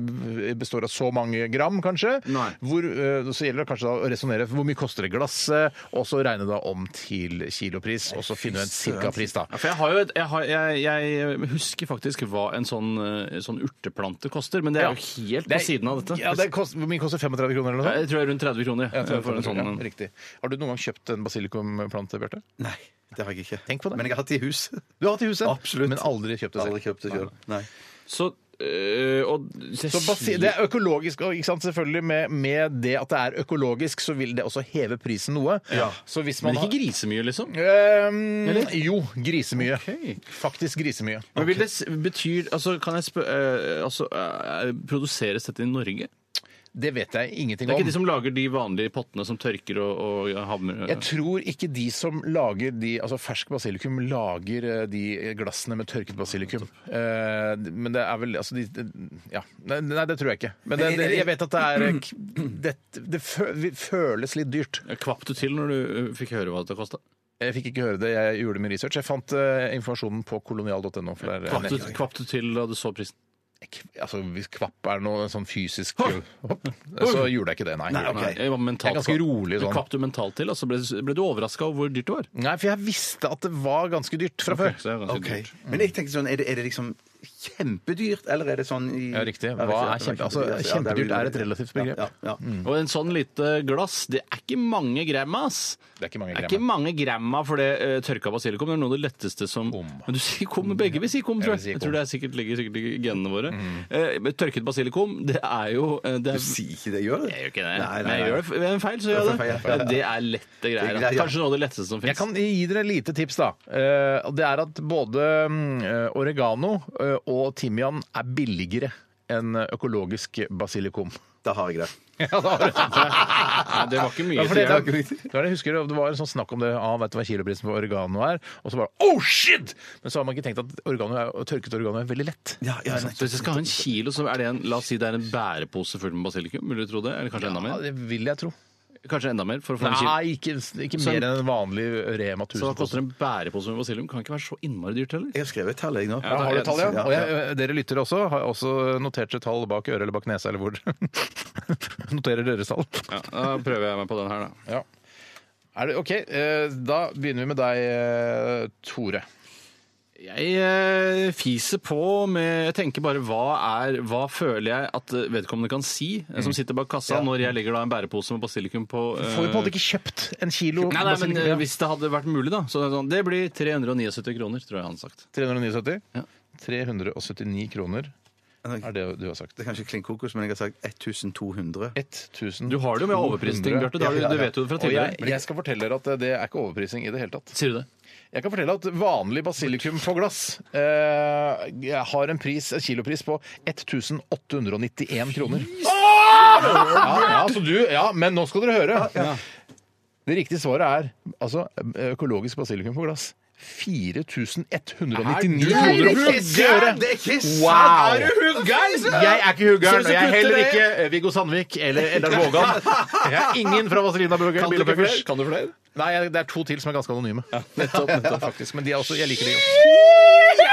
består av så mange gram, kanskje.
Nei.
Hvor, eh, så gjelder det kanskje da å resonnere hvor mye koster det glasset, og så regne da om til kilopris, og så finne en cirka-pris, da.
Ja, for jeg, har jo et, jeg, har, jeg, jeg husker faktisk hva en sånn, eh, sånn urteplante koster, men det er jo helt på
Det er-
siden av dette.
Ja, det kost, hvor mye koster 35 kroner eller noe sånt?
jeg tror det er rundt 30 kroner.
Ja,
jeg, for en sånn,
ja, riktig. Har du noen gang kjøpt en basilikumplante, Bjarte?
Nei, det har jeg ikke.
Tenk på det.
Men jeg har hatt det i huset.
Du har hatt i huset,
Absolutt.
men aldri kjøpt det selv.
Aldri kjøpt det selv. Nei.
Så, øh, og,
Så basi det er økologisk, og ikke sant? selvfølgelig med, med det at det er økologisk, så vil det også heve prisen noe. Så hvis man
Men
har-
ikke grisemye, liksom?
Ehm, jo, grisemye.
Ok.
Faktisk grisemye.
Men vil det s- betyr, altså, kan jeg spø øh, altså, øh, Produseres dette i Norge?
Det vet jeg ingenting
Det er
om.
ikke de som lager de vanlige pottene som tørker og, og havner
Jeg tror ikke de som lager de, altså fersk basilikum lager eh, de glassene med tørket basilikum. Eh, men det er vel altså de, ja. nei, nei, det tror jeg ikke. Men det, det, jeg vet at det er eh, k- Det, det fø- føles litt dyrt.
Kvapp du til når du øh, fikk høre hva det kosta?
Jeg fikk ikke høre det, jeg gjorde min research. Jeg fant eh, informasjonen på kolonial.no. for der-
Kvapp, du- kvapp du til da du så prisen?
Kv- Altså, hvis kvapp er noe sånn fysisk hopp, Så gjorde jeg ikke det, nei.
Nei, ok.
Nei, jeg var mentalt
Jeg er ganske
kvapp.
rolig sånn.
Du kvapp du mentalt til, altså ble, ble du overraska over hvor dyrt det var?
Nei, for jeg visste at det var ganske dyrt fra
Ok,
før.
så det er ganske
Ok.
dyrt.
Men jeg tenker sånn, er det, er det liksom kjempedyrt, eller er det sånn i
Ja, riktig. Hva
det
er
det
kjempe- altså,
kjempedyrt? Ja, det
kjempedyrt er et
veldig-
relativt begrep.
Ja, ja, ja.
Og en sånn lite glass, det er ikke mange gram, ass.
Det er ikke mange
Det er
gram.
ikke mange gramma for det eh, tørka basilikum. Det er noe av det letteste som
Om.
Men du sier kom, begge vil si kom, tror
Jeg vil
jeg.
si kom. Mhm.
Jeg tror det er sikkert, ligger sikkert i genene våre. Eh, men tørket basilikum, det er jo eh, det er,
Du sier ikke det, gjør du?
Jeg gjør ikke det.
Nei,
Men
nei,
jeg
nei.
gjør det ved en feil, så gjør jeg
Det
det.
er feil, ja.
Det er lette greier.
Det er greit,
da.
ja.
Kanskje noe av det letteste som
Jeg
fins.
kan gi dere et lite tips, da. Eh, og Det er at både mm, eh, oregano eh, og timian er billigere enn økologisk basilikum.
Da har jeg det.
Ja, da har
Nei, det var ikke mye.
Ja, for det,
sier jeg.
det, det, var det, jeg husker, det var en sånn snakk om det. Ah, vet du hva kiloprisen på oregano er? Og så bare oh shit! Men så har man ikke tenkt at oregano er, tørket oregano er veldig lett.
Ja, ja,
Så Hvis jeg skal ha en kilo, så er det en, la oss si det er en bærepose full med basilikum. Vil du tro det? Eller kanskje enda
Ja,
mer?
det vil jeg tro.
Kanskje enda mer for å få en kilo.
Nei, ikke, ikke
Så-
mer enn en vanlig Rema 1000.
Så hva koster en bærepose med basilikum? Kan ikke være så innmari dyrt heller.
Jeg har skrevet et tall, jeg nå.
Ja, har du et tall,
Ja, og jeg, eh, dere lytter også. Har også notert et tall bak øret eller bak nesa eller hvor. Noterer deres tall.
Ja, da prøver jeg meg på den her, da.
Ja. Er det, OK, eh, da begynner vi med deg, eh, Tore.
Jeg eh, fiser på med Jeg tenker bare hva er Hva føler jeg at eh, vedkommende kan si, eh, som sitter bak kassa, når jeg legger da en bærepose med basilikum på eh,
Får jo på en måte ikke kjøpt en kilo
Nei, nei, men eh,
basilikum.
Hvis det hadde vært mulig, da. Så er det sånn, det blir 379 kroner, tror jeg han har sagt.
379?
Ja.
379 kroner er det du har sagt.
Det er kanskje klin kokos, men jeg har sagt 1200.
1200.
Du har det jo med overpristing, Bjarte.
Ja,
da-
ja, ja.
Du vet jo det fra
Og jeg,
tidligere.
jeg skal fortelle dere at det er ikke overprising i det hele tatt.
Sier du det?
Jeg kan fortelle at vanlig basilikum på glass eh, har en, pris, en kilopris på 1891 kroner. Ja, ja, så du, ja, men nå skal dere høre. Det riktige svaret er altså økologisk basilikum på glass. 4199 kroner og 80 øre!
Det er ikke
Wow!
sant! Er du huggeis?
Jeg er ikke huggeren, og
Ser du så
jeg er heller
kutter
ikke eh, Viggo Sandvik eller Eldar Vågan. Jeg er ingen fra Vazelina
Kan du ikke
Bilopphøggers.
flere? Kan du flere?
Nei, jeg- det er to til som er ganske anonyme. Nettopp, nettopp, faktisk. Men de er også, jeg liker de. Du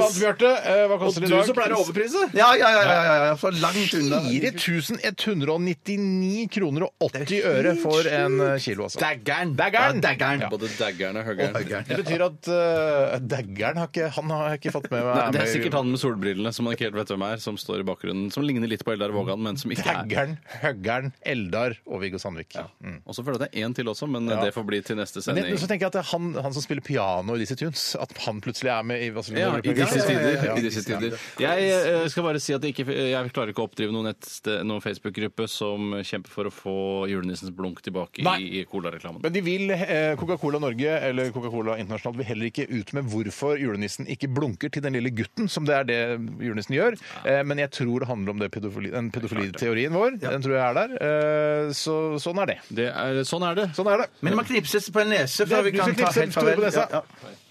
vant, Bjarte. Eh, Hva koster det i dag?
overprise!
Ja, ja, ja, ja, ja, ja. Så langt unna.
4199 kroner og 80 øre for en eh, kilo, altså.
Daggeren.
Daggeren.
Ja.
Ja.
Både daggeren og høggeren.
Det betyr at eh, daggeren har ikke Han har jeg ikke fått med meg.
Det er sikkert han med solbrillene som man ikke helt vet hvem er, som står i bakgrunnen, som ligner litt på Eldar Vågan, men som ikke er
Daggeren, Høggern, Eldar og Viggo Sandvik. Mm.
Og så føler jeg det er én til også, men det får bli til neste
Men
sending.
så tenker jeg at det er han, han som spiller piano i Dizzie Tunes, at han plutselig er med i hva som-
Ja, i disse
Ja, ja, ja,
tider.
ja.
I disse tider. Jeg eh, skal bare si at jeg, ikke, jeg klarer ikke å oppdrive noen, nettsted- noen Facebook-gruppe som kjemper for å få julenissens blunk tilbake
Nei.
i, i colareklamen.
Men de vil, eh, Coca-Cola Norge eller Coca-Cola internasjonalt vil heller ikke ut med hvorfor julenissen ikke blunker til den lille gutten, som det er det julenissen gjør. Eh, men jeg tror det handler om det pedofili, den pedofiliteorien vår. Den tror jeg er der. Eh, så sånn er det.
Det er, sånn er det.
Sånn er det.
Men det må knipses på en nese før vi
Du skal
kan ta
knipse
helt
Tore
farvel.
på nesa.
Ja,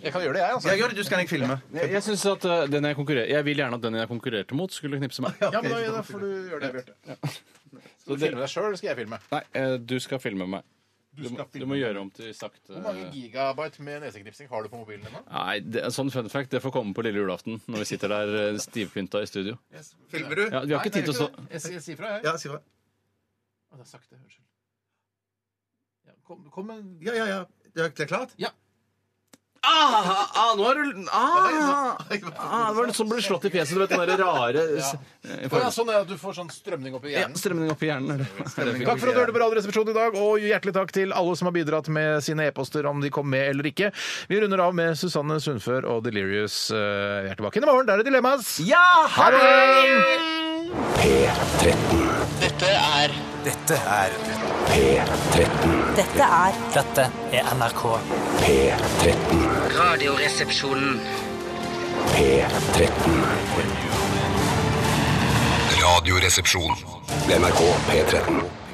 Jeg kan gjøre det, jeg, altså.
ja. Jeg gjør det, du skal ikke filme.
Jeg, jeg, synes at eh, den jeg, konkurrer- jeg vil gjerne at den jeg konkurrerte mot, skulle knipse meg.
Ja, men da, da får du gjøre det, Bjarte. Skal du filme deg sjøl, eller skal jeg filme?
Nei, eh, du skal filme meg. Du, må-
skal
du
filme
må gjøre om til sakte
Hvor mange gigabyte med neseknipsing har du på mobilen ennå?
Nei, det, en sånn fun fact det får komme på lille julaften når vi sitter der eh, stivpynta i studio.
Filmer du?
Ja, vi har ikke tid til å stå
Jeg sier- jeg sier fra, jeg.
Ja, si fra.
Å, Det er sakte. Unnskyld. Ja, Kom, kom med en
Ja, ja, ja. Det er- det er klart?
Ah, nå er du ah, ah, Det var det som ble slått i fjeset, du vet den der rare s-
Å,
eh,
ja,
formen.
Sånn er det at du får sånn strømning opp i
ja,
hjernen.
Strømning opp i hjernen. er det.
Takk for at du hørte på Radioresepsjonen i dag, og hjertelig takk til alle som har bidratt med sine e-poster, om de kom med eller ikke. Vi runder av med Susanne Sundfør og Delirious. Eh, Vi er tilbake inn i morgen. Der er Dilemmas! Ja! Ha det!
Dette er
Dette er
Dette er
Dette er NRK.
Radioresepsjonen.
Radioresepsjon. NRK P13.